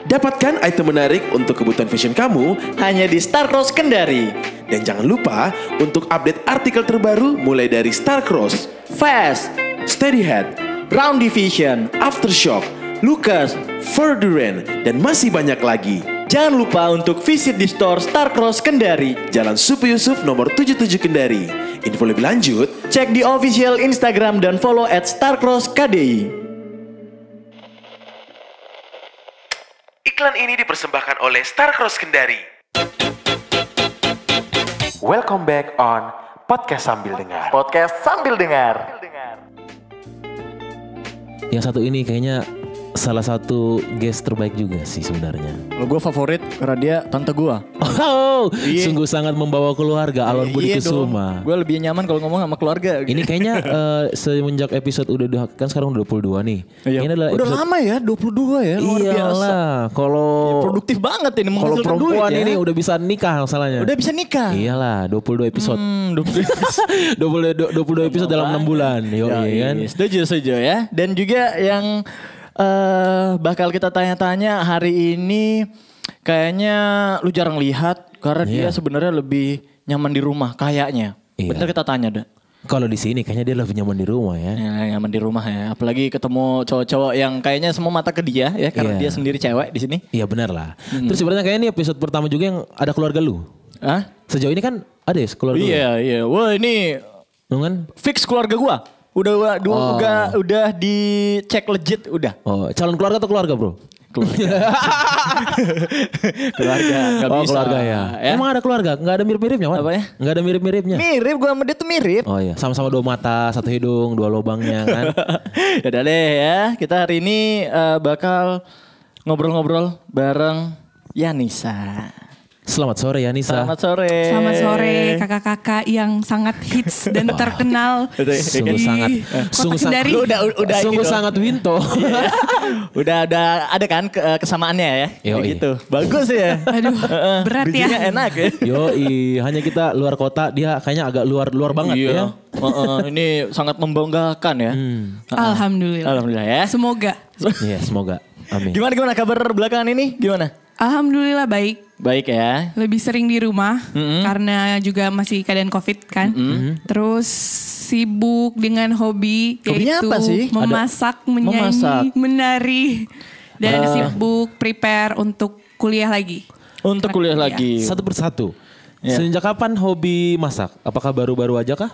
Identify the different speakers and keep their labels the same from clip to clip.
Speaker 1: Dapatkan item menarik untuk kebutuhan fashion kamu
Speaker 2: Hanya di Star Cross Kendari.
Speaker 1: dan jangan lupa untuk update artikel terbaru mulai dari Starcross,
Speaker 2: Fast,
Speaker 1: Steadyhead,
Speaker 2: Brown Division,
Speaker 1: Aftershock,
Speaker 2: Lucas.
Speaker 1: Furduran, dan masih banyak lagi.
Speaker 2: Jangan lupa untuk visit di store Star Cross Kendari.
Speaker 1: Jalan Supi Yusuf nomor 77 Kendari. Info lebih lanjut,
Speaker 2: Cek di official Instagram dan follow at Starcross KDI.
Speaker 1: iklan ini dipersembahkan oleh Starcross Kendari. Welcome back on Podcast Sambil Dengar.
Speaker 2: Podcast sambil dengar.
Speaker 3: Yang satu ini kayaknya salah satu guest terbaik juga sih sebenarnya.
Speaker 4: Kalau gue favorit karena dia tante gue.
Speaker 3: Oh,
Speaker 4: Iya.
Speaker 3: sungguh sangat membawa keluarga Alon Budi Kusuma.
Speaker 4: Gue lebih nyaman kalau ngomong sama keluarga.
Speaker 3: Iya
Speaker 4: gitu.
Speaker 3: Ini kayaknya eh, semenjak episode udah dua, kan sekarang udah 22 nih.
Speaker 4: Iya.
Speaker 3: Ini adalah
Speaker 4: udah
Speaker 3: episode
Speaker 4: lama ya, 22 ya, luar biasa. Iya,
Speaker 3: Iyalah, kalau
Speaker 4: Produktif banget ini
Speaker 3: kalau
Speaker 4: menghasilkan
Speaker 3: perempuan
Speaker 4: duit ya.
Speaker 3: ini udah Iya. bisa nikah masalahnya.
Speaker 4: udah bisa nikah.
Speaker 3: Iyalah, 22 episode.
Speaker 4: Hmm, 22.
Speaker 3: 22, 22 episode dalam 6 bulan. Yo,
Speaker 4: Ya,
Speaker 3: iya kan?
Speaker 4: Yoi, Setuju, setuju ya. Dan juga yang eh bakal kita tanya-tanya hari ini kayaknya lu jarang lihat karena dia sebenarnya lebih nyaman di rumah kayaknya.
Speaker 3: Iya.
Speaker 4: Bentar kita tanya deh.
Speaker 3: Kalau di sini kayaknya dia lebih nyaman di rumah ya.
Speaker 4: Ya, nyaman di rumah ya. Apalagi ketemu cowok-cowok yang kayaknya semua mata ke dia ya karena
Speaker 3: Iya.
Speaker 4: dia sendiri cewek di sini.
Speaker 3: Iya benar lah.
Speaker 4: Hmm.
Speaker 3: Terus sebenarnya kayaknya ini episode pertama juga yang ada keluarga lu.
Speaker 4: Hah?
Speaker 3: Sejauh ini kan ada ya keluarga lu?
Speaker 4: Iya, iya. Wah, ini
Speaker 3: Lu kan?
Speaker 4: fix keluarga gua. Udah udah udah, udah dicek legit udah.
Speaker 3: Oh, calon keluarga atau keluarga bro?
Speaker 4: Keluarga. keluarga. nggak
Speaker 3: oh
Speaker 4: bisa.
Speaker 3: keluarga ya. Emang ada keluarga? Nggak ada mirip-miripnya Wan?
Speaker 4: Apa ya?
Speaker 3: Nggak ada mirip-miripnya?
Speaker 4: Mirip gua sama dia tuh mirip.
Speaker 3: Oh iya, sama-sama dua mata, satu hidung, dua lubangnya kan.
Speaker 4: Yaudah deh ya. Kita hari ini eh, bakal ngobrol-ngobrol bareng Yanisa.
Speaker 3: Selamat sore ya Nisa.
Speaker 4: Selamat sore.
Speaker 5: Selamat sore kakak-kakak yang sangat hits dan terkenal.
Speaker 3: Sungguh
Speaker 5: di
Speaker 3: sangat,
Speaker 5: kota
Speaker 3: Eh, sungguh sangat,
Speaker 5: Kendari.
Speaker 4: Lu udah- udah gitu. Iya. ini
Speaker 3: sungguh
Speaker 4: dong.
Speaker 3: sangat Winto.
Speaker 4: udah ada ada kan ke- kesamaannya ya Kayak
Speaker 3: Yoi.
Speaker 4: gitu bagus ya
Speaker 5: Aduh,
Speaker 4: Heeh.
Speaker 5: berat ya.
Speaker 4: bijinya enak ya
Speaker 3: Yo, hanya kita luar kota, dia kayaknya agak luar luar banget
Speaker 4: iya.
Speaker 3: ya.
Speaker 4: Heeh, ini sangat membanggakan ya
Speaker 5: Alhamdulillah.
Speaker 4: alhamdulillah ya
Speaker 5: Semoga.
Speaker 3: Iya, semoga. Amin.
Speaker 4: gimana gimana kabar belakangan ini gimana
Speaker 5: Alhamdulillah baik.
Speaker 4: baik ya
Speaker 5: Lebih sering di rumah karena juga masih keadaan covid kan. Terus sibuk dengan hobi
Speaker 4: Hobinya
Speaker 5: yaitu
Speaker 4: apa sih? Ada-
Speaker 5: memasak, menyanyi,
Speaker 4: Memasak.
Speaker 5: menari dan sibuk prepare untuk kuliah lagi.
Speaker 4: untuk kuliah
Speaker 5: Iya.
Speaker 4: lagi
Speaker 3: Satu persatu.
Speaker 4: Iya.
Speaker 3: Sejak kapan hobi masak? Apakah baru-baru aja kah?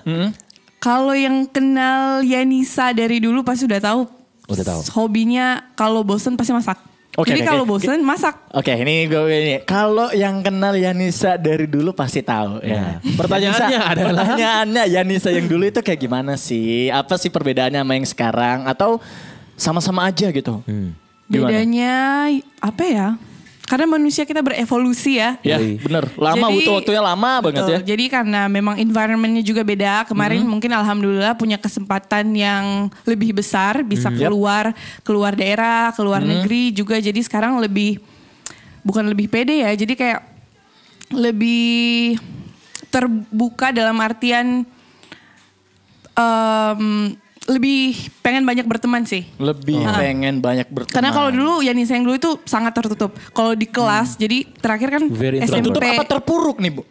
Speaker 5: Kalau yang kenal Yanisa dari dulu pasti udah tahu.
Speaker 3: Udah tahu.
Speaker 5: Hobinya kalau bosen pasti masak.
Speaker 4: Oke, oke,
Speaker 5: Jadi kalau
Speaker 4: oke.
Speaker 5: bosen masak.
Speaker 4: Oke, ini gue ini. Kalau yang kenal Yanisa dari dulu pasti tahu ya.
Speaker 3: Nah, pertanyaannya
Speaker 4: Yanisa,
Speaker 3: adalah-
Speaker 4: pertanyaannya Yanisa yang dulu itu kayak gimana sih? Apa sih perbedaannya sama yang sekarang atau sama-sama aja gitu? Gimana?
Speaker 5: Bedanya apa ya? Karena manusia kita berevolusi ya.
Speaker 4: Ya, bener. Lama
Speaker 5: Jadi-
Speaker 4: butuh waktunya lama banget
Speaker 5: Betul.
Speaker 4: ya. Mm-hmm.
Speaker 5: Jadi karena memang environmentnya juga beda. Kemarin mungkin alhamdulillah punya kesempatan yang lebih besar bisa
Speaker 4: Mm-hmm.
Speaker 5: keluar keluar daerah, keluar negeri juga. Jadi sekarang lebih bukan lebih pede ya. Jadi kayak lebih terbuka dalam artian em, lebih pengen banyak berteman sih.
Speaker 4: Lebih pengen banyak berteman.
Speaker 5: Ah. Karena kalau dulu Yanis yang dulu itu sangat tertutup. Kalau di kelas, jadi terakhir kan
Speaker 3: Very introvert.
Speaker 5: SMP
Speaker 4: Hmm. tertutup apa terpuruk nih, Bu?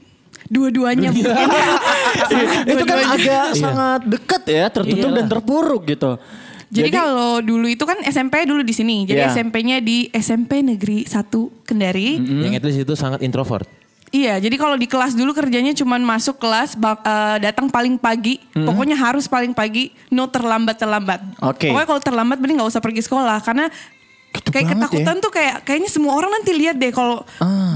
Speaker 5: dua-duanya mungkin. Iya,
Speaker 4: itu kan agak sangat dekat ya, tertutup dan terpuruk gitu.
Speaker 5: Jadi, kalau dulu itu kan SMP dulu di sini. Jadi
Speaker 4: Iya.
Speaker 5: SMP-nya di SMP Negeri 1 Kendari.
Speaker 3: Yang at least itu sangat introvert.
Speaker 5: Iya, jadi kalau di kelas dulu kerjanya cuman masuk kelas bak- eh, datang paling pagi. Pokoknya harus paling pagi, no terlambat-terlambat.
Speaker 4: Oke.
Speaker 5: Pokoknya kalau terlambat mending nggak usah pergi sekolah karena kayak
Speaker 4: banget
Speaker 5: ketakutan tuh kayak kayaknya semua orang nanti lihat deh kalau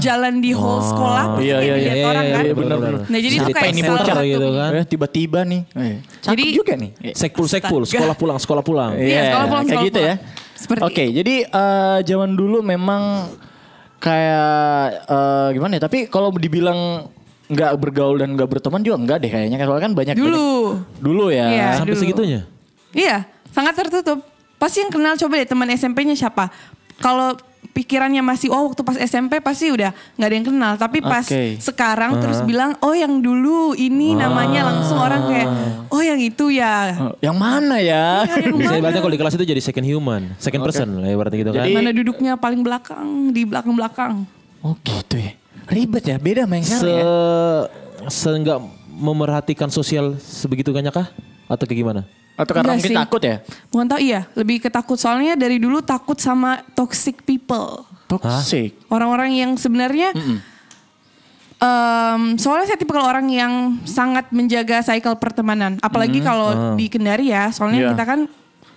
Speaker 5: jalan di hall sekolah pasti
Speaker 4: Iya, iya,
Speaker 5: kayak
Speaker 4: iya,
Speaker 5: dilihat
Speaker 3: iya,
Speaker 5: orang
Speaker 3: iya,
Speaker 5: kan.
Speaker 3: iya, benar, benar.
Speaker 5: Nah, jadi itu
Speaker 3: Siapa
Speaker 5: kayak
Speaker 3: ini
Speaker 5: salah
Speaker 3: bocah
Speaker 5: satu-
Speaker 3: gitu kan?
Speaker 4: Eh, tiba-tiba nih. Eh, cakep
Speaker 5: Jadi-
Speaker 4: juga nih. Eh.
Speaker 3: Sekpul sekpul, sekolah pulang, sekolah pulang.
Speaker 5: Iya, sekolah pulang,
Speaker 4: kayak
Speaker 5: sekolah
Speaker 4: gitu
Speaker 5: pulang.
Speaker 4: ya.
Speaker 5: Seperti
Speaker 4: Oke, jadi eh, zaman dulu memang kayak eh, gimana ya? Tapi kalau dibilang nggak bergaul dan nggak berteman juga enggak deh kayaknya. Soalnya kan banyak
Speaker 5: Dulu.
Speaker 4: banyak- dulu ya.
Speaker 5: Iya.
Speaker 3: Sampai
Speaker 5: dulu.
Speaker 3: segitunya.
Speaker 5: Iya, sangat tertutup. Pasti yang kenal coba deh teman SMP-nya siapa. Kalau pi- pikirannya masih oh waktu pas SMP pasti udah nggak ada yang kenal tapi pas
Speaker 4: Oke.
Speaker 5: sekarang terus bilang oh yang dulu ini namanya langsung orang kayak oh yang itu ya
Speaker 4: Eh, Yang mana ya?
Speaker 5: Ya, yang
Speaker 3: Bisa
Speaker 5: mana?
Speaker 3: ibaratnya kalau di kelas itu jadi second human, second person lah ibaratnya gitu kan.
Speaker 4: Jadi-
Speaker 5: Mana duduknya paling belakang di belakang belakang
Speaker 4: Oh gitu ya. Ribet ya, beda main
Speaker 3: se
Speaker 4: sekarang ya.
Speaker 3: se nggak memerhatikan sosial sebegitu banyak kah? Atau kayak gimana?
Speaker 4: Atau karena
Speaker 5: Enggak
Speaker 4: mungkin
Speaker 5: sih.
Speaker 4: takut ya?
Speaker 5: bukan tau iya lebih ketakut soalnya dari dulu takut sama toxic people
Speaker 4: Toxic.
Speaker 5: orang-orang yang sebenarnya em, soalnya saya tipe kalau orang yang sangat menjaga cycle pertemanan apalagi kalau
Speaker 3: Oh.
Speaker 5: di Kendari ya soalnya
Speaker 4: Iya.
Speaker 5: kita kan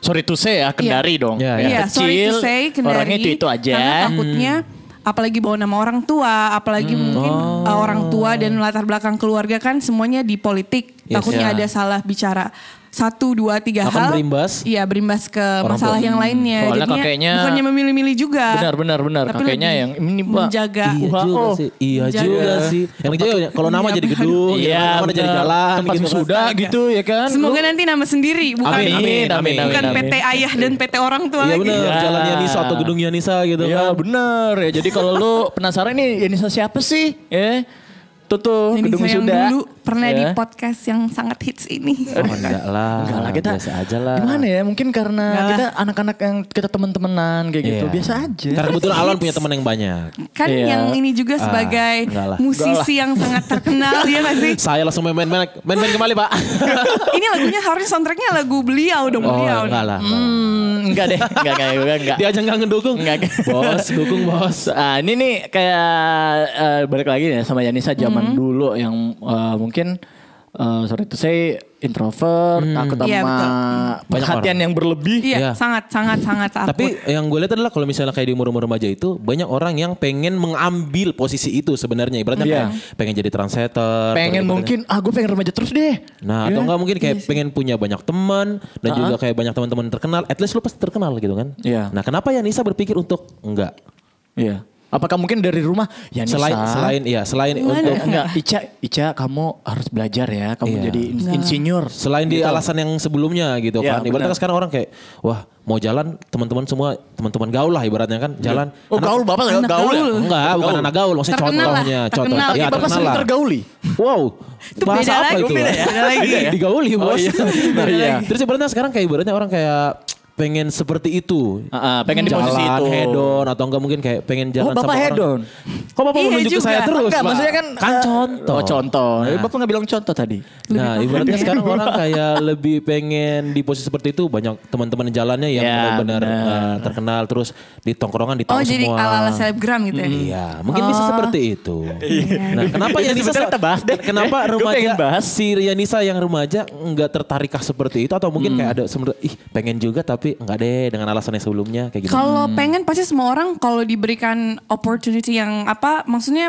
Speaker 4: Sorry to say ya, kendari dong.
Speaker 3: Iya, iya.
Speaker 4: Yang
Speaker 5: Iya, sorry to say, Kendari.
Speaker 4: orangnya itu-itu aja.
Speaker 5: Karena takutnya
Speaker 3: Hmm.
Speaker 5: apalagi bawa nama orang tua,
Speaker 4: Hmm.
Speaker 5: apalagi mungkin
Speaker 3: Oh.
Speaker 5: uh, orang tua dan latar belakang keluarga kan semuanya di politik.
Speaker 3: Yes,
Speaker 5: takutnya
Speaker 3: ya.
Speaker 5: ada salah bicara satu dua
Speaker 3: Akan
Speaker 5: tiga hal
Speaker 3: berimbas.
Speaker 5: iya berimbas ke
Speaker 3: Orang
Speaker 5: masalah
Speaker 3: tua.
Speaker 5: yang lainnya
Speaker 4: Soalnya
Speaker 5: Jadinya
Speaker 4: kakeknya-
Speaker 5: bukannya memilih-milih juga
Speaker 4: Benar, benar, benar.
Speaker 5: Tapi
Speaker 4: Kakeknya
Speaker 5: lebih
Speaker 4: yang, "Ini, Pak."
Speaker 5: menjaga
Speaker 3: Iya
Speaker 4: Wah,
Speaker 3: juga
Speaker 4: oh.
Speaker 3: sih. Iya
Speaker 5: Menjaga.
Speaker 3: juga sih. Yang juga ya, kalau nama jadi gedung, ya,
Speaker 4: Iya,
Speaker 3: nama jadi
Speaker 4: benar.
Speaker 3: jalan
Speaker 4: Tempat
Speaker 3: gitu kan.
Speaker 4: wisuda gitu ya kan.
Speaker 5: semoga nanti nama sendiri bukan
Speaker 4: Amin, amin, amin, amin,
Speaker 5: bukan
Speaker 4: amin.
Speaker 5: PT ayah dan PT orang tua
Speaker 3: Iya
Speaker 5: lagi
Speaker 3: benar,
Speaker 4: Iya.
Speaker 3: jalannya Nisa atau gedungnya Nisa gitu
Speaker 4: Iya
Speaker 3: kan.
Speaker 4: bener ya. Jadi kalau lu penasaran nih Yanisa siapa sih? Ya. Tuh tuh
Speaker 5: Ini
Speaker 4: gedung
Speaker 5: saya yang
Speaker 4: sudah.
Speaker 5: dulu pernah
Speaker 4: Ya.
Speaker 5: di
Speaker 3: Iya.
Speaker 5: podcast yang sangat hits ini
Speaker 3: Oh, enggak lah.
Speaker 4: Enggak lah kita
Speaker 3: biasa aja lah.
Speaker 4: Gimana ya mungkin karena kita anak-anak yang kita teman-temanan kayak gitu
Speaker 3: Iya.
Speaker 4: biasa aja.
Speaker 3: Karena kebetulan Alan punya teman yang banyak.
Speaker 5: Kan
Speaker 4: Iya.
Speaker 5: yang ini juga
Speaker 3: Ah,
Speaker 5: sebagai
Speaker 3: enggak lah.
Speaker 5: musisi yang sangat terkenal ya gak sih?
Speaker 3: Saya langsung main-main main-main kembali, Pak.
Speaker 5: Ini lagunya harusnya soundtracknya lagu beliau dong
Speaker 3: Oh,
Speaker 5: beliau.
Speaker 3: enggak lah.
Speaker 4: Hmm, enggak deh, enggak enggak enggak. enggak.
Speaker 3: Dia aja enggak ngedukung.
Speaker 4: Enggak.
Speaker 3: Bos, dukung bos.
Speaker 4: Ah, ini nih kayak eh, balik lagi ya sama Yanisa
Speaker 5: Mm-hmm.
Speaker 4: zaman dulu yang eh, mungkin eh, sorry to say introvert, takut sama
Speaker 5: Iya, betul.
Speaker 4: perhatian yang berlebih.
Speaker 5: Iya,
Speaker 3: Iya.
Speaker 5: sangat sangat sangat takut.
Speaker 3: Tapi yang gue lihat adalah kalau misalnya kayak di umur-umur remaja itu banyak orang yang pengen mengambil posisi itu sebenarnya ibaratnya
Speaker 4: Iya.
Speaker 3: kayak pengen jadi translator,
Speaker 4: Pengen
Speaker 3: pengen-
Speaker 4: mungkin ah gue pengen remaja terus deh.
Speaker 3: Nah,
Speaker 4: Iya.
Speaker 3: atau enggak mungkin kayak pengen punya banyak teman dan juga kayak banyak teman-teman terkenal. At least lu pasti terkenal gitu kan.
Speaker 4: Iya.
Speaker 3: Nah, kenapa ya Nisa berpikir untuk enggak?
Speaker 4: Iya. Apakah mungkin dari rumah Yanisa
Speaker 3: Selain selain iya, selain untuk
Speaker 4: Enggak, enggak. Ica, Ica kamu harus belajar ya. Kamu
Speaker 3: Iya.
Speaker 4: jadi in-
Speaker 5: Nah.
Speaker 4: insinyur.
Speaker 3: selain di alasan yang sebelumnya gitu
Speaker 4: Iya,
Speaker 3: kan. Ibaratnya
Speaker 4: benar.
Speaker 3: kan sekarang orang kayak wah, mau jalan teman-teman semua teman-teman gaul lah ibaratnya kan. Jalan.
Speaker 4: Oh gaul bapak
Speaker 5: anak gaul.
Speaker 3: Oh, Enggak, bukan anak gaul, maksudnya
Speaker 5: Terkenal lah,
Speaker 3: contohnya, contoh.
Speaker 5: terkenal.
Speaker 3: Iya,
Speaker 5: Tapi
Speaker 4: ya, Bapak
Speaker 3: terkenal
Speaker 4: sering
Speaker 3: lah.
Speaker 4: tergauli.
Speaker 3: Wow,
Speaker 5: Itu
Speaker 3: bahasa
Speaker 5: beda
Speaker 3: apa
Speaker 5: lagi,
Speaker 3: itu?
Speaker 5: beda ya? Beda lagi ya?
Speaker 3: Digauli bos. Nah,
Speaker 4: Oh, Beda
Speaker 3: iya.
Speaker 4: lagi.
Speaker 3: Terus ibaratnya sekarang kayak ibaratnya orang kayak pengen seperti itu.
Speaker 4: Ah, ah, pengen di
Speaker 3: jalan
Speaker 4: posisi itu.
Speaker 3: head on atau enggak mungkin kayak pengen
Speaker 4: Oh,
Speaker 3: jalan
Speaker 4: Bapak
Speaker 3: sama
Speaker 4: head on?
Speaker 3: orang. Kok Bapak
Speaker 5: Iya
Speaker 3: menunjuk ke
Speaker 5: juga.
Speaker 3: saya terus?
Speaker 4: Enggak,
Speaker 3: Pak?
Speaker 4: maksudnya kan
Speaker 3: kan
Speaker 4: eh,
Speaker 3: contoh.
Speaker 4: Oh, contoh.
Speaker 3: Nah.
Speaker 4: Bapak nggak bilang contoh tadi.
Speaker 3: Nah, ibaratnya sekarang orang kayak lebih pengen di posisi seperti itu banyak teman-teman jalannya yang
Speaker 4: Ya,
Speaker 3: benar-benar
Speaker 4: benar.
Speaker 3: eh, terkenal terus di tongkrongan di
Speaker 5: oh, jadi
Speaker 3: semua.
Speaker 5: ala-ala selebgram gitu ya.
Speaker 3: Iya,
Speaker 4: Hmm.
Speaker 3: mungkin bisa seperti itu. Nah, kenapa
Speaker 4: Itu
Speaker 3: Yanisa
Speaker 4: Oh. Iya. sebenarnya kita bahas deh.
Speaker 3: Kenapa
Speaker 4: Gue
Speaker 3: remaja
Speaker 4: pengen bahas.
Speaker 3: si Yanisa yang remaja nggak tertarikkah seperti itu
Speaker 4: Hmm.
Speaker 3: atau mungkin kayak ada sebenarnya ih pengen juga tapi nggak deh dengan alasan yang sebelumnya kayak gitu.
Speaker 5: Kalau pengen pasti semua orang kalau diberikan opportunity yang apa maksudnya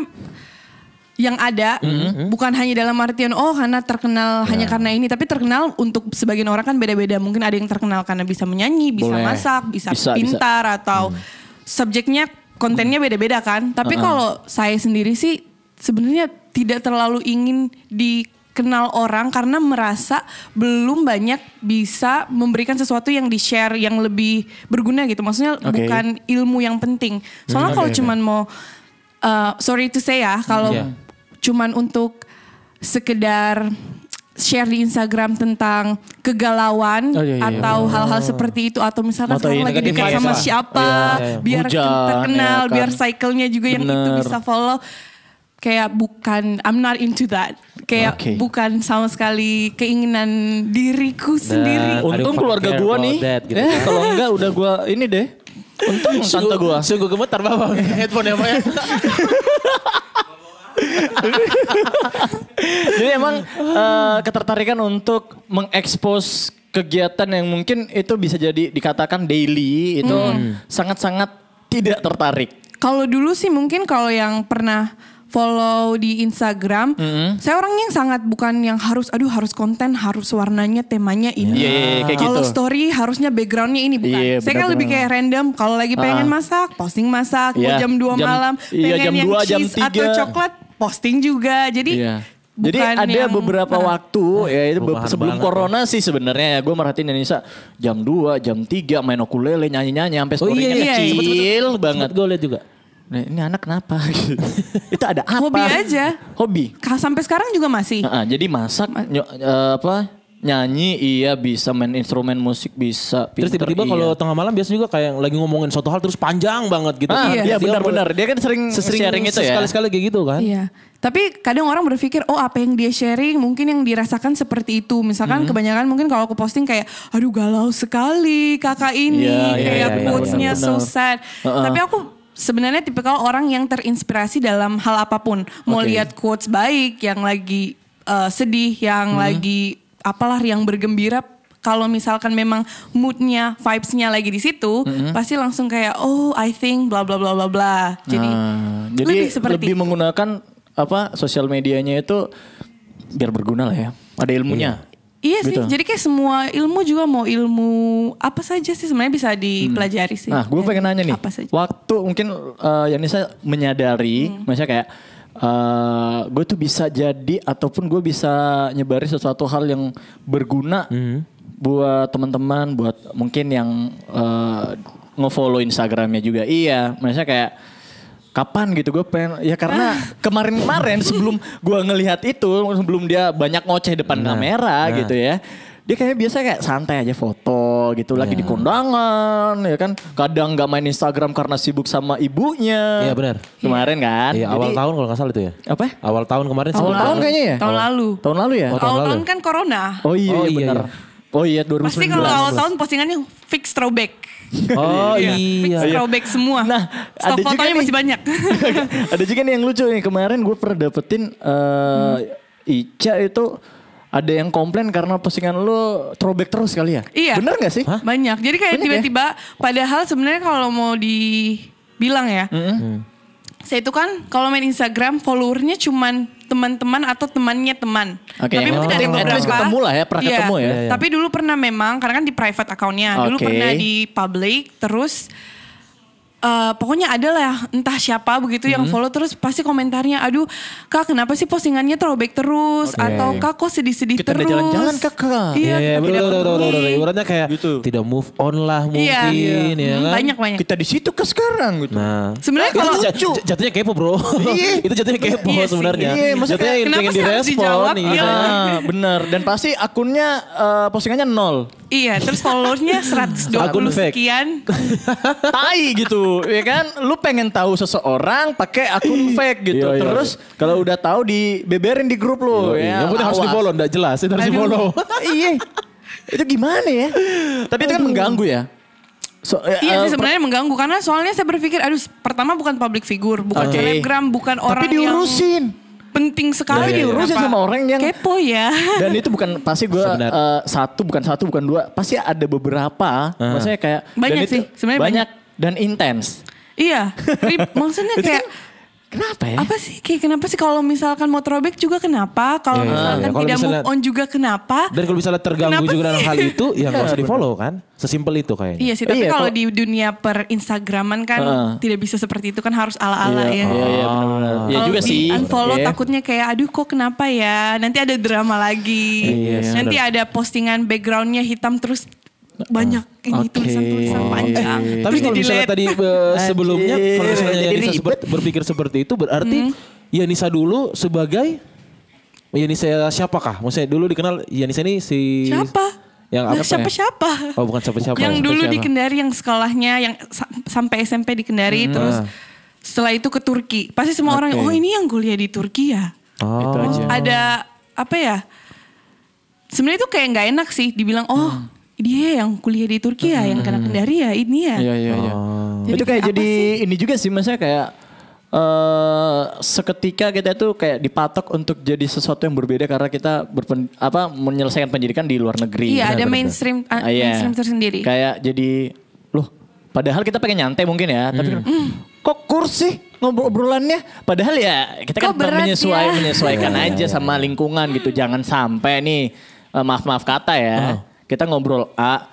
Speaker 5: yang ada
Speaker 4: Hmm,
Speaker 5: bukan hanya dalam artian oh karena terkenal
Speaker 4: Ya.
Speaker 5: hanya karena ini tapi terkenal untuk sebagian orang kan beda-beda mungkin ada yang terkenal karena bisa menyanyi bisa
Speaker 4: Boleh.
Speaker 5: masak bisa,
Speaker 4: Bisa,
Speaker 5: pintar atau
Speaker 4: Hmm.
Speaker 5: subjeknya kontennya beda-beda kan tapi kalau saya sendiri sih sebenarnya tidak terlalu ingin dikenal orang karena merasa belum banyak bisa memberikan sesuatu yang di share yang lebih berguna gitu
Speaker 4: Oke.
Speaker 5: maksudnya
Speaker 4: Hmm,
Speaker 5: bukan ilmu yang penting. Soalnya kalau cuman mau uh, sorry to say ya, kalau
Speaker 4: Hmm,
Speaker 3: Iya.
Speaker 5: cuman untuk sekedar share di Instagram tentang kegalauan
Speaker 4: Oh, iya, iya,
Speaker 5: atau hal-hal seperti itu atau misalkan
Speaker 4: Motoin
Speaker 5: sekarang lagi
Speaker 4: negatif
Speaker 5: dekat
Speaker 4: vibes
Speaker 5: sama
Speaker 4: lah.
Speaker 5: siapa,
Speaker 4: Iya, iya.
Speaker 5: biar
Speaker 4: Hujan,
Speaker 5: terkenal,
Speaker 4: ya kan.
Speaker 5: biar cycle-nya juga yang itu
Speaker 4: Bener.
Speaker 5: bisa follow. Kayak bukan I'm not into that. Kayak
Speaker 4: Oke.
Speaker 5: bukan sama sekali keinginan diriku
Speaker 3: I don't
Speaker 5: sendiri.
Speaker 4: Untung
Speaker 3: fucking
Speaker 4: keluarga
Speaker 3: care
Speaker 4: gua
Speaker 3: about
Speaker 4: nih.
Speaker 3: that, gitu
Speaker 4: eh, kalau enggak udah gua ini deh. Untung tante gua.
Speaker 3: Sungguh gemetar bapak headphone ya pak ya.
Speaker 4: Jadi emang eh, ketertarikan untuk mengekspos kegiatan yang mungkin itu bisa jadi dikatakan daily itu
Speaker 5: Hmm.
Speaker 4: sangat-sangat tidak tertarik.
Speaker 5: Kalau dulu sih mungkin kalau yang pernah follow di Instagram, saya orangnya yang sangat bukan yang harus, aduh harus konten, harus warnanya, temanya ini.
Speaker 4: Iya, iya, iya, kayak
Speaker 5: Kalau
Speaker 4: gitu.
Speaker 5: story harusnya backgroundnya ini bukan.
Speaker 4: Iya,
Speaker 5: saya kan
Speaker 4: benar-benar.
Speaker 5: lebih kayak random. Kalau lagi pengen masak, posting masak. Mau
Speaker 4: Iya,
Speaker 5: jam 2
Speaker 4: jam-
Speaker 5: malam,
Speaker 4: iya,
Speaker 5: pengen
Speaker 4: jam
Speaker 5: yang
Speaker 4: 2, jam
Speaker 5: cheese atau
Speaker 4: 3.
Speaker 5: coklat, posting juga. Jadi
Speaker 4: Iya. Jadi
Speaker 5: Bukan
Speaker 4: ada
Speaker 5: yang-
Speaker 4: beberapa
Speaker 5: Nah.
Speaker 4: waktu ya itu be-
Speaker 3: Perubahan
Speaker 4: sebelum
Speaker 3: banget
Speaker 4: corona sih sebenarnya ya gue merhatiin Indonesia jam 2, jam 3 main ukulele nyanyi-nyanyi sampai
Speaker 3: Oh iya,
Speaker 4: story-nya
Speaker 5: iya, iya.
Speaker 4: kecil banget.
Speaker 3: gue lihat juga.
Speaker 4: Nah, ini anak kenapa? gitu. itu ada apa?
Speaker 5: Hobi aja.
Speaker 4: Hobi.
Speaker 5: Ka- Sampai sekarang juga masih.
Speaker 4: Nah, jadi masak nyo- eh, apa nyanyi iya bisa main instrumen musik bisa
Speaker 3: Terus
Speaker 4: pinter,
Speaker 3: tiba-tiba
Speaker 4: iya.
Speaker 3: kalau tengah malam biasa juga kayak lagi ngomongin suatu hal terus panjang banget gitu.
Speaker 4: Ah,
Speaker 3: Kan.
Speaker 4: iya
Speaker 3: Dia
Speaker 4: benar-benar
Speaker 3: mulai-
Speaker 4: dia kan sering
Speaker 3: Sesering
Speaker 4: sharing itu ya.
Speaker 3: Sekali-sekali kayak gitu kan.
Speaker 5: Iya. Tapi kadang orang berpikir, oh apa yang dia sharing mungkin yang dirasakan seperti itu. Misalkan
Speaker 4: Hmm.
Speaker 5: kebanyakan mungkin kalau aku posting kayak, aduh galau sekali kakak ini.
Speaker 4: Iya, iya,
Speaker 5: kayak
Speaker 3: iya, iya,
Speaker 5: quotes-nya
Speaker 4: benar,
Speaker 5: so
Speaker 4: benar.
Speaker 5: sad. Tapi aku sebenarnya tipikal orang yang terinspirasi dalam hal apapun. Mau
Speaker 4: Oke.
Speaker 5: lihat quotes baik, yang lagi eh, sedih,
Speaker 4: Hmm.
Speaker 5: yang lagi apalah yang bergembira. Kalau misalkan memang moodnya, vibes-nya lagi di situ,
Speaker 4: Hmm.
Speaker 5: pasti langsung kayak oh I think bla bla bla bla bla. Jadi,
Speaker 4: Nah, jadi
Speaker 5: lebih seperti itu.
Speaker 4: menggunakan apa sosial medianya itu biar berguna lah ya. Ada ilmunya.
Speaker 5: Iya sih,
Speaker 4: Gitu.
Speaker 5: jadi kayak semua ilmu juga mau ilmu apa saja sih sebenarnya bisa dipelajari sih.
Speaker 4: Nah, gue
Speaker 5: Dari
Speaker 4: pengen nanya nih.
Speaker 5: Apa saja? Hmm.
Speaker 4: Waktu mungkin eh, Yanisa menyadari, maksudnya kayak eh, gue tuh bisa jadi ataupun gue bisa nyebarin sesuatu hal yang berguna buat teman-teman, buat mungkin yang eh, ngefollow Instagramnya juga. Iya, maksudnya kayak kapan gitu gue pengen ya
Speaker 5: Ah.
Speaker 4: karena kemarin-kemarin sebelum gue ngelihat itu sebelum dia banyak ngoceh depan kamera
Speaker 3: nah.
Speaker 4: gitu ya dia kayaknya biasa kayak santai aja foto gitu lagi di
Speaker 3: Iya.
Speaker 4: kondangan ya kan kadang nggak main Instagram karena sibuk sama ibunya
Speaker 3: Iya, benar.
Speaker 4: kemarin kan
Speaker 3: Iya, awal
Speaker 4: Jadi-
Speaker 3: tahun kalau nggak salah itu ya.
Speaker 4: apa ya?
Speaker 3: Awal tahun kemarin
Speaker 4: awal
Speaker 3: sebelum-
Speaker 4: tahun kayaknya ya
Speaker 5: Tahun lalu.
Speaker 4: tahun lalu ya
Speaker 3: Oh, tahun
Speaker 5: Awal
Speaker 3: lalu
Speaker 5: tahun
Speaker 3: ya?
Speaker 5: kan corona.
Speaker 4: oh iya,
Speaker 3: Oh, iya,
Speaker 4: benar
Speaker 3: iya.
Speaker 4: oh iya 2019
Speaker 5: Pasti kalau awal tahun postingannya fix throwback.
Speaker 3: Oh
Speaker 5: Fix
Speaker 3: iya.
Speaker 5: throwback semua.
Speaker 4: Nah,
Speaker 5: Stok
Speaker 4: ada juga
Speaker 5: fotonya
Speaker 4: nih.
Speaker 5: masih banyak.
Speaker 4: ada juga nih yang lucu nih kemarin gue pernah dapetin eh, Ica itu ada yang komplain karena postingan lo throwback terus kali ya?
Speaker 5: Iya.
Speaker 4: Bener gak sih?
Speaker 5: Banyak. Jadi kayak
Speaker 4: Banyak ya?
Speaker 5: tiba-tiba padahal sebenarnya kalau mau dibilang ya. Saya itu kan kalau main Instagram followernya cuman teman-teman atau temannya teman.
Speaker 4: Oke.
Speaker 5: Tapi
Speaker 4: Oh.
Speaker 5: mungkin dari
Speaker 4: At least
Speaker 5: beberapa.
Speaker 4: ketemu lah ya, pernah
Speaker 5: Iya.
Speaker 4: ketemu ya.
Speaker 5: Tapi dulu pernah memang karena kan di private accountnya. Dulu
Speaker 4: Oke.
Speaker 5: pernah di public terus eh, pokoknya ada lah entah siapa begitu yang follow terus pasti komentarnya aduh kak kenapa sih postingannya throwback terus atau kak kok sedih-sedih
Speaker 4: Kita udah
Speaker 5: terus
Speaker 4: jalan-jalan, Kak, Kak.
Speaker 5: iya,
Speaker 3: Iya, betul,
Speaker 5: kita tidak
Speaker 3: betul, betul, betul, betul.
Speaker 5: peduli.
Speaker 3: Ibaratnya kayak
Speaker 4: Gitu.
Speaker 3: tidak move on lah mungkin
Speaker 5: Iya.
Speaker 3: ya
Speaker 5: Hmm,
Speaker 3: kan.
Speaker 5: Banyak banyak.
Speaker 4: Kita di situ ke sekarang gitu.
Speaker 3: Nah,
Speaker 5: Sebenarnya
Speaker 3: Itu
Speaker 5: kalau-
Speaker 3: jat- jat- jatuhnya kepo bro.
Speaker 4: Iya.
Speaker 3: itu jatuhnya kepo
Speaker 5: Iya sih.
Speaker 3: sebenarnya.
Speaker 4: Iya, maksudnya
Speaker 3: jatuhnya
Speaker 5: kenapa
Speaker 3: pengen
Speaker 5: sih harus
Speaker 3: direspon.
Speaker 5: dijawab? Iya.
Speaker 4: Ah, bener. Dan pasti akunnya eh, postingannya nol.
Speaker 5: Iya, terus followersnya 120
Speaker 3: Akun fake.
Speaker 5: sekian.
Speaker 4: tai gitu, ya kan? Lu pengen tahu seseorang pakai akun fake gitu.
Speaker 3: Iya, iya,
Speaker 4: Terus kalau udah tahu dibeberin di grup lu ya.
Speaker 3: Yang penting Iya, harus
Speaker 4: awas.
Speaker 3: di follow, enggak jelas. Itu harus di follow.
Speaker 4: iya. Itu gimana ya? Tapi itu kan mengganggu ya. So, eh,
Speaker 5: Iya
Speaker 4: eh,
Speaker 5: sih sebenarnya mengganggu karena soalnya saya berpikir aduh pertama bukan public figure, bukan
Speaker 4: Oke.
Speaker 5: selebgram, bukan orang
Speaker 4: Tapi diurusin.
Speaker 5: yang penting
Speaker 3: Iya,
Speaker 5: sekali
Speaker 4: Tapi diurusin
Speaker 5: Kenapa?
Speaker 4: sama orang yang-
Speaker 5: kepo ya.
Speaker 4: Dan itu bukan pasti gue
Speaker 3: Sebenarnya.
Speaker 4: satu bukan satu bukan dua pasti ada beberapa. Maksudnya kayak
Speaker 5: Banyak
Speaker 4: dan itu
Speaker 5: sih, sebenarnya
Speaker 4: banyak, dan intens.
Speaker 5: iya, Rib- maksudnya
Speaker 4: Itu
Speaker 5: kayak
Speaker 4: kan kenapa ya?
Speaker 5: apa sih kayak kenapa sih kalau misalkan mau throwback juga kenapa kalau
Speaker 3: Iya, iya,
Speaker 5: misalkan
Speaker 3: iya. Kalau
Speaker 5: tidak
Speaker 3: misalnya-
Speaker 5: move on juga kenapa
Speaker 3: Dan kalau misalnya terganggu
Speaker 5: Kenapa
Speaker 3: juga dengan
Speaker 5: sih?
Speaker 3: hal itu, ya nggak usah di follow kan. Sesimpel itu kayaknya.
Speaker 5: Iya sih, tapi
Speaker 4: Iya,
Speaker 5: kalau
Speaker 4: kalau-
Speaker 5: di dunia per Instagraman kan
Speaker 4: Heeh.
Speaker 5: tidak bisa seperti itu kan harus ala-ala
Speaker 4: Iya,
Speaker 5: ya.
Speaker 4: iya, iya, benar-benar. Iya
Speaker 5: Kalau
Speaker 4: juga
Speaker 5: Oh, di
Speaker 4: sih.
Speaker 5: Unfollow
Speaker 4: Iya.
Speaker 5: takutnya kayak aduh kok kenapa ya? Nanti ada drama lagi.
Speaker 3: Iya, iya,
Speaker 5: Nanti ada postingan backgroundnya hitam terus banyak ini
Speaker 4: Nah, Oke.
Speaker 5: tulisan-tulisan
Speaker 4: Oke.
Speaker 5: panjang.
Speaker 3: Tapi kalau misalnya
Speaker 5: di-delete.
Speaker 3: tadi eh, sebelumnya,
Speaker 4: Anjir,
Speaker 3: kalau misalnya
Speaker 4: jadi
Speaker 3: Yanisa
Speaker 4: ribet.
Speaker 3: seperti- berpikir seperti itu, berarti
Speaker 5: Hmm.
Speaker 3: Yanisa dulu sebagai Yanisa siapakah? Maksudnya dulu dikenal Yanisa ini si
Speaker 5: siapa?
Speaker 3: Yang apa? ya?
Speaker 5: Nah, siapa-siapa?
Speaker 3: Oh bukan siapa-siapa.
Speaker 5: yang
Speaker 3: ya?
Speaker 5: dulu
Speaker 3: Siapa?
Speaker 5: di Kendari yang sekolahnya yang sa- sampai SMP di Kendari terus setelah itu ke Turki. Pasti semua orang oh ini yang kuliah di Turki ya.
Speaker 3: Oh.
Speaker 4: Itu aja.
Speaker 5: ada apa ya? Sebenarnya itu kayak nggak enak sih dibilang oh dia yang kuliah di Turki ya, yang kena kendari ya ini ya.
Speaker 4: Iya iya iya.
Speaker 5: Jadi
Speaker 4: Itu kayak
Speaker 5: apa
Speaker 4: jadi ini juga sih maksudnya kayak eh seketika kita tuh kayak dipatok untuk jadi sesuatu yang berbeda karena kita berpen, apa menyelesaikan pendidikan di luar negeri.
Speaker 5: Iya, ada
Speaker 3: benar-benar.
Speaker 5: mainstream uh,
Speaker 4: Ah, iya.
Speaker 5: mainstream tersendiri.
Speaker 4: Kayak jadi loh padahal kita pengen nyantai mungkin ya, tapi
Speaker 3: Hmm.
Speaker 4: kan, kok kursi ngobrol-obrolannya padahal ya kita kan
Speaker 5: Kok berat
Speaker 4: menyesuai-
Speaker 5: ya?
Speaker 4: menyesuaikan
Speaker 3: Iya.
Speaker 4: aja sama
Speaker 3: Oh.
Speaker 4: lingkungan gitu. Jangan sampai nih eh, maaf-maaf kata ya. Kita ngobrol A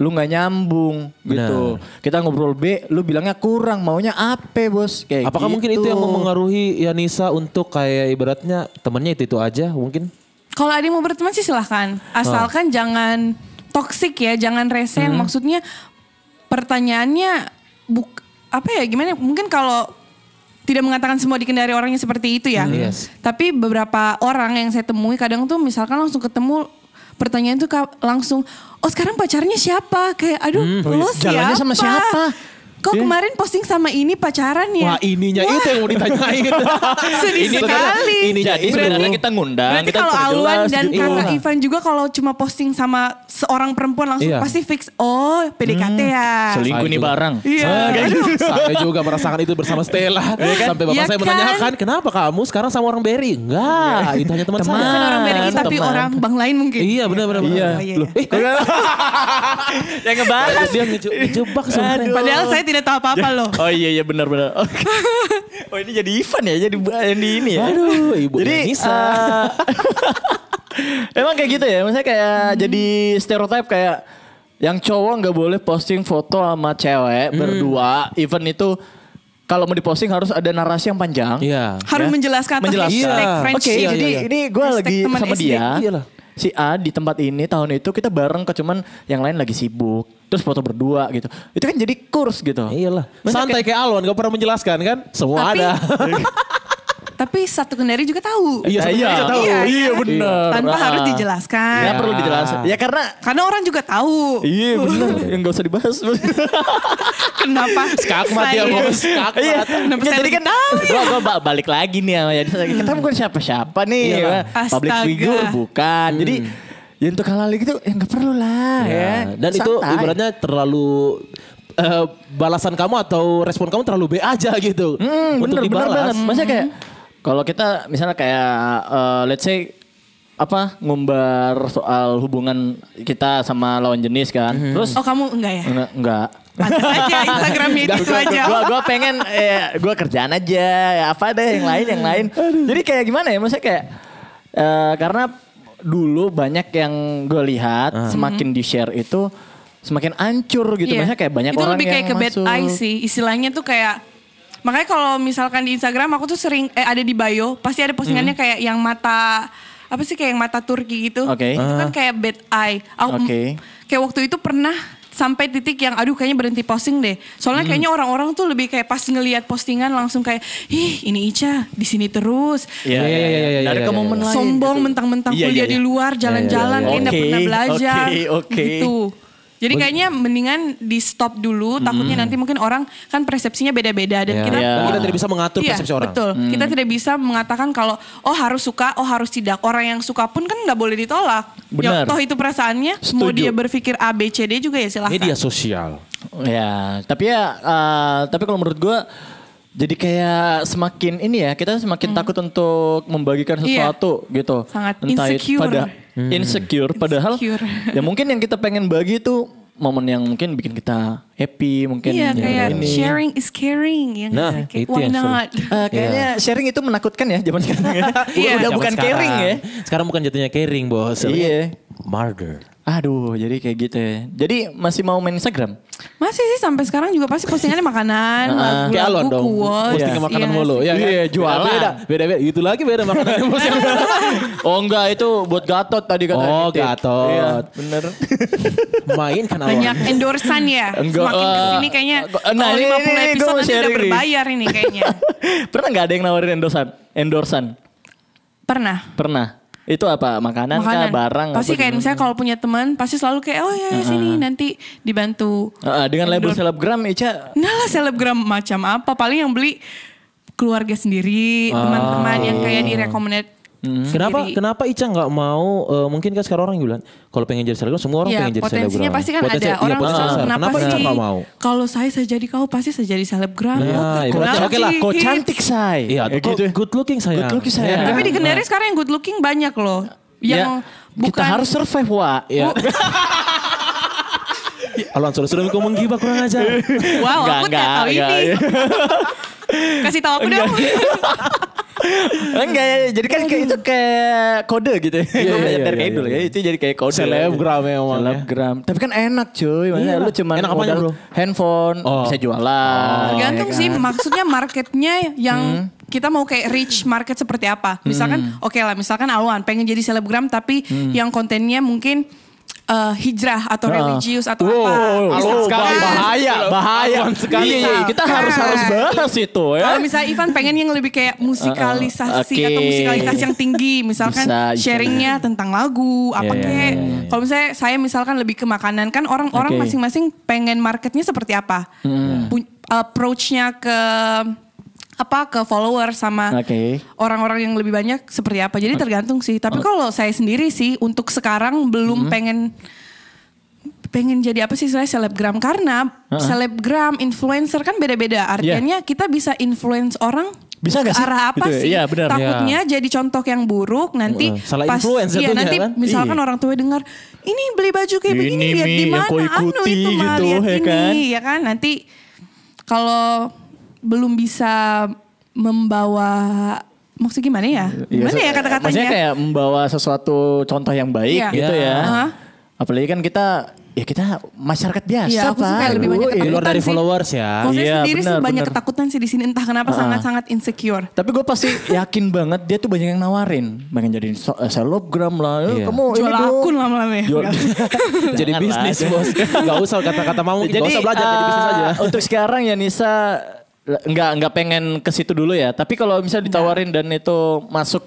Speaker 4: lu nggak nyambung gitu. Kita ngobrol B, lu bilangnya kurang, maunya apa bos? Kayak
Speaker 3: Apakah mungkin itu
Speaker 4: gitu.
Speaker 3: yang mempengaruhi Yanisa untuk kayak ibaratnya temennya itu itu aja mungkin?
Speaker 5: Kalau ada yang mau berteman sih silahkan.
Speaker 4: Oh.
Speaker 5: Asalkan jangan toksik ya, jangan resen.
Speaker 4: Hmm.
Speaker 5: Maksudnya pertanyaannya buk apa ya gimana? Mungkin kalau tidak mengatakan semua dikendari orangnya seperti itu ya.
Speaker 4: Hmm, iya
Speaker 3: Yes.
Speaker 5: Tapi beberapa orang yang saya temui kadang tuh misalkan langsung ketemu pertanyaan tuh ka- langsung oh sekarang pacarnya siapa? Kayak aduh lo siapa?
Speaker 4: Hmm. Jalannya sama siapa? Iya.
Speaker 5: Kok kemarin posting sama ini pacaran ya?
Speaker 3: Wah ininya
Speaker 5: Wah,
Speaker 3: itu yang mau ditanyain.
Speaker 5: Sedih sekali.
Speaker 3: Ininya
Speaker 4: Jadi
Speaker 3: itu.
Speaker 4: sebenarnya kita ngundang,
Speaker 5: Berarti
Speaker 4: kita
Speaker 5: kalau
Speaker 4: perjelas
Speaker 5: Alwan dan
Speaker 4: gitu.
Speaker 5: kakak
Speaker 4: Iya.
Speaker 5: Ivan juga kalau cuma posting sama seorang perempuan langsung
Speaker 3: Iya. Hmm.
Speaker 5: pasti fix. Oh PDKT ya.
Speaker 4: selingkuh nih
Speaker 3: Aduh.
Speaker 4: barang.
Speaker 5: Iya.
Speaker 3: Ah, kayak gitu. saya juga merasakan itu bersama Stella.
Speaker 4: Iya
Speaker 3: Sampai bapak
Speaker 5: Ya
Speaker 3: saya
Speaker 5: kan?
Speaker 3: menanyakan, kenapa kamu sekarang sama orang Berry? Enggak,
Speaker 4: Iya.
Speaker 3: itu hanya teman saya.
Speaker 5: Bukan orang beda tapi
Speaker 4: teman.
Speaker 5: orang bang lain mungkin.
Speaker 3: Iya benar-benar.
Speaker 5: Iya.
Speaker 3: benar. Loh, eh,
Speaker 4: Oh,
Speaker 3: eh,
Speaker 4: yang ngebahas.
Speaker 3: dia ngeje- ngejebak sebenarnya.
Speaker 5: Padahal saya tidak tahu apa-apa loh.
Speaker 4: Oh iya iya benar-benar. Oke. Oh ini jadi Ivan ya, jadi di ini ya.
Speaker 3: Aduh, ibu
Speaker 4: Jadi
Speaker 3: Yanisa.
Speaker 4: eh, emang kayak gitu ya, maksudnya kayak jadi stereotip kayak yang cowok nggak boleh posting foto sama cewek berdua, even itu kalau mau diposting harus ada narasi yang panjang.
Speaker 3: Iya.
Speaker 5: Harus menjelaskan atas
Speaker 4: Menjelaskan.
Speaker 5: hashtag
Speaker 3: Iya.
Speaker 4: Oke,
Speaker 5: friendship.
Speaker 3: Iya,
Speaker 4: jadi
Speaker 3: iya, iya.
Speaker 4: ini gue
Speaker 5: Hashtag
Speaker 4: lagi
Speaker 5: teman
Speaker 4: sama
Speaker 5: SD.
Speaker 4: dia.
Speaker 3: Iyalah.
Speaker 4: Si A di tempat ini tahun itu kita bareng kok cuman yang lain lagi sibuk. Terus foto berdua gitu. Itu kan jadi kurs gitu.
Speaker 3: Iyalah.
Speaker 4: Masa
Speaker 3: Santai kayak Alwan, gak pernah menjelaskan kan? Semua
Speaker 5: Tapi-
Speaker 3: ada.
Speaker 5: Tapi satu kendari juga tahu.
Speaker 3: Iya, satu
Speaker 4: Iya,
Speaker 3: kendari
Speaker 4: tahu.
Speaker 5: Iya,
Speaker 4: Iya,
Speaker 5: kan?
Speaker 4: bener.
Speaker 5: Tanpa
Speaker 4: Ah.
Speaker 5: harus
Speaker 4: Nggak
Speaker 5: dijelaskan.
Speaker 3: Iya.
Speaker 4: perlu dijelasin. Ya karena
Speaker 5: Karena orang juga tahu.
Speaker 4: Iya bener, yang gak usah dibahas.
Speaker 5: Kenapa?
Speaker 3: Skakmat ya,
Speaker 5: saya-
Speaker 3: Bos. Skakmat.
Speaker 4: Iya,
Speaker 5: Kenapa
Speaker 4: Nggak,
Speaker 5: saya
Speaker 4: jadi kan gue gua ba- balik lagi nih sama Yadisa. Kita
Speaker 3: Hmm.
Speaker 4: bukan siapa-siapa nih,
Speaker 3: Iya lah.
Speaker 4: ya. public
Speaker 5: Astaga.
Speaker 4: figure bukan. Jadi ya untuk hal-hal gitu ya nggak perlu lah ya.
Speaker 3: Hmm. Ya, Dan itu
Speaker 4: Santai.
Speaker 3: ibaratnya terlalu eh, balasan kamu atau respon kamu terlalu B aja gitu.
Speaker 4: Hmm, bener, bener
Speaker 3: untuk dibalas.
Speaker 4: banget. Maksudnya kayak
Speaker 5: Hmm.
Speaker 4: kalau kita misalnya kayak eh, let's say apa ngumbar soal hubungan kita sama lawan jenis kan. Terus
Speaker 5: Oh kamu enggak ya?
Speaker 4: enggak enggak.
Speaker 5: Pantas aja Instagramnya itu, itu aja.
Speaker 4: Gua gua pengen eh, gua kerjaan aja ya apa deh yang lain yang lain. Jadi kayak gimana ya maksudnya kayak eh, karena dulu banyak yang gue lihat semakin di share itu semakin ancur gitu.
Speaker 5: Ah. Hmm. Iya.
Speaker 4: Maksudnya kayak banyak
Speaker 5: itu
Speaker 4: orang
Speaker 5: lebih kayak
Speaker 4: yang
Speaker 5: ke bad
Speaker 4: masuk.
Speaker 5: eye sih istilahnya tuh kayak makanya kalau misalkan di Instagram aku tuh sering eh, ada di bio pasti ada postingannya
Speaker 4: Hmm.
Speaker 5: kayak yang mata apa sih kayak yang mata Turki gitu
Speaker 4: Oke.
Speaker 5: itu kan kayak bad eye aku
Speaker 4: Oke.
Speaker 5: kayak waktu itu pernah sampai titik yang aduh kayaknya berhenti posting deh soalnya
Speaker 4: Hmm.
Speaker 5: kayaknya orang-orang tuh lebih kayak pas ngelihat postingan langsung kayak ih ini Ica di sini terus
Speaker 4: Iya, iya,
Speaker 3: Iya, iya, iya,
Speaker 4: iya.
Speaker 3: iya,
Speaker 4: Dari ke
Speaker 3: iya,
Speaker 4: momen
Speaker 5: gitu.
Speaker 4: lain.
Speaker 5: sombong mentang-mentang
Speaker 4: Iya,
Speaker 5: kuliah
Speaker 4: iya,
Speaker 5: di
Speaker 4: iya.
Speaker 5: luar jalan-jalan
Speaker 4: iya, iya.
Speaker 5: kayak nggak pernah
Speaker 4: Oke,
Speaker 5: belajar
Speaker 4: oke, oke.
Speaker 5: gitu jadi kayaknya mendingan di stop dulu takutnya nanti mungkin orang kan persepsinya beda-beda dan
Speaker 3: Iya.
Speaker 5: kita
Speaker 4: Hmm. Iya. Hmm.
Speaker 3: Kita tidak bisa mengatur
Speaker 5: Iya,
Speaker 3: persepsi orang.
Speaker 5: betul kita tidak bisa mengatakan kalau oh harus suka oh harus tidak orang yang suka pun kan nggak boleh ditolak
Speaker 4: Benar.
Speaker 5: ya, toh itu perasaannya mau
Speaker 4: Setuju.
Speaker 5: dia berpikir A B C D juga ya silahkan
Speaker 3: Media sosial.
Speaker 4: Ya, tapi ya, eh, tapi kalau menurut gue, jadi kayak semakin ini ya, kita semakin takut untuk membagikan
Speaker 5: Hmm. Iya.
Speaker 4: sesuatu gitu.
Speaker 5: Sangat
Speaker 4: itu
Speaker 5: insecure.
Speaker 4: Pada insecure, padahal
Speaker 5: Insecure.
Speaker 4: ya mungkin yang kita pengen bagi itu momen yang mungkin bikin kita happy, mungkin
Speaker 5: iya kayak
Speaker 4: ini.
Speaker 5: sharing is caring ya nggak
Speaker 3: Nah,
Speaker 5: sih? Kayak,
Speaker 3: itu
Speaker 5: why
Speaker 3: yang seru.
Speaker 5: not
Speaker 4: Eh, kayaknya sharing itu menakutkan ya zaman sekarang. ya.
Speaker 5: Iya.
Speaker 4: Udah
Speaker 3: Zaman
Speaker 4: bukan caring ya.
Speaker 3: Sekarang bukan jatuhnya caring bos.
Speaker 4: Iya.
Speaker 3: Murder.
Speaker 4: Aduh, jadi kayak gitu ya. Jadi masih mau main Instagram?
Speaker 5: Masih sih sampai sekarang juga pasti postingannya makanan, lagu,
Speaker 3: Kayak Alon
Speaker 5: lagu,
Speaker 3: dong.
Speaker 5: quotes.
Speaker 3: Posting ke
Speaker 5: Iya
Speaker 3: makanan
Speaker 5: nggak
Speaker 3: mulu.
Speaker 5: sih?
Speaker 3: ya kan?
Speaker 4: Iya, jualan.
Speaker 3: Beda, beda, beda. Itu Gitu lagi beda makanan bos.
Speaker 4: Oh enggak, itu buat Gatot tadi katanya.
Speaker 3: Oh,
Speaker 4: Tip.
Speaker 3: Gatot.
Speaker 4: Iya, bener.
Speaker 3: Main kan awal.
Speaker 5: Banyak endorsan ya.
Speaker 4: Enggak,
Speaker 5: Semakin
Speaker 4: eh,
Speaker 5: kesini kayaknya
Speaker 4: eh, nah,
Speaker 5: kalau
Speaker 4: ini- ini- ini
Speaker 5: 50
Speaker 4: gua
Speaker 5: episode
Speaker 4: mau
Speaker 5: nanti udah
Speaker 4: sharing nih.
Speaker 5: berbayar ini kayaknya.
Speaker 4: Pernah nggak ada yang nawarin endorsan? Endorsan.
Speaker 5: Pernah.
Speaker 4: Pernah. Itu apa? Makanan, kah,
Speaker 5: Makanan.
Speaker 4: barang
Speaker 5: pasti
Speaker 4: apa
Speaker 5: kayak
Speaker 4: gimana?
Speaker 5: misalnya kalau punya teman pasti selalu kayak oh ya ya, sini nanti dibantu.
Speaker 4: Heeh, dengan label
Speaker 5: Endorse.
Speaker 4: selebgram Ica
Speaker 5: Nah lah selebgram macam apa paling yang beli keluarga sendiri,
Speaker 4: Oh.
Speaker 5: teman-teman yang kayak direkomendasi.
Speaker 4: Mm-hmm.
Speaker 3: Kenapa kenapa Ica nggak mau eh, mungkin kan sekarang orang bilang kalau pengen jadi selebgram semua orang
Speaker 5: Iya,
Speaker 3: pengen jadi selebgram.
Speaker 5: potensinya pasti kan
Speaker 3: Potensi-
Speaker 5: ada.
Speaker 3: iya,
Speaker 5: Orang
Speaker 3: potensi
Speaker 5: selalu,
Speaker 3: besar.
Speaker 5: kenapa,
Speaker 3: Ica
Speaker 5: sih?
Speaker 3: nggak mau?
Speaker 5: Kalau saya sejadi kau pasti saya jadi selebgram.
Speaker 3: Nah,
Speaker 5: Kok-
Speaker 3: ibaratnya
Speaker 5: kenapa
Speaker 4: Oke lah,
Speaker 5: sih? Iya.
Speaker 4: kok cantik say.
Speaker 3: Iya,
Speaker 4: Ya
Speaker 3: kok good looking sayang.
Speaker 4: Good looking sayang.
Speaker 5: Tapi di Kendari sekarang yang good looking banyak loh.
Speaker 4: Ya,
Speaker 5: Yang bukan
Speaker 4: kita harus survive Ya. wa.
Speaker 3: Iya. Alon sudah sudah kau menggibah kurang aja.
Speaker 4: Enggak,
Speaker 5: wow, aku tidak
Speaker 4: enggak,
Speaker 5: tahu
Speaker 4: enggak,
Speaker 5: ini.
Speaker 4: iya.
Speaker 5: Kasih tahu aku dong.
Speaker 4: Enggak ya, jadi kan kayak itu kayak kode gitu ya.
Speaker 3: iya,
Speaker 4: Gue belajar
Speaker 3: iya,
Speaker 4: dari
Speaker 3: iya,
Speaker 4: dulu ya,
Speaker 3: iya.
Speaker 4: itu jadi kayak kode.
Speaker 3: Selebgram emang ya.
Speaker 4: Selebgram. Tapi kan enak cuy, maksudnya
Speaker 3: Iya.
Speaker 4: lu cuman
Speaker 3: Enak apanya,
Speaker 4: modal
Speaker 3: bro?
Speaker 4: handphone,
Speaker 3: Oh.
Speaker 4: bisa jualan.
Speaker 5: Tergantung
Speaker 4: ya
Speaker 5: sih,
Speaker 4: kan?
Speaker 5: maksudnya marketnya yang kita mau kayak reach market seperti apa. Misalkan, oke lah, misalkan Alwan pengen jadi selebgram tapi yang kontennya mungkin eh, hijrah atau religius atau apa. Bisa
Speaker 4: Alwan sekali
Speaker 5: kan?
Speaker 4: bahaya, bahaya. Iya, iya, kita
Speaker 5: Bisa
Speaker 4: harus harus
Speaker 5: kan?
Speaker 4: bahas itu ya.
Speaker 5: Kalau misalnya Ivan pengen yang lebih kayak musikalisasi
Speaker 4: Oke.
Speaker 5: atau musikalitas yang tinggi, misalkan
Speaker 4: Bisa, bisa.
Speaker 5: sharingnya tentang lagu, apa
Speaker 4: Iya,
Speaker 5: kek.
Speaker 4: iya,
Speaker 5: Kalau misalnya saya misalkan lebih ke makanan, kan orang-orang
Speaker 4: Oke. Hmm.
Speaker 5: masing-masing pengen marketnya seperti apa, Pun- approach-nya ke apa ke follower sama
Speaker 4: Oke. Oh.
Speaker 5: orang-orang yang lebih banyak seperti apa. Jadi tergantung sih. Tapi kalau saya sendiri sih untuk sekarang
Speaker 4: Hmm.
Speaker 5: belum pengen pengen jadi apa sih saya selebgram karena selebgram influencer kan beda-beda artinya kita bisa influence orang
Speaker 4: Iya. Bisa nggak
Speaker 5: ke
Speaker 4: sih?
Speaker 5: arah apa
Speaker 4: Gitu ya?
Speaker 5: sih
Speaker 4: Iya, benar.
Speaker 5: takutnya jadi contoh yang buruk nanti
Speaker 3: Wah, salah
Speaker 5: pas
Speaker 3: influence
Speaker 5: iya
Speaker 3: jatuhnya,
Speaker 5: nanti
Speaker 3: kan?
Speaker 5: misalkan orang tua dengar ini beli baju kayak
Speaker 4: Ini
Speaker 5: begini lihat
Speaker 4: nih
Speaker 5: di
Speaker 4: yang
Speaker 5: mana
Speaker 4: kau
Speaker 5: anu
Speaker 4: ikuti
Speaker 5: itu mah
Speaker 4: gitu,
Speaker 5: lihat
Speaker 4: ya
Speaker 5: ini
Speaker 4: kan?
Speaker 5: ya kan nanti kalau belum bisa membawa maksud gimana ya gimana ya, kata-katanya
Speaker 4: Iya, Maksudnya kayak membawa sesuatu contoh yang baik
Speaker 5: Iya.
Speaker 4: gitu ya.
Speaker 3: Iya.
Speaker 5: Hah?
Speaker 4: Apalagi kan kita ya kita masyarakat biasa
Speaker 5: Iya, aku sih
Speaker 4: Pak.
Speaker 5: kayak lebih banyak
Speaker 4: Aduh, iya.
Speaker 3: Di luar dari
Speaker 5: sih.
Speaker 3: followers ya.
Speaker 5: Kalau saya
Speaker 4: Iya,
Speaker 5: sendiri sih
Speaker 4: benar,
Speaker 5: banyak
Speaker 4: benar. Ah.
Speaker 5: ketakutan sih di sini entah kenapa sangat-sangat insecure.
Speaker 4: Tapi gue pasti yakin banget dia tuh banyak yang nawarin. Pengen jadi so- eh, selebgram lah. Eh,
Speaker 3: Iya.
Speaker 4: Kamu
Speaker 5: Jual
Speaker 4: ini dong.
Speaker 5: akun lama-lama ya.
Speaker 4: Jual-
Speaker 3: jadi
Speaker 4: Janganlah.
Speaker 3: bisnis bos. Gak usah kata-kata mamu,
Speaker 4: Jadi
Speaker 3: gak usah belajar jadi bisnis
Speaker 4: eh,
Speaker 3: aja.
Speaker 4: Untuk sekarang ya Nisa l- nggak nggak pengen ke situ dulu ya. Tapi kalau misalnya ditawarin dan itu masuk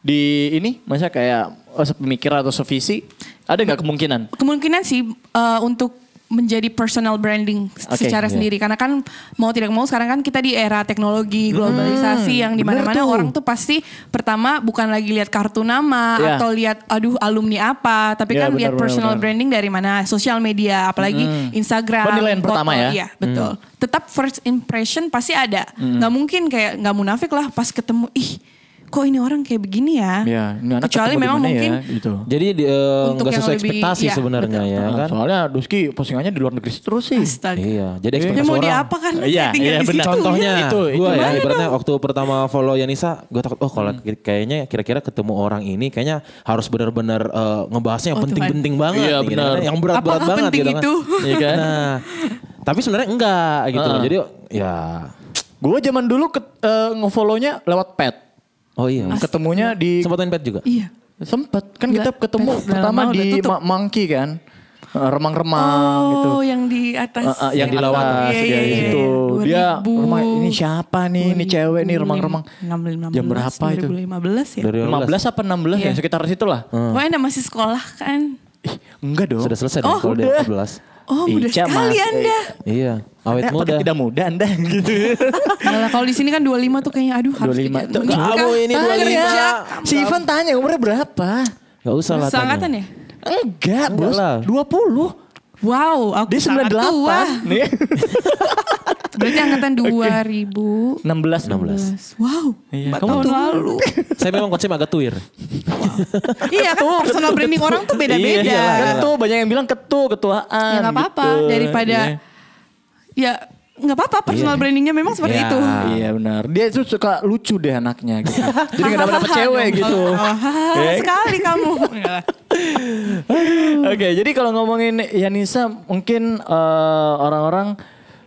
Speaker 4: di ini, masa kayak oh, sepemikiran atau sevisi, ada nggak kemungkinan?
Speaker 5: Kemungkinan sih eh, untuk menjadi personal branding
Speaker 4: Oke, iya.
Speaker 5: secara sendiri karena kan mau tidak mau sekarang kan kita di era teknologi globalisasi yang
Speaker 4: bener Hmm,
Speaker 5: dimana-mana
Speaker 4: tuh.
Speaker 5: orang tuh pasti pertama bukan lagi lihat kartu nama
Speaker 4: Iya.
Speaker 5: atau lihat aduh alumni apa tapi
Speaker 4: Iya,
Speaker 5: kan lihat
Speaker 4: benar, benar,
Speaker 5: personal
Speaker 4: benar. Hmm.
Speaker 5: branding dari mana sosial media apalagi Instagram
Speaker 4: Penilaian pertama
Speaker 5: foto,
Speaker 4: ya.
Speaker 5: iya betul tetap first impression pasti ada
Speaker 4: Hmm.
Speaker 5: nggak mungkin kayak nggak munafik lah pas ketemu ih kok ini orang kayak begini ya
Speaker 4: Iya, ini anak ketemu
Speaker 5: kecuali
Speaker 4: di
Speaker 5: memang
Speaker 4: mana ya,
Speaker 5: mungkin
Speaker 4: gitu.
Speaker 3: Jadi eh,
Speaker 5: Untuk
Speaker 3: nggak
Speaker 5: yang
Speaker 3: sesuai
Speaker 5: lebih-
Speaker 3: ekspektasi
Speaker 5: iya,
Speaker 3: sebenarnya
Speaker 5: betul.
Speaker 3: ya
Speaker 4: Nah,
Speaker 3: kan.
Speaker 4: Soalnya Duski postingannya di luar negeri terus sih.
Speaker 5: Astaga.
Speaker 3: Iya, jadi ekspektasi
Speaker 5: Ya mau
Speaker 3: orang.
Speaker 5: diapa kan
Speaker 4: Iya,
Speaker 5: saya tinggal
Speaker 4: iya,
Speaker 5: di
Speaker 4: benar.
Speaker 5: situ.
Speaker 3: Contohnya,
Speaker 4: Itu, itu.
Speaker 3: gue ya
Speaker 5: Gimana
Speaker 3: ibaratnya waktu pertama follow Yanisa, gue takut oh
Speaker 4: Hmm.
Speaker 3: kalau ki- kayaknya kira-kira ketemu orang ini kayaknya harus benar-benar eh, ngebahasnya yang
Speaker 5: Oh,
Speaker 3: penting-penting banget,
Speaker 4: Iya,
Speaker 3: gitu
Speaker 4: benar.
Speaker 3: kan. yang berat-berat
Speaker 5: Apakah
Speaker 3: banget
Speaker 5: penting
Speaker 3: gitu kan.
Speaker 5: itu?
Speaker 3: Iya kan? Nah, tapi sebenarnya enggak gitu.
Speaker 4: Heeh.
Speaker 3: Jadi ya,
Speaker 4: Gue zaman dulu ke, eh, ngefollow-nya lewat pet.
Speaker 3: oh iya,
Speaker 4: Ketemunya di
Speaker 3: sempat main pet juga.
Speaker 5: Iya.
Speaker 4: sempet kan
Speaker 5: Gila,
Speaker 4: kita ketemu
Speaker 5: pet udah
Speaker 4: pertama
Speaker 5: lama, udah
Speaker 4: di
Speaker 5: tutup.
Speaker 4: Ma- Monkey kan. Eh, Remang-remang gitu.
Speaker 5: Oh, yang di atas.
Speaker 4: Eh, eh, yang di
Speaker 5: atas.
Speaker 4: lawan
Speaker 5: Iya,
Speaker 4: dia
Speaker 5: iya, iya.
Speaker 4: itu. Dia
Speaker 5: 2000.
Speaker 4: rumah ini siapa nih? Ini cewek nih remang-remang.
Speaker 5: 2015,
Speaker 4: Jam berapa itu?
Speaker 5: 2015 ya.
Speaker 3: Dari
Speaker 4: 15 Iya. apa 16 ya
Speaker 5: Iya.
Speaker 4: sekitar situ lah.
Speaker 5: Pokoknya anda masih sekolah kan.
Speaker 4: Ih, enggak dong.
Speaker 3: Sudah selesai dong
Speaker 5: Oh,
Speaker 3: kalau dia
Speaker 4: udah.
Speaker 3: 14.
Speaker 5: Oh, mudah
Speaker 4: Ica,
Speaker 5: sekali
Speaker 4: Iya, Mas.
Speaker 5: anda.
Speaker 3: Iya,
Speaker 4: Anda
Speaker 3: awet muda.
Speaker 4: apakah Nah, tidak muda Anda gitu.
Speaker 5: Yalah, kalau di sini kan 25 tuh kayaknya aduh harus
Speaker 4: 25.
Speaker 5: tiga-
Speaker 4: Tuh,
Speaker 5: menikah,
Speaker 3: kamu ini
Speaker 5: kerja,
Speaker 3: 25.
Speaker 4: si Ivan tanya umurnya berapa?
Speaker 3: Gak usah lah. tanya.
Speaker 5: Seangkatan ya?
Speaker 4: Enggak, Bos.
Speaker 3: Enggak lah.
Speaker 4: 20.
Speaker 5: Wow, aku
Speaker 4: Dia
Speaker 5: sangat
Speaker 4: 98
Speaker 5: tua.
Speaker 4: nih.
Speaker 5: Berarti angkatan
Speaker 4: 16
Speaker 5: 2000. Wow,
Speaker 4: Iya,
Speaker 5: empat
Speaker 4: kamu
Speaker 5: tahun
Speaker 4: tua.
Speaker 5: lalu.
Speaker 3: Saya memang konsep agak tuir.
Speaker 5: iya, kan personal branding orang tuh beda-beda.
Speaker 4: Iya, ketu banyak yang bilang ketu ketuaan.
Speaker 5: ya nggak apa-apa
Speaker 4: gitu.
Speaker 5: daripada ya nggak apa-apa personal
Speaker 3: Iya.
Speaker 5: brandingnya memang seperti
Speaker 3: Iya.
Speaker 5: itu
Speaker 4: Iya, Iya benar. Dia tuh suka lucu deh anaknya gitu. Jadi gak dapat dapat
Speaker 5: Hahaha,
Speaker 4: cewek
Speaker 5: dong.
Speaker 4: gitu.
Speaker 5: Hahaha,
Speaker 3: Iya.
Speaker 4: Eh,
Speaker 5: sekali kamu
Speaker 4: Oke, jadi kalau ngomongin Yanisa mungkin eh, orang-orang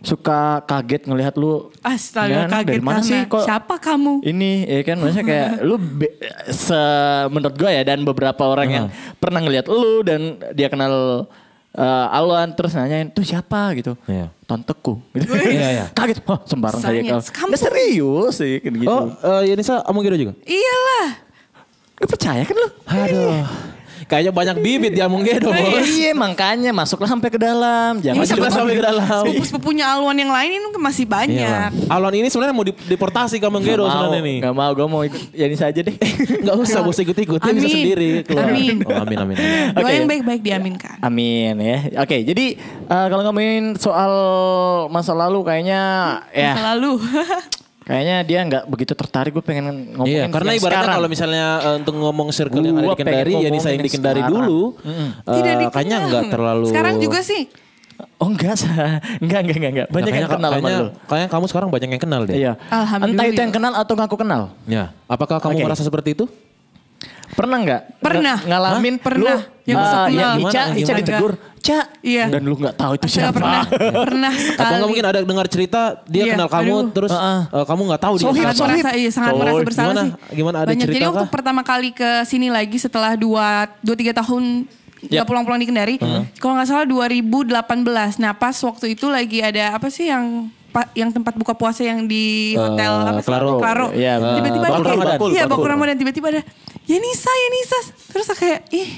Speaker 4: suka kaget ngelihat lu. Yan,
Speaker 5: astaga kaget
Speaker 4: dari mana
Speaker 5: karena
Speaker 4: sih kok
Speaker 5: siapa kamu
Speaker 4: Ini ya kan maksudnya kayak lu be- se menurut gue ya dan beberapa orang yang pernah ngelihat lu dan dia kenal eh, Alwan terus nanyain tuh siapa gitu.
Speaker 3: Iya.
Speaker 4: Tonteku gitu.
Speaker 3: Iya, iya.
Speaker 4: Kaget. Oh, sembarang saya
Speaker 5: Sayang,
Speaker 4: kalau.
Speaker 5: sekampung.
Speaker 4: Nggak serius sih kan gitu.
Speaker 3: Oh, eh, Yanisa omong gitu juga?
Speaker 5: iyalah
Speaker 4: Lu percaya kan lu?
Speaker 3: Aduh. Kayaknya banyak bibit dia omong gitu
Speaker 4: Oh,
Speaker 3: bos.
Speaker 4: iya makanya masuklah sampai ke dalam. Jangan
Speaker 5: Ini
Speaker 4: cuma
Speaker 5: sebelah-
Speaker 4: sampai ke dalam.
Speaker 5: sepupu-sepupunya Alwan yang lain ini masih banyak
Speaker 3: Iya. Alon ini sebenarnya mau dip- deportasi ke Menggero sebenarnya nih.
Speaker 4: Gak mau, gue mau ikut Yanisa aja deh.
Speaker 3: Enggak usah bos ikut-ikut, dia bisa
Speaker 5: Amin.
Speaker 3: sendiri keluar.
Speaker 5: Amin.
Speaker 3: Oh, amin amin. amin.
Speaker 5: doa
Speaker 4: Oke.
Speaker 5: yang baik-baik diaminkan
Speaker 4: Amin ya. Oke, jadi eh, kalau ngomongin soal masa lalu kayaknya ya
Speaker 3: Iya.
Speaker 5: selalu
Speaker 3: Eh,
Speaker 4: kayaknya dia nggak begitu tertarik. Gue pengen
Speaker 3: Iya,
Speaker 4: ngomongin
Speaker 3: karena
Speaker 4: yang
Speaker 3: ibaratnya
Speaker 4: sekarang.
Speaker 3: kalau misalnya eh, untuk ngomong circle yang ada
Speaker 4: Gua
Speaker 3: di Kendari,
Speaker 4: pengen
Speaker 3: ya ini saya
Speaker 4: ngomongin
Speaker 3: yang di Kendari
Speaker 4: sekarang.
Speaker 3: dulu. eh,
Speaker 5: tidak dikenal
Speaker 3: kayaknya enggak terlalu
Speaker 5: sekarang juga sih
Speaker 4: Oh enggak, Sa. enggak, enggak, enggak, enggak. Banyak yang kenal sama
Speaker 3: kayaknya,
Speaker 4: lu.
Speaker 3: kayaknya kamu sekarang banyak yang kenal deh.
Speaker 4: Iya.
Speaker 5: Alhamdulillah.
Speaker 4: Entah itu yang kenal atau ngaku kenal.
Speaker 3: Ya. Apakah kamu
Speaker 4: Oke.
Speaker 3: merasa seperti itu?
Speaker 4: Pernah nggak?
Speaker 5: Pernah.
Speaker 4: Ng- ngalamin
Speaker 5: Hah? Pernah.
Speaker 4: Lu,
Speaker 5: Yang
Speaker 4: ah,
Speaker 5: kenal.
Speaker 4: yang
Speaker 3: Gimana,
Speaker 4: Ica, Ica
Speaker 3: gimana?
Speaker 4: ditegur. Ca.
Speaker 5: Iya.
Speaker 4: Dan lu nggak tahu itu
Speaker 5: Saya
Speaker 4: siapa.
Speaker 5: pernah, pernah sekali.
Speaker 3: Atau nggak mungkin ada dengar cerita dia
Speaker 5: Iya,
Speaker 3: kenal kamu
Speaker 5: aduh.
Speaker 3: terus
Speaker 4: Heeh.
Speaker 3: eh, kamu nggak tahu dia.
Speaker 4: Sohib,
Speaker 3: kenal
Speaker 5: sangat
Speaker 3: kamu.
Speaker 4: sohib.
Speaker 5: merasa, iya, sangat
Speaker 4: Sohib.
Speaker 5: merasa bersalah
Speaker 3: Gimana?
Speaker 5: sih.
Speaker 3: Gimana ada
Speaker 5: Banyak. Jadi
Speaker 3: cerita
Speaker 5: waktu
Speaker 3: kah?
Speaker 5: pertama kali ke sini lagi setelah dua dua tiga tahun
Speaker 3: Iya.
Speaker 5: nggak pulang-pulang di Kendari. Kalau nggak salah 2018. Nah pas waktu itu lagi ada apa sih yang pa- yang tempat buka puasa yang di hotel
Speaker 3: Eh,
Speaker 5: apa sih?
Speaker 3: Klaro.
Speaker 4: Iya,
Speaker 5: Tiba-tiba
Speaker 3: eh,
Speaker 5: ada-
Speaker 3: Bakul Ramadan.
Speaker 5: Iya,
Speaker 3: Bakul.
Speaker 5: Bakul Ramadan tiba-tiba ada ya Nisa, ya Nisa. Terus saya kayak ih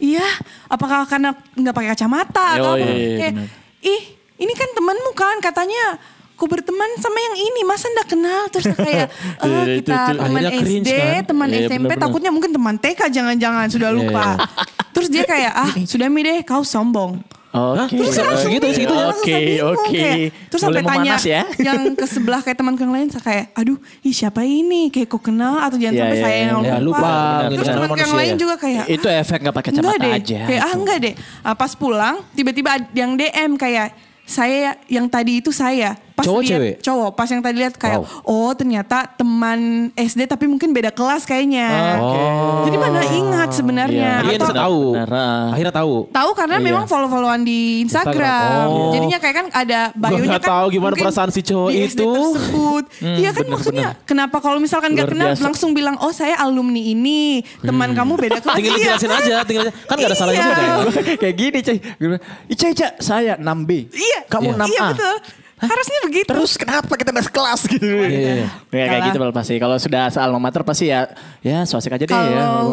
Speaker 5: iya apakah karena nggak pakai kacamata atau
Speaker 4: Oh,
Speaker 5: apa?
Speaker 4: iya, iya,
Speaker 5: Kayak,
Speaker 4: benar.
Speaker 5: ih ini kan temanmu kan katanya ku berteman sama yang ini masa ndak kenal terus kayak eh,
Speaker 4: Iya, itu-
Speaker 5: kita
Speaker 4: itu-
Speaker 5: teman
Speaker 3: Akhirnya cringe,
Speaker 5: SD
Speaker 3: kan?
Speaker 5: teman
Speaker 4: Iya,
Speaker 5: SMP
Speaker 4: benar-benar. Iya.
Speaker 5: takutnya mungkin teman TK jangan-jangan sudah lupa terus dia kayak ah sudah mi deh kau sombong
Speaker 4: Oke.
Speaker 5: Terus saya langsung
Speaker 3: Segitu,
Speaker 5: bingung,
Speaker 3: segitu ya?
Speaker 5: langsung saya
Speaker 4: Oke,
Speaker 5: bingung,
Speaker 4: oke.
Speaker 5: kayak, Terus
Speaker 4: Mulai
Speaker 5: sampai tanya
Speaker 4: memanas ya.
Speaker 5: yang ke sebelah kayak teman yang lain saya kayak aduh ih siapa ini kayak kok kenal atau jangan
Speaker 4: Iya,
Speaker 5: sampai
Speaker 4: iya,
Speaker 5: saya yang
Speaker 3: iya. Ya, lupa,
Speaker 5: Terus
Speaker 3: benar-benar.
Speaker 5: teman yang
Speaker 3: Manusia
Speaker 5: lain
Speaker 3: ya.
Speaker 5: juga kayak
Speaker 4: Itu
Speaker 5: "Ah,
Speaker 4: efek nggak pakai kacamata
Speaker 5: enggak deh.
Speaker 4: aja.
Speaker 5: Kayak ah enggak deh. Ah, pas pulang tiba-tiba ada yang DM kayak saya yang tadi itu saya. Pas
Speaker 3: Cowok,
Speaker 5: lihat-
Speaker 3: cewek?
Speaker 5: Cowok. Pas yang tadi lihat kayak oh ternyata teman SD tapi mungkin beda kelas
Speaker 4: Ah,
Speaker 5: kayaknya. Jadi mana ingat sebenarnya.
Speaker 3: Jadi Akhirnya Oh.
Speaker 5: Atau-
Speaker 3: tahu.
Speaker 4: Iya, Benar, benar.
Speaker 3: Akhirnya tahu.
Speaker 5: Tahu karena memang follow-followan di Instagram.
Speaker 3: Iya. Instagram. Oh.
Speaker 5: Jadinya kayak kan ada bio-nya
Speaker 3: nggak
Speaker 5: kan.
Speaker 3: tahu gimana
Speaker 5: mungkin
Speaker 3: perasaan si cowok
Speaker 5: di SD
Speaker 3: itu. Hmm,
Speaker 5: tersebut. Iya kan maksudnya kenapa kalau misalkan nggak
Speaker 4: Luar
Speaker 5: kenal
Speaker 4: biasa.
Speaker 5: langsung bilang oh saya alumni ini, teman kamu beda kelas.
Speaker 3: Hmm. Tinggal
Speaker 5: Iya,
Speaker 3: dijelasin aja, tinggal kan nggak ada salahnya
Speaker 5: Iya.
Speaker 3: juga. ya.
Speaker 4: Gua kayak gini, Cai. Gua bilang, Ica, Ica, saya 6B.
Speaker 5: Iya.
Speaker 4: Kamu 6A.
Speaker 5: Iya. Iya betul. Harusnya begitu.
Speaker 4: Terus kenapa kita nggak sekelas gitu? Ya,
Speaker 3: Iya.
Speaker 4: kayak
Speaker 5: Kalah.
Speaker 4: gitu Bel, pasti. Kalau sudah soal mater pasti ya ya suasik aja deh ya.
Speaker 5: Kalau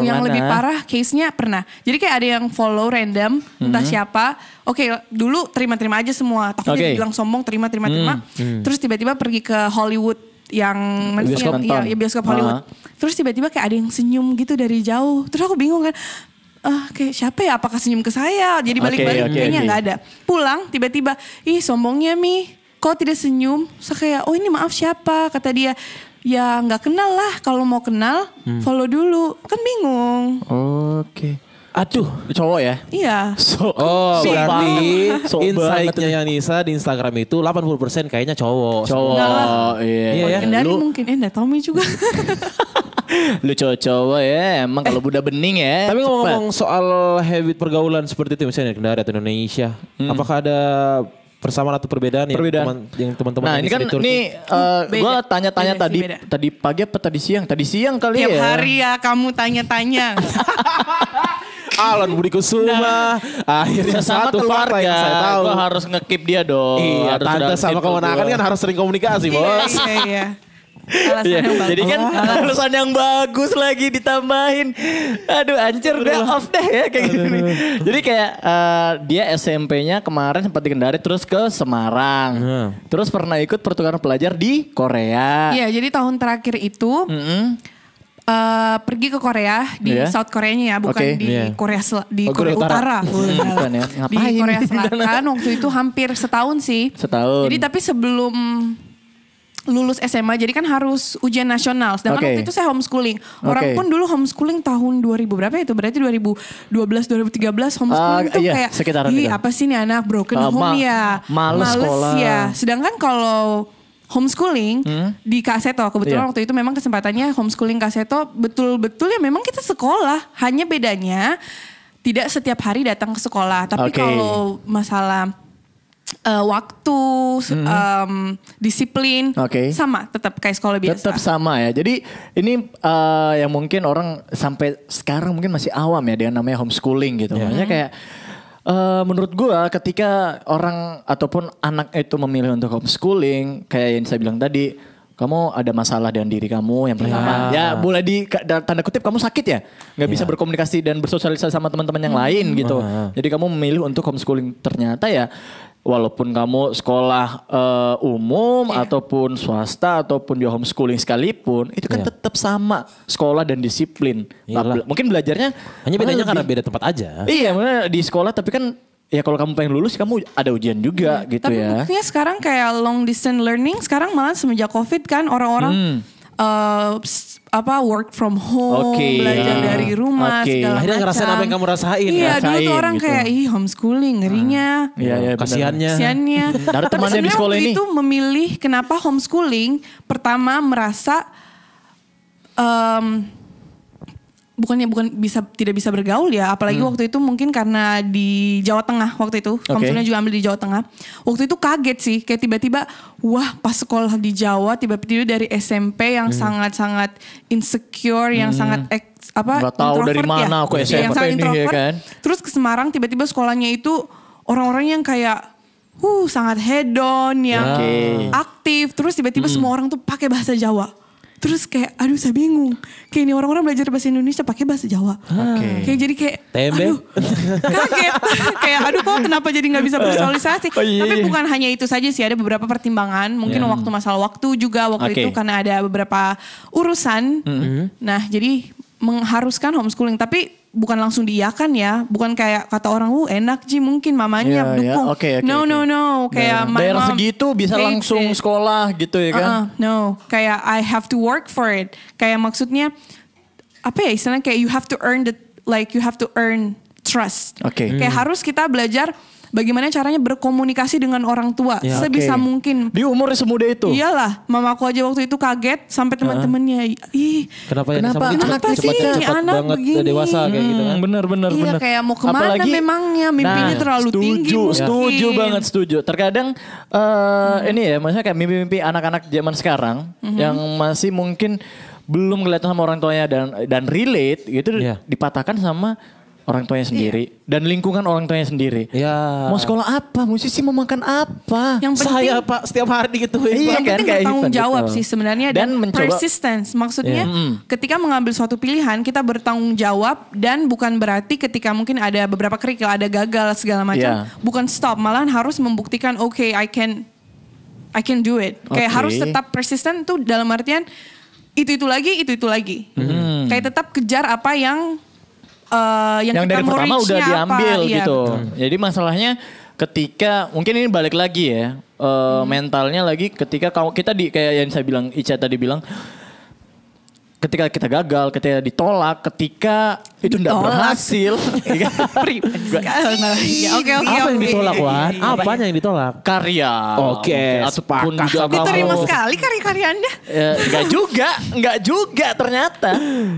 Speaker 4: mau mana.
Speaker 5: yang lebih parah case-nya pernah. Jadi kayak ada yang follow random,
Speaker 3: Hmm.
Speaker 5: entah siapa. Oke, dulu terima-terima aja semua.
Speaker 4: Oke.
Speaker 5: Takutnya dibilang sombong, terima-terima terima.
Speaker 3: Hmm,
Speaker 5: Terus tiba-tiba pergi ke Hollywood yang mana sih
Speaker 4: Bioskop
Speaker 5: yang- iya,
Speaker 4: nonton.
Speaker 5: iya, bioskop Hollywood.
Speaker 4: Ah.
Speaker 5: Terus tiba-tiba kayak ada yang senyum gitu dari jauh. Terus aku bingung kan. Ah, kayak siapa ya? Apakah senyum ke saya? Jadi
Speaker 4: Oke,
Speaker 5: balik-balik
Speaker 4: oke,
Speaker 5: kayaknya
Speaker 4: oke.
Speaker 5: nggak ada. Pulang tiba-tiba, ih sombongnya mi, kok tidak senyum? Saya kayak, oh ini maaf siapa? Kata dia, ya nggak kenal lah. Kalau mau kenal,
Speaker 4: Hmm.
Speaker 5: follow dulu. Kan bingung.
Speaker 4: Oke.
Speaker 3: Aduh.
Speaker 4: Cowok ya.
Speaker 5: Iya.
Speaker 4: So,
Speaker 3: Oh,
Speaker 4: so
Speaker 3: berarti
Speaker 4: banget. So banget.
Speaker 3: insight-nya Yanisa di Instagram itu 80% kayaknya cowok.
Speaker 5: Enggak lah.
Speaker 4: cowok. Iya.
Speaker 3: Iya ya.
Speaker 5: Kendari
Speaker 4: Lu,
Speaker 5: mungkin, eh nggak tahu mi juga.
Speaker 4: lu cowok-cowok ya. Emang kalau Buddha bening ya.
Speaker 3: Tapi
Speaker 4: cepet.
Speaker 3: ngomong-ngomong soal habit pergaulan seperti itu misalnya Kendari atau Indonesia, apakah ada persamaan atau perbedaan,
Speaker 4: perbedaan.
Speaker 3: yang teman yang teman-teman
Speaker 4: Nah, ini kan
Speaker 3: Indonesia di Turki?
Speaker 4: ini eh,
Speaker 5: Beda.
Speaker 4: gua tanya-tanya
Speaker 5: Beda sih,
Speaker 4: tadi
Speaker 5: beda.
Speaker 4: tadi pagi apa tadi siang? Tadi siang kali
Speaker 5: Tiap
Speaker 4: ya.
Speaker 5: hari ya kamu tanya-tanya.
Speaker 3: Alan Budi Kusuma akhirnya
Speaker 4: Sesama
Speaker 3: satu fakta
Speaker 4: keluarga,
Speaker 3: yang saya tahu.
Speaker 4: gua harus ngekip dia dong.
Speaker 3: Iya,
Speaker 4: Harus
Speaker 3: tante
Speaker 4: harus
Speaker 3: sama
Speaker 4: gitu
Speaker 3: keponakan
Speaker 4: gua.
Speaker 3: kan harus sering komunikasi, Bos.
Speaker 5: Iya, iya, iya. Alasan
Speaker 4: Iya,
Speaker 5: yang bagus.
Speaker 4: Jadi kan alasan yang bagus lagi ditambahin. Aduh ancur gue off deh ya kayak gitu nih. Jadi kayak eh, dia SMP-nya kemarin sempat di Kendari terus ke Semarang.
Speaker 3: Hmm.
Speaker 4: Terus pernah ikut pertukaran pelajar di Korea.
Speaker 5: Iya, jadi tahun terakhir itu
Speaker 4: Mm-mm.
Speaker 5: eh, pergi ke Korea di
Speaker 4: Iya.
Speaker 5: South Koreanya ya, bukan
Speaker 4: Oke.
Speaker 5: di
Speaker 3: Iya.
Speaker 5: Korea Sel- di
Speaker 4: Oh,
Speaker 5: Korea
Speaker 4: Korea Utara.
Speaker 5: Utara.
Speaker 4: Bukan ya,
Speaker 5: di
Speaker 4: ngapain?
Speaker 5: Korea Selatan waktu itu hampir setahun sih.
Speaker 4: Setahun.
Speaker 5: Jadi tapi sebelum lulus SMA jadi kan harus ujian nasional. Sedangkan
Speaker 4: Oke.
Speaker 5: waktu itu saya homeschooling. Orang
Speaker 4: Oke.
Speaker 5: pun dulu homeschooling tahun 2000 berapa ya itu? Berarti 2012 2013 homeschooling
Speaker 4: Ah,
Speaker 5: tuh
Speaker 4: iya,
Speaker 5: kayak
Speaker 4: sekitaran itu."
Speaker 5: "Ih, apa sih nih anak broken
Speaker 4: Ah,
Speaker 5: home
Speaker 4: ma-
Speaker 5: ya.
Speaker 4: males sekolah. Hmm?
Speaker 5: ya. Sedangkan kalau homeschooling di Kaseto kebetulan
Speaker 4: Iya.
Speaker 5: waktu itu memang kesempatannya homeschooling Kaseto betul-betul ya memang kita sekolah hanya bedanya tidak setiap hari datang ke sekolah tapi
Speaker 4: Oke.
Speaker 5: kalau masalah eh, waktu em, disiplin
Speaker 4: Hmm. Oke.
Speaker 5: sama tetap kayak sekolah biasa
Speaker 4: Tetap sama ya. Jadi ini eh, yang mungkin orang sampai sekarang mungkin masih awam ya dengan namanya homeschooling gitu. Makanya kayak eh, menurut gua ketika orang ataupun anak itu memilih untuk homeschooling kayak yang saya bilang tadi, kamu ada masalah dengan diri kamu yang pertama. Ya, boleh di ka- da- tanda kutip kamu sakit ya, nggak bisa berkomunikasi dan bersosialisasi sama teman-teman yang lain gitu. Jadi kamu memilih untuk homeschooling ternyata ya walaupun kamu sekolah eh, umum
Speaker 5: Iya.
Speaker 4: ataupun swasta ataupun di homeschooling sekalipun itu
Speaker 5: Iya.
Speaker 4: kan tetap sama sekolah dan disiplin. Nah,
Speaker 3: Iyalah.
Speaker 4: Mungkin belajarnya
Speaker 3: Hanya bedanya
Speaker 4: lebih-
Speaker 3: karena beda tempat aja.
Speaker 4: Iya, maksudnya di sekolah tapi kan ya kalau kamu pengen lulus kamu ada ujian juga gitu
Speaker 5: Iya, tapi
Speaker 4: ya.
Speaker 5: buktinya sekarang
Speaker 4: Hmm.
Speaker 5: kayak long distance learning sekarang malah semenjak covid kan orang-orang eh, s- apa work from home,
Speaker 4: Oke.
Speaker 5: belajar
Speaker 4: Ah.
Speaker 5: dari rumah,
Speaker 4: Oke.
Speaker 5: segala
Speaker 3: Akhirnya ngerasain
Speaker 5: macam.
Speaker 3: apa yang kamu rasain,
Speaker 5: Iya, dulu tuh
Speaker 4: ngerasain
Speaker 5: orang
Speaker 4: gitu.
Speaker 5: kayak ih homeschooling ngerinya.
Speaker 3: Ya,
Speaker 4: Iya, iya, benar.
Speaker 3: Kasihannya.
Speaker 5: Kasiannya.
Speaker 4: Dari
Speaker 5: Tapi
Speaker 4: temannya di
Speaker 5: sebenarnya
Speaker 4: sekolah
Speaker 5: waktu
Speaker 4: ini.
Speaker 5: itu memilih kenapa homeschooling pertama merasa em, bukannya bukan bisa tidak bisa bergaul ya apalagi
Speaker 4: Hmm.
Speaker 5: waktu itu mungkin karena di Jawa Tengah waktu itu homeschoolingnya juga ambil di Jawa Tengah waktu itu kaget sih kayak tiba-tiba wah pas sekolah di Jawa tiba-tiba dari SMP yang
Speaker 4: Hmm.
Speaker 5: sangat-sangat insecure yang sangat ex- apa
Speaker 4: Nggak tahu dari
Speaker 5: introvert
Speaker 4: mana aku
Speaker 5: Iya,
Speaker 4: SMP
Speaker 5: yang sangat
Speaker 4: nih, ya
Speaker 5: introvert
Speaker 4: kan?
Speaker 5: Terus ke Semarang tiba-tiba sekolahnya itu orang-orang yang kayak uh sangat hedon yang
Speaker 4: Ya. Oke. Hmm.
Speaker 5: aktif. Terus tiba-tiba semua orang tuh pakai bahasa Jawa. Terus kayak aduh saya bingung. Kayak ini orang-orang belajar bahasa Indonesia pakai bahasa Jawa. Kayak jadi kayak
Speaker 3: Tembe.
Speaker 5: aduh kaget. kayak aduh kok kenapa jadi nggak bisa bersosialisasi.
Speaker 4: Oh, iya,
Speaker 5: Tapi
Speaker 4: iya.
Speaker 5: bukan hanya itu saja sih ada beberapa pertimbangan. Mungkin waktu masalah waktu juga
Speaker 4: Ya.
Speaker 5: waktu
Speaker 4: Oke.
Speaker 5: itu karena ada beberapa urusan. Nah, jadi mengharuskan homeschooling tapi bukan langsung diiakan ya, bukan kayak kata orang uh enak Ji mungkin
Speaker 4: Iya,
Speaker 5: mamanya
Speaker 4: iya.
Speaker 5: dukung.
Speaker 4: Oke, oke,
Speaker 5: no,
Speaker 4: oke. Nah,
Speaker 5: no, no, kayak my
Speaker 4: bayar
Speaker 5: mom
Speaker 4: segitu bisa
Speaker 5: hates
Speaker 4: langsung
Speaker 5: it.
Speaker 4: sekolah gitu ya kan?
Speaker 5: Uh-uh, no, kayak I have to work for it. Kayak maksudnya apa ya istilahnya kayak you have to earn the like you have to earn trust.
Speaker 4: Oke.
Speaker 5: Kayak harus kita belajar bagaimana caranya berkomunikasi dengan orang tua
Speaker 4: Ya,
Speaker 5: sebisa
Speaker 4: oke.
Speaker 5: mungkin. Iya.
Speaker 4: Di umur semuda itu.
Speaker 5: Iyalah, mamaku aja waktu itu kaget sampai
Speaker 4: Uh-uh.
Speaker 5: teman-temannya ih
Speaker 3: Kenapa, yang
Speaker 4: Kenapa?
Speaker 3: sama gitu
Speaker 5: Kenapa
Speaker 3: cepat-
Speaker 5: sih
Speaker 3: cepat-
Speaker 5: ini
Speaker 3: cepat
Speaker 5: anak
Speaker 3: banget
Speaker 5: begini?
Speaker 3: dewasa kayak gitu kan?
Speaker 4: Hmm, bener bener
Speaker 5: Iya,
Speaker 4: bener. Nah,
Speaker 5: kayak mau kemana memangnya? Mimpinya terlalu
Speaker 4: setuju,
Speaker 5: tinggi mungkin. Hmm.
Speaker 4: Setuju banget setuju. Terkadang eh, ini ya maksudnya kayak mimpi-mimpi anak-anak zaman sekarang yang masih mungkin belum kelihatan sama orang tuanya dan dan relate gitu
Speaker 3: Iya.
Speaker 4: dipatahkan sama orang tuanya sendiri
Speaker 5: Iya.
Speaker 4: dan lingkungan orang tuanya sendiri.
Speaker 3: Iya.
Speaker 4: Mau sekolah apa? Musisi mau makan apa?
Speaker 5: Yang penting-
Speaker 3: Saya pak setiap hari
Speaker 4: Iya,
Speaker 3: digituin. Pak.
Speaker 5: yang penting
Speaker 4: kayak
Speaker 5: bertanggung
Speaker 4: event
Speaker 5: jawab
Speaker 4: gitu.
Speaker 5: sih sebenarnya
Speaker 4: Dan
Speaker 5: dan,
Speaker 4: mencoba- Hmm.
Speaker 5: persistence maksudnya
Speaker 3: Iya.
Speaker 5: ketika mengambil suatu pilihan kita bertanggung jawab dan bukan berarti ketika mungkin ada beberapa kerikil ada gagal segala macam
Speaker 4: Iya.
Speaker 5: bukan stop malahan harus membuktikan oke I can I can do it kayak
Speaker 4: Oke.
Speaker 5: harus tetap persisten tuh dalam artian itu itu lagi itu itu lagi kayak tetap kejar apa yang eh,
Speaker 4: Hmm. yang,
Speaker 5: yang, kita
Speaker 4: dari
Speaker 5: mau
Speaker 4: pertama udah
Speaker 5: reach-nya apa.
Speaker 4: diambil
Speaker 5: Iya,
Speaker 4: gitu.
Speaker 5: betul.
Speaker 4: Jadi masalahnya ketika mungkin ini balik lagi ya eh,
Speaker 5: Hmm.
Speaker 4: mentalnya lagi ketika kau kita di kayak yang saya bilang Ica tadi bilang ketika kita gagal, ketika ditolak, ketika itu tidak
Speaker 5: Ditolak.
Speaker 4: berhasil. ya kan?
Speaker 5: Iya, Oke oke
Speaker 3: Apa yang
Speaker 5: oke.
Speaker 3: ditolak Wan? Apanya yang ditolak?
Speaker 4: karya.
Speaker 3: Oke,
Speaker 4: ataupun juga
Speaker 3: sepakat sama
Speaker 4: kamu-
Speaker 5: Diterima sekali karya-karya anda.
Speaker 4: Eh, Enggak juga, enggak juga ternyata.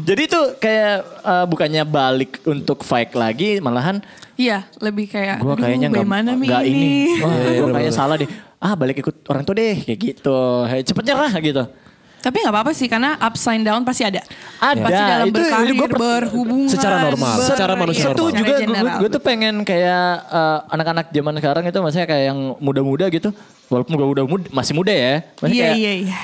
Speaker 4: Jadi itu kayak eh, bukannya balik untuk fight lagi, malahan
Speaker 5: Iya, lebih
Speaker 4: gue
Speaker 5: kayak "Aduh,
Speaker 4: kayaknya nggak
Speaker 5: bagaimana Mi
Speaker 4: nggak
Speaker 5: ini.
Speaker 4: ini, Wah, gue kayaknya salah deh ah balik ikut orang tua deh kayak gitu Hei, cepet nyerah gitu
Speaker 5: Tapi nggak apa-apa sih karena upside down pasti ada.
Speaker 4: Ada,
Speaker 5: Pasti dalam
Speaker 4: itu- itu
Speaker 5: berkarir,
Speaker 4: gua per-
Speaker 5: berhubungan.
Speaker 3: Secara normal,
Speaker 5: ber-
Speaker 3: secara manusia
Speaker 4: itu
Speaker 5: iya,
Speaker 3: normal.
Speaker 4: juga
Speaker 5: secara general.
Speaker 4: gue tuh pengen kayak eh, anak-anak zaman sekarang itu maksudnya kayak yang muda-muda gitu walaupun gue udah muda, masih muda ya masih
Speaker 5: Iya
Speaker 4: kayak,
Speaker 5: iya iya.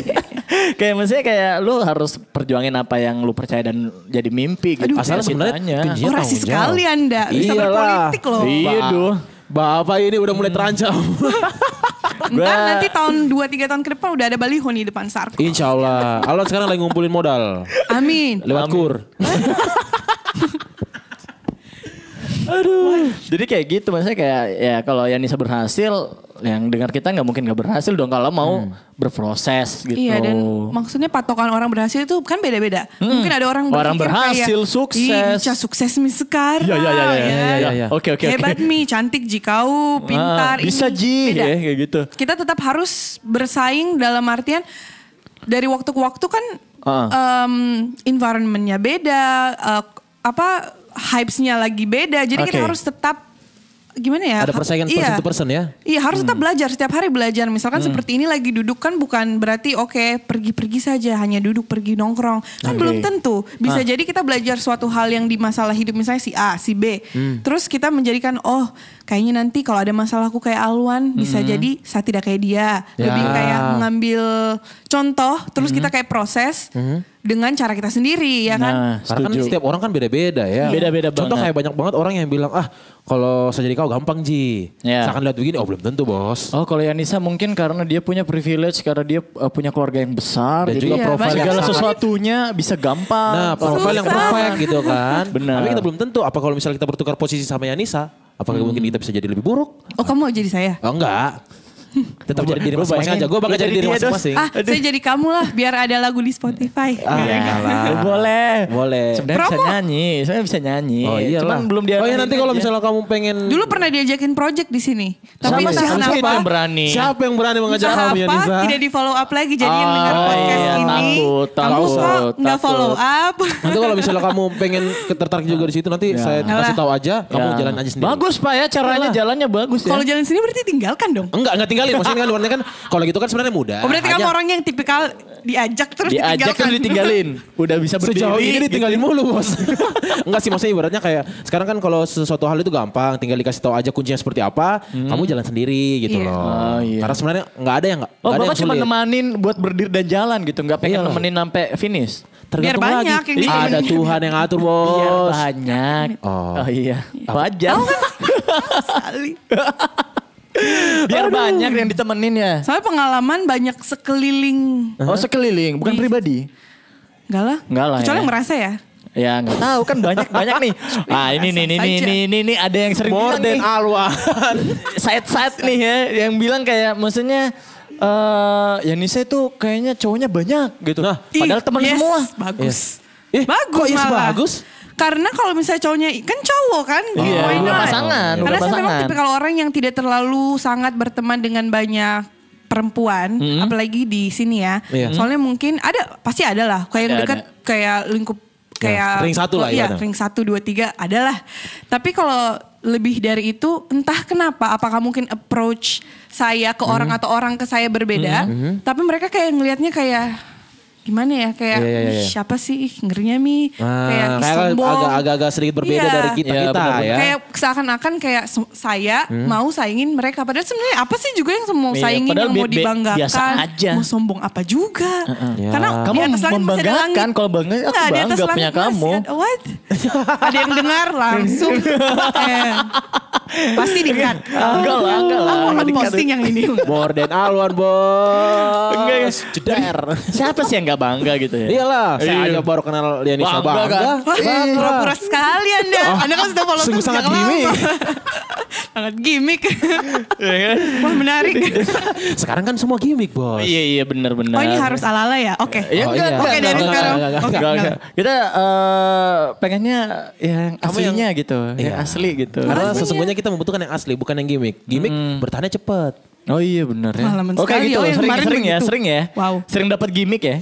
Speaker 4: kayak maksudnya kayak lu harus perjuangin apa yang lu percaya dan jadi mimpi gitu
Speaker 5: Aduh,
Speaker 3: Asal sebenarnya
Speaker 4: cita-citanya.
Speaker 3: kuncinya
Speaker 5: Oh, rasis
Speaker 3: tanggung jawab.
Speaker 5: sekali Anda. Bisa berpolitik loh.
Speaker 4: ya. Iya,
Speaker 3: Ba-
Speaker 4: duh.
Speaker 3: Bapak ini udah mulai terancam.
Speaker 5: Ntar nanti tahun 2-3 tahun ke depan udah ada baliho nih depan Sarko.
Speaker 4: Iya.
Speaker 3: Insya Allah. Alon sekarang lagi ngumpulin modal.
Speaker 5: Amin.
Speaker 3: Lewat kur.
Speaker 4: Jadi kayak gitu maksudnya kayak ya kalau Yanisa berhasil yang dengar kita nggak mungkin nggak berhasil dong kalau mau berproses gitu.
Speaker 5: Hmm. Iya dan maksudnya patokan orang berhasil itu kan beda-beda. Mungkin ada orang
Speaker 4: Hmm. Orang
Speaker 5: berpikir
Speaker 4: berhasil,
Speaker 5: kayak,
Speaker 4: sukses.
Speaker 5: "Ih, Ica sukses mi sekarang.
Speaker 4: Iya, iya, iya, iya,
Speaker 5: ya.
Speaker 4: iya, iya. Oke, oke, oke.
Speaker 5: Hebat mi, cantik jikau, pintar.
Speaker 4: Ah, bisa
Speaker 5: ini."
Speaker 4: ji
Speaker 5: Beda.
Speaker 3: eh,
Speaker 4: ya, kayak gitu.
Speaker 5: Kita tetap harus bersaing dalam artian dari waktu ke waktu kan
Speaker 4: Ah.
Speaker 5: em, environmentnya beda, eh, apa hypesnya lagi beda. Jadi kita
Speaker 4: Oke.
Speaker 5: harus tetap gimana ya?
Speaker 3: Ada persaingan person
Speaker 5: Iya.
Speaker 3: to person ya?
Speaker 5: Iya harus tetap belajar setiap hari belajar. Misalkan seperti ini lagi duduk kan bukan berarti oke pergi-pergi saja hanya duduk pergi nongkrong kan belum tentu bisa jadi kita belajar suatu hal yang di masalah hidup misalnya si A si B terus kita menjadikan oh kayaknya nanti kalau ada masalah aku kayak Alwan bisa jadi saya tidak kayak dia lebih kayak mengambil contoh terus kita kayak proses dengan cara kita sendiri ya
Speaker 4: Nah,
Speaker 5: kan.
Speaker 3: Karena kan
Speaker 4: setuju.
Speaker 3: setiap orang kan beda-beda ya.
Speaker 4: Beda-beda banget.
Speaker 3: Contoh kayak banyak banget orang yang bilang, ah kalau saya jadi kau gampang Ji.
Speaker 4: Iya.
Speaker 3: Saya akan lihat begini, oh belum tentu bos.
Speaker 4: Oh kalau Yanisa mungkin karena dia punya privilege karena dia uh, punya keluarga yang besar
Speaker 3: Dan
Speaker 4: jadi
Speaker 3: juga
Speaker 5: Iya,
Speaker 4: profil
Speaker 5: banyak
Speaker 4: segala
Speaker 5: banget.
Speaker 4: sesuatunya bisa gampang.
Speaker 3: Nah profil yang
Speaker 5: Susah.
Speaker 3: perfect gitu kan.
Speaker 4: Oh, Benar.
Speaker 3: Tapi kita belum tentu, apa kalau misalnya kita bertukar posisi sama Yanisa, apakah mungkin kita bisa jadi lebih buruk?
Speaker 5: Oh kamu mau jadi saya?
Speaker 3: Oh enggak. Tetap jadi diri masing-masing
Speaker 4: bayangin.
Speaker 3: aja. Gue bakal
Speaker 4: Lu
Speaker 3: jadi
Speaker 4: jadi
Speaker 3: diri
Speaker 4: dia, Dos.
Speaker 3: masing-masing.
Speaker 5: Ah, saya jadi kamu lah biar ada lagu di Spotify.
Speaker 4: Ah,
Speaker 3: ya lah.
Speaker 4: Iya. Boleh.
Speaker 3: Boleh.
Speaker 4: Sebenarnya bisa
Speaker 5: Promo.
Speaker 4: nyanyi, sebenarnya bisa nyanyi.
Speaker 3: Oh iya
Speaker 4: Cuman
Speaker 3: lah.
Speaker 4: belum dia.
Speaker 3: Oh iya nanti kalau misalnya kamu pengen.
Speaker 5: Dulu pernah diajakin project di sini. Tapi
Speaker 4: Sama
Speaker 5: entah
Speaker 4: siapa
Speaker 5: kenapa,
Speaker 4: itu yang berani?
Speaker 3: Siapa yang berani mengajak
Speaker 5: entah
Speaker 3: kamu ya
Speaker 5: apa,
Speaker 3: Nisa?
Speaker 5: tidak di follow up lagi jadi yang
Speaker 4: Ah,
Speaker 5: dengar podcast
Speaker 4: iya,
Speaker 5: ini
Speaker 4: takut,
Speaker 5: kamu
Speaker 4: takut, ya.
Speaker 5: kok nggak
Speaker 4: takut.
Speaker 5: follow up
Speaker 3: Nanti kalau misalnya kamu pengen tertarik juga di situ nanti saya kasih tahu aja kamu
Speaker 4: Ya.
Speaker 3: jalan aja sendiri.
Speaker 4: Bagus Pak ya caranya jalannya bagus ya.
Speaker 5: Iya. kalau jalan sini berarti tinggalkan dong
Speaker 3: Enggak, enggak tinggalin. Maksudnya kan warnanya kan kalau gitu kan sebenarnya mudah.
Speaker 5: oh, berarti kamu
Speaker 3: Hanya
Speaker 5: orang yang tipikal diajak terus
Speaker 4: diajak
Speaker 5: ditinggalkan
Speaker 4: terus ditinggalin. Udah bisa berdiri.
Speaker 3: Sejauh ini
Speaker 4: gitu.
Speaker 3: ditinggalin mulu bos. Enggak sih maksudnya ibaratnya kayak sekarang kan kalau sesuatu hal itu gampang. Tinggal dikasih tahu aja kuncinya seperti apa. Kamu jalan sendiri gitu
Speaker 5: Iya.
Speaker 3: loh.
Speaker 4: Hmm. Oh, iya.
Speaker 3: Karena sebenarnya enggak ada yang enggak
Speaker 4: Oh,
Speaker 3: ada yang Iya.
Speaker 4: Bapak cuma
Speaker 3: sulit.
Speaker 4: nemanin buat berdiri dan jalan gitu, nggak pengen
Speaker 3: Iyalah.
Speaker 4: nemenin sampai finish.
Speaker 5: Biar
Speaker 3: Tergantung
Speaker 5: banyak
Speaker 3: lagi. Iya.
Speaker 5: yang ditinggalin.
Speaker 3: Ada Tuhan yang ngatur bos.
Speaker 4: Iya, banyak.
Speaker 3: Oh.
Speaker 4: Oh, kan iya. Wajar.
Speaker 5: Sekali.
Speaker 4: Biar banyak yang ditemenin ya.
Speaker 5: soalnya pengalaman banyak sekeliling
Speaker 4: Oh sekeliling, bukan pribadi.
Speaker 5: enggak lah
Speaker 4: Enggak lah
Speaker 5: kecuali
Speaker 4: ya.
Speaker 5: yang merasa ya
Speaker 4: Ya nggak tahu kan banyak banyak nih. Ah ini nih nih nih
Speaker 5: Saja.
Speaker 4: nih nih, nih, ada yang sering
Speaker 3: More than
Speaker 4: bilang nih.
Speaker 3: Alwan.
Speaker 4: Saat-saat nih ya yang bilang kayak maksudnya eh ya Nisa itu kayaknya cowoknya banyak gitu.
Speaker 3: Nah.
Speaker 4: padahal
Speaker 5: Ih,
Speaker 4: teman
Speaker 5: yes,
Speaker 4: semua.
Speaker 5: bagus
Speaker 3: Yes. Eh,
Speaker 5: bagus
Speaker 3: kok yes
Speaker 5: malah.
Speaker 3: bagus? Iya,
Speaker 5: karena kalau misalnya cowoknya kan cowok kan gitu, why
Speaker 4: udah
Speaker 5: not?
Speaker 4: pasangan, udah
Speaker 5: Karena saya memang
Speaker 4: pasangan.
Speaker 5: tipikal orang yang tidak terlalu sangat berteman dengan banyak perempuan, apalagi di sini ya.
Speaker 3: Mm-hmm. Iya.
Speaker 5: Soalnya mungkin ada, pasti ada lah. Kayak yang
Speaker 4: Ada,
Speaker 5: dekat, kayak lingkup, kayak
Speaker 3: Iya, ring satu lah
Speaker 5: Iya,
Speaker 3: ibaratnya.
Speaker 5: ring satu, dua, tiga, ada lah. Tapi kalau lebih dari itu, entah kenapa, apakah mungkin approach saya ke orang
Speaker 3: Hmm.
Speaker 5: atau orang ke saya berbeda, tapi mereka kayak ngelihatnya kayak gimana ya kayak
Speaker 3: Iya, iya, iya.
Speaker 5: "Ih, siapa sih Ih, ngerinya mi
Speaker 3: Ah,
Speaker 5: kayak "Ih,
Speaker 3: kayak
Speaker 5: sombong."
Speaker 3: agak- agak-agak sedikit berbeda
Speaker 5: Iya.
Speaker 3: dari kita-
Speaker 4: Iya,
Speaker 3: kita
Speaker 4: benar-benar.
Speaker 3: ya. Hmm.
Speaker 5: Kayak seakan-akan kayak se- saya mau saingin mereka. Padahal sebenarnya apa sih juga yang mau
Speaker 4: Iya,
Speaker 5: saingin,
Speaker 4: padahal
Speaker 5: yang mau
Speaker 4: bi- bi-
Speaker 5: dibanggakan.
Speaker 4: biasa aja.
Speaker 5: Mau sombong apa juga.
Speaker 3: Ya.
Speaker 5: Karena
Speaker 4: Kamu
Speaker 5: di atas langit masih ada
Speaker 4: membanggakan.
Speaker 5: langit.
Speaker 4: Kalau bangga, aku
Speaker 5: Nggak, di atas
Speaker 4: bangga punya
Speaker 5: langit masih
Speaker 4: kamu.
Speaker 5: ada- what? ada yang dengar langsung. eh, pasti dikat.
Speaker 4: Enggak lah, enggak lah.
Speaker 5: Aku akan
Speaker 4: Enggak
Speaker 5: posting yang ini.
Speaker 3: More than Alwan bos.
Speaker 4: Enggak, guys.
Speaker 3: Jeder.
Speaker 4: Siapa sih yang nggak bangga gitu ya?
Speaker 3: Iyalah, saya
Speaker 4: Iya.
Speaker 3: aja baru kenal Lianisa
Speaker 4: Bangga,
Speaker 3: Bangga.
Speaker 4: kan?
Speaker 5: Wah, Pura-pura sekali Anda. Anda kan sudah follow
Speaker 3: sungguh
Speaker 5: terus,
Speaker 3: sangat
Speaker 5: jangan
Speaker 3: gimmick.
Speaker 5: lama. sangat gimmick. Wah menarik.
Speaker 3: Sekarang kan semua gimmick bos.
Speaker 4: Iya iya benar-benar.
Speaker 5: Oh ini harus ala-ala ya? Oke.
Speaker 4: Ya
Speaker 3: Oh,
Speaker 4: enggak,
Speaker 3: iya.
Speaker 4: enggak,
Speaker 5: Oke,
Speaker 4: enggak,
Speaker 5: dari
Speaker 4: enggak,
Speaker 5: sekarang.
Speaker 4: enggak, enggak,
Speaker 5: Oke,
Speaker 4: enggak,
Speaker 5: enggak.
Speaker 4: enggak. Kita eh, pengennya yang
Speaker 3: Kamu yang-
Speaker 4: aslinya gitu, yang
Speaker 3: Iya.
Speaker 4: asli gitu.
Speaker 3: Karena
Speaker 5: Aslinya.
Speaker 3: sesungguhnya kita membutuhkan yang asli, bukan yang gimmick. Gimmick bertahannya cepat.
Speaker 4: Oh iya benar ya.
Speaker 5: Pengalaman
Speaker 4: Oke
Speaker 5: sekali.
Speaker 4: gitu,
Speaker 5: Oh, yang
Speaker 4: sering,
Speaker 5: kemarin
Speaker 4: sering ya,
Speaker 5: begitu.
Speaker 4: sering ya.
Speaker 5: Wow.
Speaker 4: Sering dapat gimmick ya.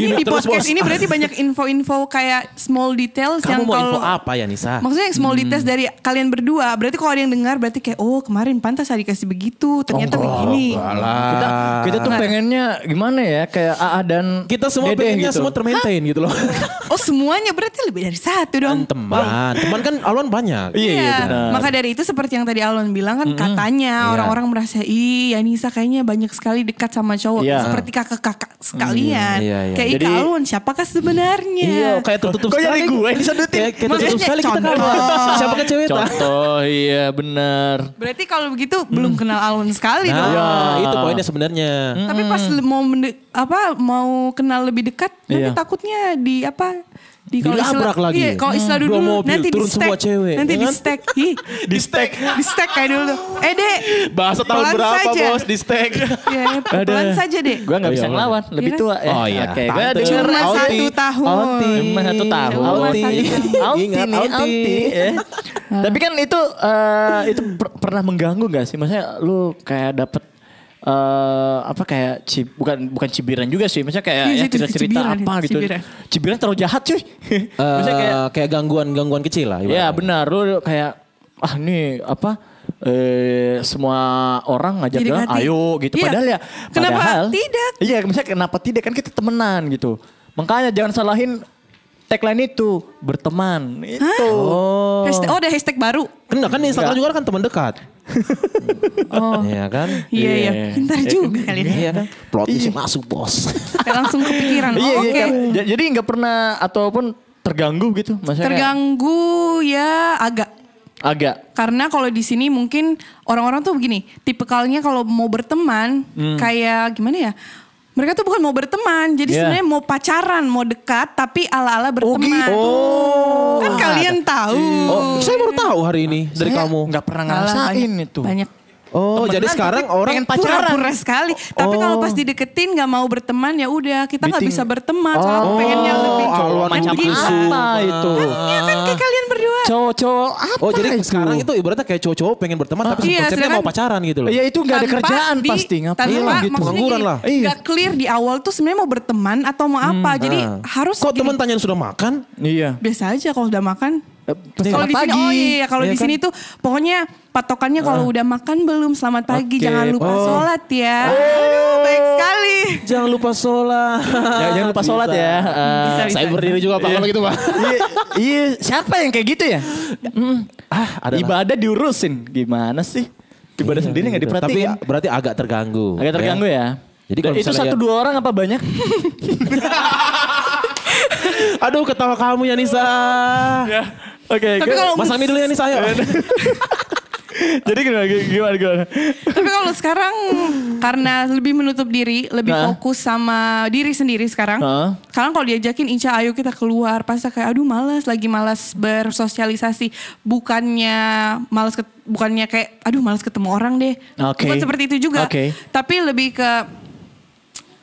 Speaker 5: Ini di
Speaker 3: terus,
Speaker 5: podcast
Speaker 3: Bos.
Speaker 5: ini berarti banyak info-info kayak small details yang
Speaker 3: Kamu mau info
Speaker 5: kalau
Speaker 3: apa ya Nisa?
Speaker 5: Maksudnya yang small details dari kalian berdua. Berarti kalau ada yang dengar berarti kayak oh kemarin pantas saya dikasih begitu. Ternyata
Speaker 3: Oh,
Speaker 5: begini.
Speaker 4: kita kita tuh pengennya gimana ya kayak AA dan
Speaker 3: Kita semua
Speaker 4: Dede
Speaker 3: pengennya
Speaker 4: gitu.
Speaker 3: semua termaintain gitu loh.
Speaker 5: Oh semuanya berarti lebih dari satu dong.
Speaker 3: Kan teman, teman kan Alwan banyak.
Speaker 4: Iya, iya, benar.
Speaker 5: Maka dari itu seperti yang tadi Alon bilang kan katanya
Speaker 3: Iya.
Speaker 5: orang-orang merasa ih Yanisa kayaknya banyak sekali dekat sama cowok
Speaker 4: Iya.
Speaker 5: seperti kakak-kakak sekalian.
Speaker 3: Iya, iya.
Speaker 5: Kayak
Speaker 4: Jadi-
Speaker 5: "Ih, Kak Alon siapakah sebenarnya?
Speaker 3: Iya, kayak tertutup
Speaker 4: Kok jadi gue yang disedutin?
Speaker 3: Kayak, kayak tertutup
Speaker 5: Maksudnya
Speaker 3: sekali kita kan.
Speaker 5: contoh.
Speaker 3: Siapa kan cewek tak?
Speaker 4: Contoh iya benar.
Speaker 5: Berarti kalau begitu belum kenal Alon sekali
Speaker 3: Mm. Nah,
Speaker 5: dong.
Speaker 4: Ya, Iya.
Speaker 3: itu poinnya sebenarnya.
Speaker 5: Tapi pas le- mau mende- apa mau kenal lebih dekat
Speaker 4: Iya.
Speaker 5: nanti takutnya di apa di
Speaker 3: Dilabrak
Speaker 5: istilah-
Speaker 3: lagi.
Speaker 5: Iya, kalau
Speaker 3: Hmm.
Speaker 5: istilah dulu,
Speaker 3: Dua
Speaker 5: dulu,
Speaker 3: mobil,
Speaker 5: nanti
Speaker 3: turun
Speaker 5: di stack.
Speaker 3: semua cewek,
Speaker 5: Nanti
Speaker 3: ya
Speaker 5: di
Speaker 3: kan?
Speaker 5: stack. Ih,
Speaker 4: Di stack.
Speaker 5: di stack kayak dulu tuh. Eh, Dek.
Speaker 3: Bahasa tahun
Speaker 5: pelan
Speaker 3: berapa
Speaker 5: saja.
Speaker 3: bos di stack?
Speaker 4: Eh,
Speaker 5: Iya, pelan saja, Dek.
Speaker 4: Gue nggak
Speaker 3: Oh,
Speaker 4: bisa
Speaker 3: iya,
Speaker 4: ngelawan, lebih
Speaker 5: Iya.
Speaker 4: tua ya.
Speaker 3: Oh, iya.
Speaker 4: Oke, gue
Speaker 3: Tante.
Speaker 4: denger
Speaker 5: Cuma
Speaker 4: Auti.
Speaker 5: satu tahun.
Speaker 4: Auti. Cuma satu tahun.
Speaker 5: Cuma
Speaker 4: Auti.
Speaker 5: satu tahun. Ah.
Speaker 4: Auti
Speaker 3: Ingat,
Speaker 4: nih,
Speaker 3: Auti.
Speaker 4: Auti, ya. Tapi kan itu eh, itu per- pernah mengganggu gak sih? Maksudnya lu kayak dapet eh, apa kayak ci- bukan bukan cibiran juga sih maksudnya kayak ya,
Speaker 5: Iya sih, itu
Speaker 4: cerita cerita
Speaker 5: cibiran,
Speaker 4: apa gitu
Speaker 5: cibiran.
Speaker 4: cibiran. terlalu jahat cuy
Speaker 3: Eh,
Speaker 4: maksudnya kayak
Speaker 3: kayak Iya, gangguan-gangguan kecil lah.
Speaker 4: Ya
Speaker 3: ibaratnya.
Speaker 4: benar lu kayak ah nih apa eh semua orang ngajak
Speaker 5: Jadi
Speaker 4: jalan
Speaker 5: hati.
Speaker 4: ayo gitu
Speaker 5: Iya.
Speaker 4: padahal ya
Speaker 5: Kenapa
Speaker 4: padahal,
Speaker 5: tidak?
Speaker 4: Iya misalnya kenapa tidak kan kita temenan gitu. Makanya jangan salahin tagline itu berteman itu.
Speaker 5: Oh. Hashtag, oh, ada hashtag baru.
Speaker 3: Kan kan di Instagram
Speaker 4: Enggak.
Speaker 3: juga kan teman dekat.
Speaker 5: Oh.
Speaker 3: Iya kan?
Speaker 5: Iya, iya.
Speaker 4: Iya.
Speaker 5: Pintar juga kalian.
Speaker 3: Iya kan? Plotnya sih masuk bos.
Speaker 5: Kayak langsung kepikiran.
Speaker 4: Iya
Speaker 5: Oh, Oke.
Speaker 4: iya kan. Ja- Jadi nggak pernah ataupun terganggu gitu maksudnya. kayak
Speaker 5: Terganggu ya agak
Speaker 4: agak
Speaker 5: Karena kalau di sini mungkin orang-orang tuh begini, tipikalnya kalau mau berteman kayak gimana ya? Mereka tuh bukan mau berteman, jadi
Speaker 4: Iya.
Speaker 5: sebenarnya mau pacaran, mau dekat, tapi ala-ala berteman. kan kalian tahu.
Speaker 3: Oh, saya baru tahu hari ini dari
Speaker 4: Saya
Speaker 3: kamu.
Speaker 4: nggak pernah
Speaker 5: Alah,
Speaker 4: ngerasain
Speaker 5: banyak-
Speaker 4: itu.
Speaker 5: Banyak
Speaker 3: Oh,
Speaker 5: temenan,
Speaker 3: jadi
Speaker 5: tapi
Speaker 3: sekarang orang
Speaker 5: pengen pacaran pura sekali. Tapi kalau pas dideketin nggak mau berteman ya udah kita nggak
Speaker 4: Dating.
Speaker 5: bisa berteman. Soalnya
Speaker 4: Oh.
Speaker 5: aku pengennya lebih gitu.
Speaker 4: cowok
Speaker 5: main
Speaker 4: macam
Speaker 5: di
Speaker 4: apa itu?
Speaker 5: Iya kan kayak kalian berdua.
Speaker 4: Cowok-cowok apa
Speaker 3: Oh jadi
Speaker 4: itu?
Speaker 3: sekarang itu ibaratnya kayak cowok-cowok pengen berteman tapi
Speaker 5: Iya,
Speaker 3: konsepnya
Speaker 5: sedangkan-
Speaker 3: mau pacaran gitu loh.
Speaker 4: Ya itu nggak ada
Speaker 5: Tanpa
Speaker 4: kerjaan
Speaker 5: di-
Speaker 4: pasti ngapain
Speaker 5: tanpa,
Speaker 4: gitu. Iya.
Speaker 5: maksudnya
Speaker 3: Pengangguran
Speaker 5: gini,
Speaker 3: lah.
Speaker 5: nggak clear di awal tuh sebenarnya mau berteman atau mau apa
Speaker 4: Hmm,
Speaker 5: jadi
Speaker 3: Nah.
Speaker 5: harus
Speaker 3: Kok
Speaker 5: gini,
Speaker 3: teman tanyain sudah makan?
Speaker 4: Iya.
Speaker 5: biasa aja kalau udah makan
Speaker 4: Pasti
Speaker 5: kalau di sini
Speaker 4: pagi. Ah.
Speaker 5: oh iya kalau
Speaker 3: Iya
Speaker 5: di
Speaker 3: kan?
Speaker 5: sini tuh pokoknya patokannya kalau udah makan belum selamat pagi
Speaker 4: Oke. Oh.
Speaker 5: jangan lupa
Speaker 3: Oh.
Speaker 5: sholat ya Aduh, baik sekali
Speaker 3: Jangan lupa sholat.
Speaker 4: Ya, jangan lupa sholat ya. Eh,
Speaker 5: Bisa, bisa.
Speaker 3: Saya berdiri juga Pak kalau gitu Pak.
Speaker 4: iya, iya, siapa yang kayak gitu ya? Mm. Ah,
Speaker 3: adalah.
Speaker 4: ibadah diurusin. Gimana sih? Ibadah sendiri nggak
Speaker 3: Gitu.
Speaker 4: diperhatiin.
Speaker 3: Tapi berarti agak terganggu.
Speaker 4: Agak terganggu ya.
Speaker 3: Jadi kalau
Speaker 4: itu
Speaker 3: misalnya
Speaker 4: satu
Speaker 3: ya-
Speaker 4: dua orang apa banyak?
Speaker 3: Aduh ketawa kamu ya Nisa.
Speaker 4: Oke.
Speaker 5: Ya. Tapi
Speaker 4: gue-
Speaker 5: kalau-
Speaker 3: Masang ini dulu ya Nisa
Speaker 4: Iya,
Speaker 3: ayo.
Speaker 4: Jadi gimana gimana gimana?
Speaker 5: tapi kalau sekarang karena lebih menutup diri lebih
Speaker 4: Nah.
Speaker 5: fokus sama diri sendiri sekarang
Speaker 4: Nah.
Speaker 5: sekarang kalau diajakin Inca ayo kita keluar pasti kayak aduh malas lagi malas bersosialisasi bukannya malas ket- bukannya kayak aduh malas ketemu orang deh
Speaker 4: Oke.
Speaker 5: bukan seperti itu juga
Speaker 4: Oke.
Speaker 5: tapi lebih ke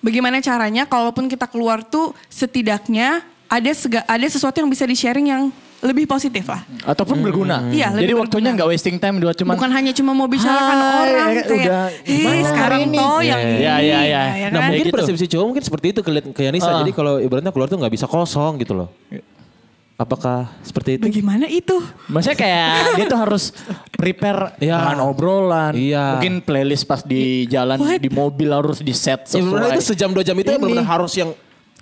Speaker 5: bagaimana caranya kalaupun kita keluar tuh setidaknya ada sega- ada sesuatu yang bisa di-sharing yang lebih positif lah.
Speaker 4: Ataupun berguna.
Speaker 5: Iya,
Speaker 4: Jadi
Speaker 5: lebih
Speaker 4: waktunya
Speaker 5: berguna.
Speaker 4: nggak wasting time dua cuman.
Speaker 5: Bukan hanya cuma mau bicarakan
Speaker 4: Hai,
Speaker 5: orang
Speaker 4: ya,
Speaker 5: kayak,
Speaker 4: udah,
Speaker 5: "Hei,
Speaker 4: gimana
Speaker 5: sekarang
Speaker 4: hari ini?"
Speaker 5: toh yang
Speaker 3: Iya,
Speaker 5: ini.
Speaker 4: iya, iya, iya.
Speaker 5: ya
Speaker 3: Nah
Speaker 5: kan?
Speaker 3: mungkin
Speaker 4: Kayak gitu.
Speaker 3: persepsi cowok mungkin seperti itu kelihatan kayak Nisa.
Speaker 4: Ah.
Speaker 3: Jadi kalau ibaratnya keluar tuh nggak bisa kosong gitu loh. Apakah seperti itu?
Speaker 5: Bagaimana itu?
Speaker 4: Maksudnya kayak dia tuh harus prepare
Speaker 3: Iya.
Speaker 4: bahan obrolan.
Speaker 3: Iya.
Speaker 4: Mungkin playlist pas di jalan
Speaker 5: What?
Speaker 4: di mobil harus di set
Speaker 3: Ya,
Speaker 4: sesuai.
Speaker 3: benar-benar itu sejam dua jam itu
Speaker 4: Ini.
Speaker 3: ya benar-benar harus yang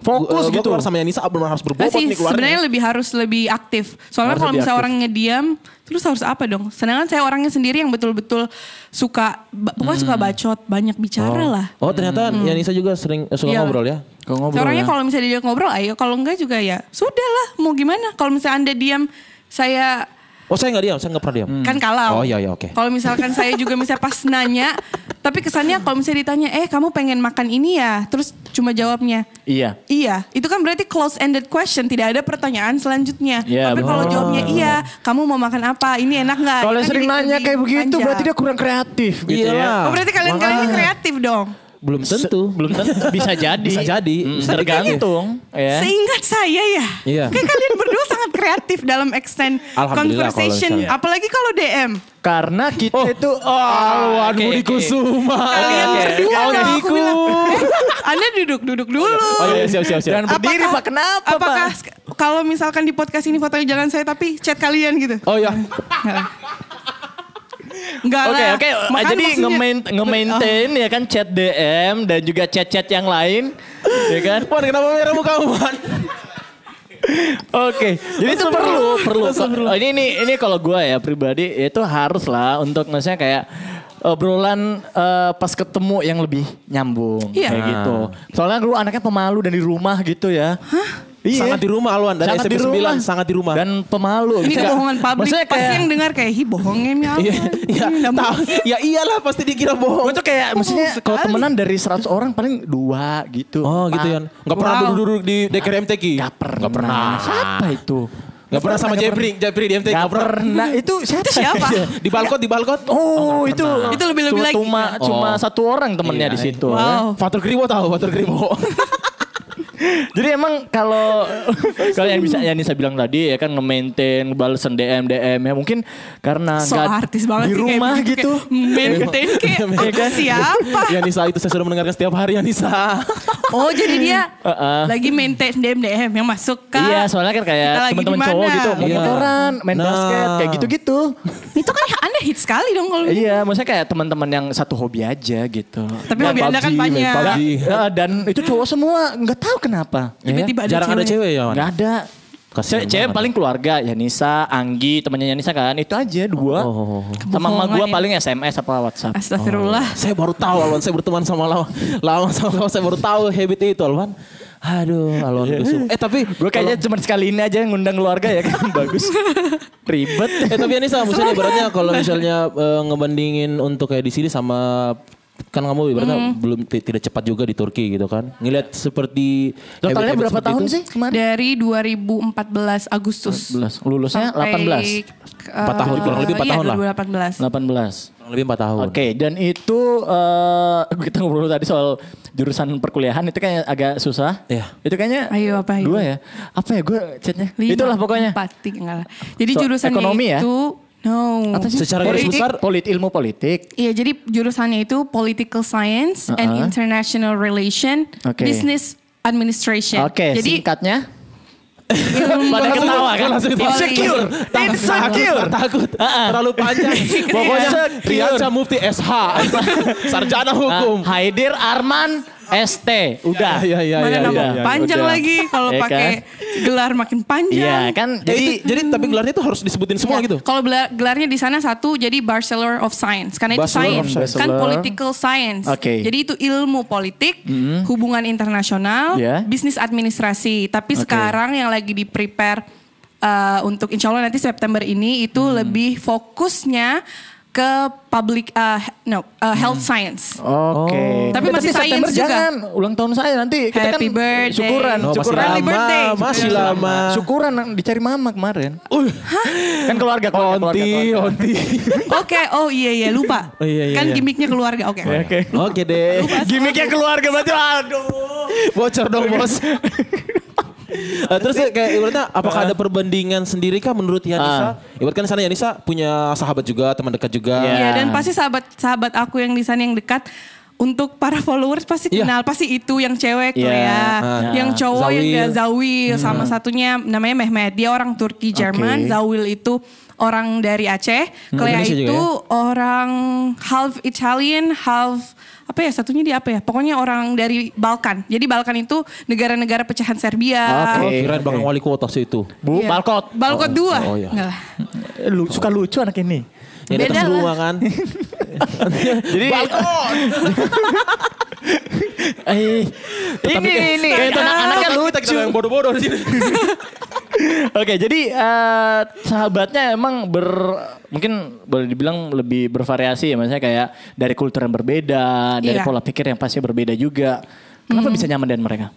Speaker 4: Fokus
Speaker 3: Gua- gua
Speaker 4: gitu.
Speaker 3: keluar sama Yanisa benar-benar harus berbobot
Speaker 5: Masih
Speaker 3: nih keluarnya.
Speaker 5: sebenarnya lebih harus lebih aktif. Soalnya
Speaker 4: Harus
Speaker 5: kalau
Speaker 4: lebih
Speaker 5: misalnya
Speaker 4: aktif.
Speaker 5: orang ngediam, terus harus apa dong? Sedangkan saya orangnya sendiri yang betul-betul suka, ba- pokoknya suka
Speaker 4: Hmm.
Speaker 5: bacot, banyak bicara lah.
Speaker 3: Oh ternyata Yanisa juga sering eh, suka
Speaker 5: Iya.
Speaker 3: ngobrol ya?
Speaker 4: Kalau ngobrol
Speaker 5: Saya orangnya
Speaker 4: ya.
Speaker 5: kalau misalnya dia ngobrol, ayo. Kalau enggak juga ya sudah lah. Mau gimana? Kalau misalnya anda diam, saya
Speaker 3: Oh saya nggak diam, saya nggak pernah diam.
Speaker 4: Hmm.
Speaker 5: kan kalau
Speaker 3: Oh, iya, iya, oke.
Speaker 5: Kalau misalkan saya juga misalnya pas nanya, tapi kesannya kalau misalnya ditanya, eh kamu pengen makan ini ya, terus cuma jawabnya
Speaker 4: Iya.
Speaker 5: Iya, itu kan berarti close ended question, tidak ada pertanyaan selanjutnya.
Speaker 4: Iya,
Speaker 5: Tapi kalau
Speaker 4: benar.
Speaker 5: jawabnya iya, kamu mau makan apa? Ini enak nggak?
Speaker 4: Kalau
Speaker 5: Kan
Speaker 4: sering
Speaker 5: jadi
Speaker 4: nanya
Speaker 5: lebih
Speaker 4: kayak begitu
Speaker 5: panjang.
Speaker 4: berarti dia kurang kreatif gitu ya.
Speaker 3: Iyalah.
Speaker 5: Oh, berarti kalian kalian ini
Speaker 3: Makanya.
Speaker 5: kreatif dong.
Speaker 3: Belum tentu.
Speaker 4: Belum tentu bisa jadi.
Speaker 3: Bisa jadi.
Speaker 4: Mm,
Speaker 3: Bisa
Speaker 4: tergantung ya.
Speaker 5: Seingat saya ya,
Speaker 3: Iya.
Speaker 5: kayak kalian berdua sangat kreatif dalam extend
Speaker 3: Alhamdulillah kalau
Speaker 5: conversation,
Speaker 3: misalnya.
Speaker 5: apalagi kalau DM.
Speaker 4: Karena kita itu
Speaker 3: Oh,
Speaker 4: oke,
Speaker 3: Budi
Speaker 4: oke.
Speaker 3: Kusuma.
Speaker 5: Kalian
Speaker 4: oke.
Speaker 5: berdua
Speaker 4: Oke,
Speaker 5: kalau aku
Speaker 3: Diku.
Speaker 5: bilang, eh, Anda duduk duduk dulu.
Speaker 3: Oh iya, iya, siap siap siap.
Speaker 4: Dan berdiri Pak, kenapa
Speaker 5: apakah
Speaker 4: Pak?
Speaker 5: sk- kalau misalkan di podcast ini fotonya jalan saya tapi chat kalian gitu?
Speaker 3: Oh
Speaker 4: iya.
Speaker 3: ya,
Speaker 5: Enggak lah. Enggak
Speaker 4: Oke,
Speaker 5: lah.
Speaker 4: oke. Eh,
Speaker 5: Makanya
Speaker 4: Jadi
Speaker 5: maksudnya-
Speaker 4: nge-main- nge-maintain ya kan chat DM dan juga chat-chat yang lain. ya kan?
Speaker 3: Wan kenapa merah muka Wan?
Speaker 4: Oke, jadi itu perlu, perlu. Oh, ini ini ini kalau gue ya pribadi itu harus lah untuk maksudnya kayak obrolan eh, pas ketemu yang lebih nyambung
Speaker 5: Iya.
Speaker 4: kayak
Speaker 3: Nah.
Speaker 4: gitu. Soalnya gue anaknya pemalu dan di rumah gitu ya. Iya.
Speaker 3: Sangat di rumah Alwan dari
Speaker 4: Sangat
Speaker 3: SMP
Speaker 4: di rumah.
Speaker 3: 9 sangat di rumah.
Speaker 4: Dan pemalu.
Speaker 5: Ini
Speaker 4: Maksudnya kayak-
Speaker 5: kebohongan publik.
Speaker 4: Maksudnya
Speaker 5: Pasti
Speaker 4: kayak
Speaker 5: yang dengar kayak, hi bohongin ya.
Speaker 3: Iya, iya, tahu. ya iyalah pasti dikira bohong.
Speaker 4: Gue tuh Oh, kayak maksudnya
Speaker 5: sekali.
Speaker 4: kalau temenan dari 100 orang paling dua gitu.
Speaker 3: Oh gitu
Speaker 4: Pak.
Speaker 3: ya. Enggak pernah
Speaker 5: Wow.
Speaker 3: duduk-duduk di DKR MTQ.
Speaker 4: Gak pernah. Siapa itu?
Speaker 3: Nggak pernah sama Jepri, Jepri di MTQ.
Speaker 4: Gak pernah. Itu siapa?
Speaker 5: siapa?
Speaker 4: Iya.
Speaker 3: Di balkot, di balkot.
Speaker 4: Oh, itu
Speaker 5: Itu lebih-lebih
Speaker 4: cuma,
Speaker 5: lagi.
Speaker 4: Cuma,
Speaker 3: Oh.
Speaker 4: cuma satu orang temennya
Speaker 3: Iya,
Speaker 4: di situ. Ya.
Speaker 5: Wow. Oh.
Speaker 3: Fatur Kribo tahu, Fatur Kribo.
Speaker 4: Jadi emang kalau kalau yang bisa yang Nisa bilang tadi ya kan nge-maintain balasan DM DM ya mungkin karena
Speaker 5: So
Speaker 4: nggak-
Speaker 5: artis
Speaker 4: di
Speaker 5: banget sih kayak
Speaker 4: rumah
Speaker 5: begitu,
Speaker 4: gitu.
Speaker 5: kayak maintain kayak
Speaker 3: Iya
Speaker 5: aku siapa?
Speaker 3: Yanisa itu saya sudah mendengarkan setiap hari Yanisa.
Speaker 5: Oh jadi dia
Speaker 4: Heeh.
Speaker 5: lagi maintain DM DM yang masuk ke.
Speaker 4: Uh-uh. Iya, soalnya kan kayak
Speaker 5: Kita lagi
Speaker 4: teman-teman
Speaker 5: di
Speaker 4: cowok
Speaker 5: mana?
Speaker 4: gitu mau
Speaker 3: Iya.
Speaker 4: motoran, main
Speaker 3: Nah.
Speaker 4: basket kayak gitu-gitu.
Speaker 5: Itu kan anda hit sekali dong kalau. gitu.
Speaker 4: iya, maksudnya kayak teman-teman yang satu hobi aja gitu.
Speaker 5: Tapi hobi anda kan
Speaker 3: PUBG, main
Speaker 5: banyak.
Speaker 3: PUBG.
Speaker 4: Nah, dan itu cowok semua nggak tahu kenapa.
Speaker 5: Tiba-tiba ada
Speaker 3: Jarang ada cewek ya, Wan?
Speaker 4: Nggak ada.
Speaker 3: Iya.
Speaker 4: Ce-
Speaker 3: Kasihan
Speaker 4: cewek
Speaker 3: banget.
Speaker 4: paling keluarga ya Nisa, Anggi, temannya Nisa kan itu aja dua.
Speaker 3: Oh, oh, oh.
Speaker 4: Sama mama gue
Speaker 5: Kebohongan ya.
Speaker 4: paling SMS apa WhatsApp.
Speaker 5: Astagfirullah.
Speaker 3: Saya baru tahu Alwan, saya berteman sama Lawan. Lawan sama Lawan, saya baru tahu habit itu Alwan. Aduh, Alwan kusum. Eh tapi
Speaker 4: Gue kayaknya cuma sekali ini aja ngundang keluarga ya kan bagus. Ribet.
Speaker 3: Eh tapi Anissa, maksudnya ibaratnya kalau misalnya eh, ngebandingin untuk kayak di sini sama Kan kamu ibaratnya belum ti- tidak cepat juga di Turki gitu kan. Ngelihat seperti
Speaker 4: Totalnya
Speaker 3: habit-habit
Speaker 4: berapa
Speaker 3: seperti
Speaker 4: tahun
Speaker 3: itu,
Speaker 4: sih kemarin?
Speaker 5: Dari 2014 Agustus.
Speaker 4: 11. Lulusnya
Speaker 5: Sampai,
Speaker 4: 18.
Speaker 3: Empat tahun, kurang lebih empat
Speaker 5: iya,
Speaker 3: tahun lah.
Speaker 4: 18.
Speaker 5: 2018.
Speaker 3: Kurang Lebih 4 tahun.
Speaker 4: Oke, dan itu eh, kita ngobrol tadi soal jurusan perkuliahan itu kayaknya agak susah.
Speaker 3: Iya.
Speaker 4: Itu kayaknya
Speaker 5: Ayo, apa itu?
Speaker 4: dua ya? Apa ya gue chatnya?
Speaker 5: Lima,
Speaker 4: Itulah pokoknya.
Speaker 5: Empat, tiga, enggak lah. Jadi
Speaker 4: So,
Speaker 5: jurusannya
Speaker 4: ekonomi ya?
Speaker 5: itu no.
Speaker 3: Secara garis
Speaker 5: Politik.
Speaker 3: besar
Speaker 4: Polit ilmu politik.
Speaker 5: Iya, jadi jurusannya itu Political Science and
Speaker 4: Uh-uh.
Speaker 5: International Relation,
Speaker 4: Oke.
Speaker 5: Business Administration.
Speaker 4: Oke,
Speaker 5: jadi
Speaker 4: singkatnya
Speaker 5: ilmu-
Speaker 4: Pada ketawa kan?
Speaker 3: Langsung
Speaker 5: Politik.
Speaker 4: Insecure. Insecure.
Speaker 3: takut Iya. terlalu panjang. Pokoknya
Speaker 4: Insecure.
Speaker 3: Rianca Mufti SH sarjana hukum.
Speaker 4: Haidir Arman ST. Udah.
Speaker 3: Iya, iya,
Speaker 5: Mana
Speaker 3: iya,
Speaker 5: nama
Speaker 3: iya.
Speaker 5: panjang
Speaker 4: udah.
Speaker 5: lagi kalau
Speaker 4: Iya
Speaker 5: pakai gelar makin
Speaker 4: Iya
Speaker 5: panjang.
Speaker 4: kan?
Speaker 3: Jadi
Speaker 4: Jadi
Speaker 3: jadi tapi gelarnya tuh harus disebutin semua
Speaker 5: Iya.
Speaker 3: gitu.
Speaker 5: Kalau bela- gelarnya di sana satu jadi Bachelor of Science karena itu
Speaker 3: Bachelor
Speaker 5: sains
Speaker 3: of
Speaker 4: Science.
Speaker 5: kan
Speaker 4: Bachelor.
Speaker 5: political science.
Speaker 4: Oke. Mm-hmm.
Speaker 5: Jadi itu ilmu politik, hubungan internasional,
Speaker 4: Iya.
Speaker 5: bisnis administrasi. Tapi
Speaker 4: Oke.
Speaker 5: sekarang yang lagi di prepare uh, untuk Insya Allah nanti September ini itu
Speaker 4: Mm-hmm.
Speaker 5: lebih fokusnya ke public uh, no
Speaker 4: Mm-hmm.
Speaker 5: uh, health science.
Speaker 4: Oh,
Speaker 3: Oh.
Speaker 4: Oke.
Speaker 5: Tapi
Speaker 4: Eh,
Speaker 5: masih
Speaker 4: September
Speaker 5: sains juga.
Speaker 4: Jangan ulang tahun saya nanti kita
Speaker 5: Happy
Speaker 4: kan
Speaker 5: birthday.
Speaker 4: syukuran,
Speaker 5: Oh,
Speaker 3: masih
Speaker 4: syukuran
Speaker 5: Happy
Speaker 3: lama,
Speaker 5: birthday.
Speaker 3: masih
Speaker 5: Syukuran.
Speaker 3: lama.
Speaker 4: Syukuran dicari mama kemarin. Kan keluarga keluarga.
Speaker 3: Onti,
Speaker 4: keluarga, keluarga.
Speaker 3: onti.
Speaker 5: Oke, oh iya iya lupa.
Speaker 3: Oh, iya, iya,
Speaker 5: kan
Speaker 3: iya.
Speaker 5: gimmicknya keluarga. Oke.
Speaker 4: Oke.
Speaker 3: Oke deh.
Speaker 4: Gimiknya keluarga berarti aduh.
Speaker 3: Bocor dong bos. Eh, terus kayak ibaratnya apakah ada perbandingan sendiri kah menurut Yanisa? Ibarat kan di sana Yanisa punya sahabat juga, teman dekat juga.
Speaker 4: Iya.
Speaker 5: Iya dan pasti sahabat-sahabat aku yang di sana yang dekat untuk para followers pasti
Speaker 3: Iya.
Speaker 5: kenal pasti itu yang cewek
Speaker 4: Iya.
Speaker 5: Korea,
Speaker 3: Ah.
Speaker 5: yang cowok yang
Speaker 3: Zawil. Hmm.
Speaker 5: gak Zawil sama satunya namanya Mehmet dia orang Turki
Speaker 4: Oke.
Speaker 5: Jerman, Zawil itu orang dari Aceh, Korea
Speaker 3: Hmm, Indonesia juga ya?
Speaker 5: itu orang half Italian, half apa ya satunya dia apa ya? Pokoknya orang dari Balkan. Jadi Balkan itu negara-negara pecahan Serbia.
Speaker 3: Oh,
Speaker 4: Oke,
Speaker 3: kirain
Speaker 4: oke.
Speaker 3: bakal wali kota sih itu.
Speaker 4: Bu,
Speaker 5: Iya.
Speaker 4: Balkot.
Speaker 5: Balkot
Speaker 3: Oh,
Speaker 5: dua.
Speaker 3: oh, iya.
Speaker 5: Enggak lah.
Speaker 4: Eh, lu- suka lucu anak ini.
Speaker 3: Ya
Speaker 5: Beda
Speaker 3: datang
Speaker 5: lah.
Speaker 3: semua kan.
Speaker 4: Jadi Eh, ini ini
Speaker 5: Kayak
Speaker 4: anak-anaknya lucu.
Speaker 3: yang bodoh-bodoh di sini.
Speaker 4: Oke, jadi eh, sahabatnya emang ber mungkin boleh dibilang lebih bervariasi ya maksudnya kayak dari kultur yang berbeda, dari
Speaker 5: Iya. Hmm.
Speaker 4: pola pikir yang pasti berbeda juga. Kenapa bisa nyaman dengan mereka?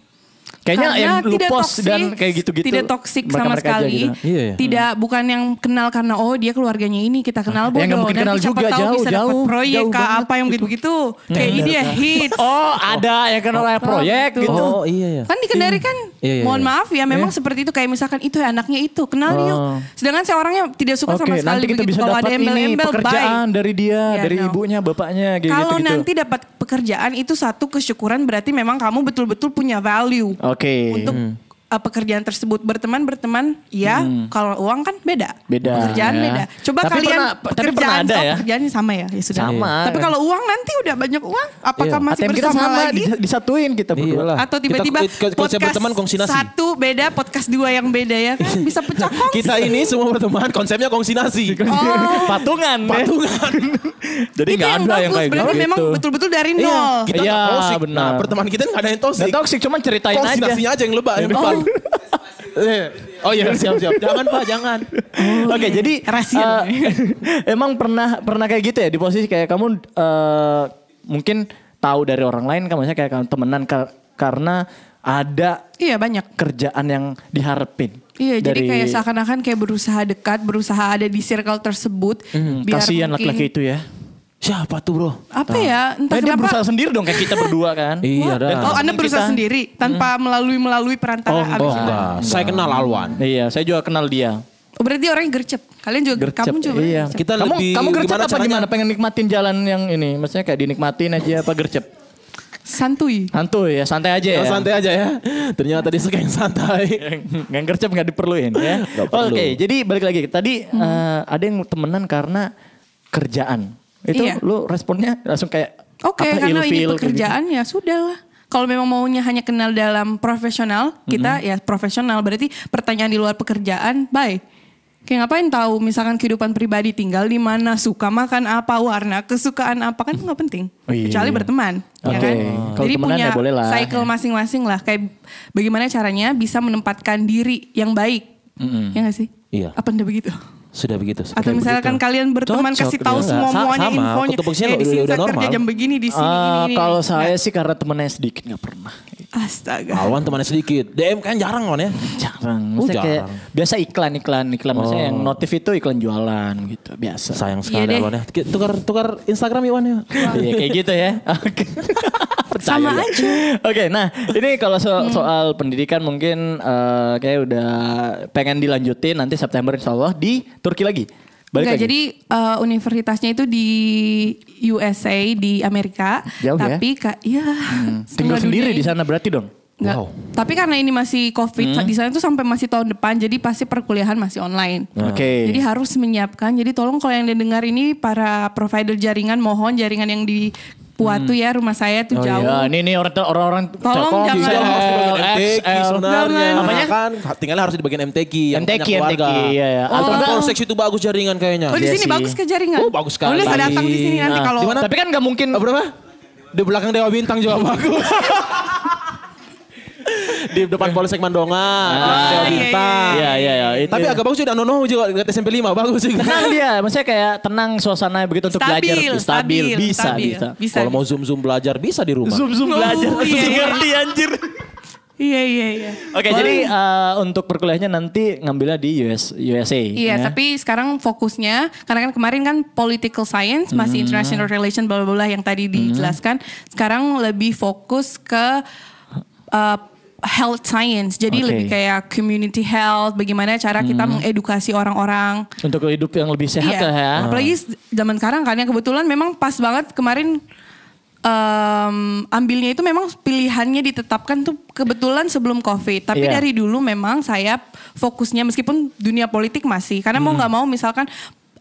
Speaker 4: Kayaknya
Speaker 5: Karena
Speaker 4: yang lu
Speaker 5: tidak
Speaker 4: post
Speaker 5: toksik,
Speaker 4: dan kayak gitu-gitu.
Speaker 5: Tidak toksik
Speaker 4: mereka-
Speaker 5: sama
Speaker 4: mereka aja
Speaker 5: sekali.
Speaker 4: gitu.
Speaker 3: Iya, iya.
Speaker 5: Tidak bukan yang kenal karena oh dia keluarganya ini kita kenal bodoh.
Speaker 4: Ya, nggak mungkin
Speaker 5: Nanti
Speaker 4: kenal
Speaker 5: siapa
Speaker 4: juga,
Speaker 5: tahu
Speaker 4: jauh,
Speaker 5: bisa dapat
Speaker 4: jauh,
Speaker 5: proyek
Speaker 4: jauh
Speaker 5: kah,
Speaker 4: banget Hmm.
Speaker 5: apa yang begitu-gitu. Kayak ini dia hit.
Speaker 4: Oh, ada yang kenal kayak proyek
Speaker 5: gitu.
Speaker 4: gitu.
Speaker 3: Oh iya ya.
Speaker 5: Kan di Kendari kan,
Speaker 3: Iya, iya,
Speaker 5: mohon
Speaker 3: iya.
Speaker 5: maaf ya, memang seperti itu kayak misalkan itu ya anaknya itu, kenal yuk. Sedangkan saya orangnya tidak suka
Speaker 4: Oh.
Speaker 5: sama
Speaker 4: Oke,
Speaker 5: sekali
Speaker 4: nanti kita
Speaker 5: begitu.
Speaker 4: bisa
Speaker 5: Kalau
Speaker 4: dapat
Speaker 5: ada
Speaker 4: ini
Speaker 5: embel-embel,
Speaker 4: pekerjaan
Speaker 5: bye.
Speaker 4: dari dia,
Speaker 5: Iya,
Speaker 4: dari
Speaker 5: no.
Speaker 4: ibunya, bapaknya gitu
Speaker 5: Kalau
Speaker 4: gitu.
Speaker 5: nanti dapat pekerjaan itu satu kesyukuran berarti memang kamu betul-betul punya value.
Speaker 4: Oke.
Speaker 5: untuk
Speaker 4: Hmm.
Speaker 5: uh, pekerjaan tersebut berteman berteman ya kalau uang kan beda
Speaker 4: Beda,
Speaker 5: pekerjaan
Speaker 4: ya.
Speaker 5: beda coba
Speaker 4: Tapi
Speaker 5: kalian
Speaker 4: pernah- tapi
Speaker 5: pekerjaan
Speaker 4: pernah ada
Speaker 5: oh,
Speaker 4: ya?
Speaker 5: pekerjaannya sama ya ya sudah
Speaker 4: Sama. Iya.
Speaker 5: tapi kalau uang nanti udah banyak uang apakah masih
Speaker 4: ATM kita
Speaker 5: bersama
Speaker 4: sama,
Speaker 5: lagi
Speaker 4: dis- disatuin kita berdua.
Speaker 3: Iyalah.
Speaker 5: atau tiba-tiba
Speaker 3: Kita- kita- kita berteman, kongsi nasi.
Speaker 5: satu beda podcast dua yang beda ya kan bisa pecah kongsi
Speaker 3: Kita ini semua berteman konsepnya kongsi nasi.
Speaker 4: Patungan. Patungan. Jadi
Speaker 5: Oh. itu
Speaker 4: nggak
Speaker 5: yang
Speaker 4: ada yang
Speaker 5: bagus
Speaker 4: kayak
Speaker 5: berarti
Speaker 4: gitu.
Speaker 5: memang betul-betul dari nol
Speaker 3: Iya, kita
Speaker 4: Iya,
Speaker 3: nggak toxic.
Speaker 4: benar.
Speaker 3: Nah, pertemanan kita nggak ada yang toxic.
Speaker 4: Nggak toxic, cuman ceritain
Speaker 3: Kongsi
Speaker 4: aja.
Speaker 3: nasinya aja yang lebah yang
Speaker 5: Oh.
Speaker 3: depan. Eh, Oh iya siap-siap. Jangan Pak, jangan.
Speaker 4: Oke, jadi
Speaker 5: Oh, Rahasia
Speaker 4: eh,
Speaker 5: dong ya.
Speaker 4: emang pernah pernah kayak gitu ya di posisi kayak kamu eh, mungkin tahu dari orang lain kan maksudnya kayak kamu temenan kar- karena ada
Speaker 5: iya banyak
Speaker 4: kerjaan yang diharapin.
Speaker 5: Iya, jadi
Speaker 4: dari-
Speaker 5: kayak seakan-akan kayak berusaha dekat, berusaha ada di circle tersebut. biar
Speaker 4: Hmm, kasihan
Speaker 5: mungkin-
Speaker 4: laki-laki itu ya.
Speaker 3: Siapa tuh, Bro?
Speaker 5: Apa ya?
Speaker 4: Nah,
Speaker 5: Entah
Speaker 4: dia
Speaker 5: kenapa.
Speaker 4: berusaha sendiri dong kayak kita berdua kan.
Speaker 3: Iya, dah.
Speaker 5: Oh, Anda
Speaker 4: Kita-
Speaker 5: berusaha
Speaker 4: Hmm.
Speaker 5: sendiri tanpa melalui melalui
Speaker 4: Oh,
Speaker 3: Oh,
Speaker 5: perantara. abis itu.
Speaker 3: enggak. Saya kenal Alwan.
Speaker 4: Iya, saya juga kenal dia.
Speaker 5: Oh, berarti orangnya gercep. Kalian juga
Speaker 4: Gercep.
Speaker 5: kamu juga
Speaker 4: iya.
Speaker 5: gercep.
Speaker 3: Kita
Speaker 4: kamu,
Speaker 3: lebih
Speaker 4: kamu gercep
Speaker 3: gimana
Speaker 4: apa
Speaker 3: caranya?
Speaker 4: gimana? Pengen nikmatin jalan yang ini? Maksudnya kayak dinikmatin aja apa gercep?
Speaker 5: santuy.
Speaker 4: Hantu ya, santai aja ya.
Speaker 3: Oh, santai aja ya. Ternyata dia suka yang santai.
Speaker 4: Nggak gercep nggak diperluin ya.
Speaker 3: Nggak perlu.
Speaker 4: Oke, jadi balik lagi. Tadi
Speaker 5: Hmm.
Speaker 4: eh, ada yang temenan karena kerjaan. Itu
Speaker 5: Iya.
Speaker 4: lu responnya langsung kayak
Speaker 5: Oke,
Speaker 4: apa,
Speaker 5: karena ini
Speaker 4: ilfil, kayak gitu.
Speaker 5: pekerjaan ya sudah lah. Kalau memang maunya hanya kenal dalam profesional, kita ya profesional. Berarti pertanyaan di luar pekerjaan, bye. Kayak ngapain tahu misalkan kehidupan pribadi tinggal di mana, suka makan apa, warna kesukaan apa kan itu nggak penting.
Speaker 4: Oh, iya,
Speaker 5: Kecuali
Speaker 4: iya.
Speaker 5: berteman, ya
Speaker 4: Oke.
Speaker 5: kan?
Speaker 4: Kalau
Speaker 5: Jadi
Speaker 4: temenan
Speaker 5: punya
Speaker 4: ya boleh lah.
Speaker 5: cycle masing-masing lah. Kayak bagaimana caranya bisa menempatkan diri yang baik. Ya nggak sih?
Speaker 3: Iya.
Speaker 5: Apa ndak begitu?
Speaker 3: Sudah begitu. sudah
Speaker 5: Atau
Speaker 3: begitu.
Speaker 5: misalkan kalian berteman
Speaker 3: Cocok,
Speaker 5: kasih tahu
Speaker 3: iya.
Speaker 5: semua
Speaker 3: Sa-
Speaker 5: semuanya
Speaker 3: sama,
Speaker 5: infonya.
Speaker 3: waktu posisinya
Speaker 5: Eh, di
Speaker 3: udah-
Speaker 5: sini
Speaker 3: udah
Speaker 5: saya kerja
Speaker 3: normal.
Speaker 5: jam begini di sini.
Speaker 4: Ah,
Speaker 5: ini, Nah. ini.
Speaker 4: kalau saya sih karena temennya sedikit nggak pernah.
Speaker 5: astaga.
Speaker 3: Alwan temannya sedikit. DM kan jarang Wan ya.
Speaker 4: Jarang.
Speaker 3: Oh,
Speaker 4: Maksudnya kayak
Speaker 3: jarang. Oh.
Speaker 4: biasa iklan iklan iklan maksudnya yang notif itu iklan jualan gitu biasa.
Speaker 3: Sayang
Speaker 5: Iya
Speaker 3: sekali
Speaker 5: deh.
Speaker 3: Alwan ya. Ki- Tukar tukar Instagram Iwan ya.
Speaker 4: Iya kayak gitu ya. Oke. Percaya
Speaker 5: Sama
Speaker 4: ya.
Speaker 5: aja. Hmm.
Speaker 4: Oke, nah ini kalau so- soal pendidikan mungkin eh, kayak udah pengen dilanjutin nanti September Insya Allah di Turki lagi. Balik
Speaker 5: Enggak,
Speaker 4: lagi.
Speaker 5: jadi eh, universitasnya itu di USA di Amerika.
Speaker 4: Jauh ya? Hmm.
Speaker 5: tapi kak, ya
Speaker 4: Tinggal sendiri di sana Hmm. berarti dong.
Speaker 5: Enggak. Tapi karena ini masih COVID di sana tuh sampai masih tahun depan, jadi pasti perkuliahan masih online.
Speaker 4: Ah. Oke.
Speaker 5: Jadi harus menyiapkan. Jadi tolong kalau yang dengar ini para provider jaringan mohon jaringan yang di
Speaker 4: Hmm.
Speaker 5: Puatu ya rumah saya tuh jauh.
Speaker 4: Ya, ini ini orang orang
Speaker 5: Tolong jangan.
Speaker 3: Iya, harus di
Speaker 4: XL,
Speaker 3: bagian MTQ sebenarnya.
Speaker 5: Jangan.
Speaker 3: Namanya kan tinggalnya harus di bagian MTQ yang
Speaker 4: MTQ,
Speaker 3: punya keluarga.
Speaker 4: MTQ, iya, iya.
Speaker 3: Atau
Speaker 4: Atau enggak-
Speaker 3: Polsek itu bagus jaringan kayaknya.
Speaker 5: Oh di
Speaker 4: Iya
Speaker 5: sini
Speaker 4: sih.
Speaker 5: bagus ke jaringan.
Speaker 3: Ah, Oh, bagus sekali.
Speaker 5: Boleh saya datang di sini nanti
Speaker 4: Ah,
Speaker 5: kalau.
Speaker 3: di mana?
Speaker 4: Tapi kan nggak mungkin
Speaker 5: Iya,
Speaker 3: Eh, berapa? Di belakang Dewa Bintang juga bagus. di depan Polsek Mandongan, belakang Dewa
Speaker 5: iya, iya, Iya.
Speaker 3: Bintang.
Speaker 4: Iya, iya, iya, itu
Speaker 3: Tapi
Speaker 4: ya.
Speaker 3: agak bagus juga Nono juga dekat SMP 5 bagus juga.
Speaker 4: tenang dia, maksudnya kayak tenang suasananya begitu untuk
Speaker 5: Stabil,
Speaker 4: belajar
Speaker 5: stabil,
Speaker 4: bisa
Speaker 5: stabil.
Speaker 4: bisa.
Speaker 5: Bisa.
Speaker 3: Kalau mau zoom-zoom belajar bisa di rumah.
Speaker 4: Zoom zoom
Speaker 5: Oh,
Speaker 4: belajar,
Speaker 5: iya,
Speaker 4: Zoom
Speaker 5: iya.
Speaker 4: ngerti anjir.
Speaker 5: Iya iya iya.
Speaker 4: Oke, jadi eh, untuk perkuliahannya nanti ngambilnya di US USA. ya.
Speaker 5: Iya, tapi sekarang fokusnya karena kan kemarin kan political science masih international relation bla bla bla yang tadi dijelaskan. Sekarang lebih fokus ke uh, health science. Jadi
Speaker 4: Oke.
Speaker 5: lebih kayak community health, bagaimana cara kita mengedukasi orang-orang.
Speaker 4: untuk hidup yang lebih sehat
Speaker 5: Iya.
Speaker 4: lah ya.
Speaker 5: Apalagi zaman sekarang kan yang kebetulan memang pas banget kemarin em, ambilnya itu memang pilihannya ditetapkan tuh kebetulan sebelum COVID. Tapi
Speaker 4: Iya.
Speaker 5: dari dulu memang saya fokusnya meskipun dunia politik masih karena
Speaker 4: Hmm.
Speaker 5: mau nggak mau misalkan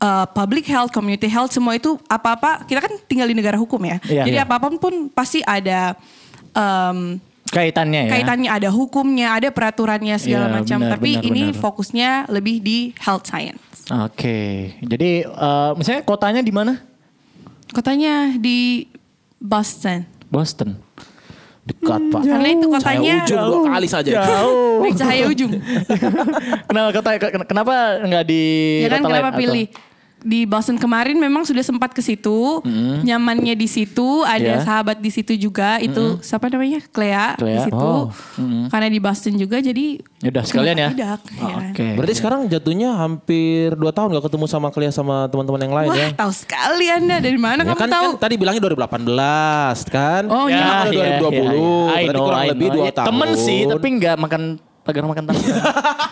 Speaker 5: eh, public health, community health semua itu apa-apa kita kan tinggal di negara hukum ya.
Speaker 4: Iya,
Speaker 5: Jadi
Speaker 4: iya.
Speaker 5: apapun pun pasti ada em,
Speaker 4: Kaitannya ya.
Speaker 5: kaitannya ada hukumnya, ada peraturannya segala
Speaker 4: Iya,
Speaker 5: macam.
Speaker 4: benar,
Speaker 5: Tapi
Speaker 4: benar,
Speaker 5: ini
Speaker 4: benar.
Speaker 5: fokusnya lebih di health science.
Speaker 4: Oke. Jadi eh, misalnya kotanya di mana?
Speaker 5: Kotanya di Boston.
Speaker 4: Boston.
Speaker 3: Dekat, Pak.
Speaker 5: Karena itu kotanya
Speaker 3: Saya ujung dua kali saja.
Speaker 4: Jauh.
Speaker 5: Baik, cahaya ujung.
Speaker 4: kenapa kota kenapa nggak di
Speaker 5: ya kan
Speaker 4: kota lain
Speaker 5: kenapa
Speaker 4: atau-
Speaker 5: pilih? Di Boston kemarin memang sudah sempat ke situ,
Speaker 4: Mm-hmm.
Speaker 5: nyamannya di situ, ada
Speaker 4: Iya.
Speaker 5: sahabat di situ juga, itu siapa namanya? Clea, di
Speaker 4: Mm-hmm. Clea,
Speaker 5: situ.
Speaker 4: oh.
Speaker 5: Karena di Boston juga jadi
Speaker 4: Ya udah sekalian ya.
Speaker 5: kenapa tidak,
Speaker 4: Oh,
Speaker 5: ya kan?
Speaker 4: Oke.
Speaker 3: Berarti sekarang jatuhnya hampir 2 tahun gak ketemu sama Kelia sama teman-teman yang lain
Speaker 5: Wah,
Speaker 4: Iya.
Speaker 3: ya.
Speaker 5: tahu sekali Anda dari mana
Speaker 3: Ya
Speaker 5: Nah, kamu
Speaker 3: kan,
Speaker 5: tahu?
Speaker 3: kan tadi bilangnya 2018 kan?
Speaker 5: Oh, iya.
Speaker 4: Ah,
Speaker 3: Sekarang udah 2020.
Speaker 4: ya, I
Speaker 3: Berarti
Speaker 4: know,
Speaker 3: kurang
Speaker 4: iya, I
Speaker 3: lebih
Speaker 4: know.
Speaker 3: 2
Speaker 4: Ya,
Speaker 3: tahun.
Speaker 4: Temen sih, tapi nggak makan pagar makan tangan.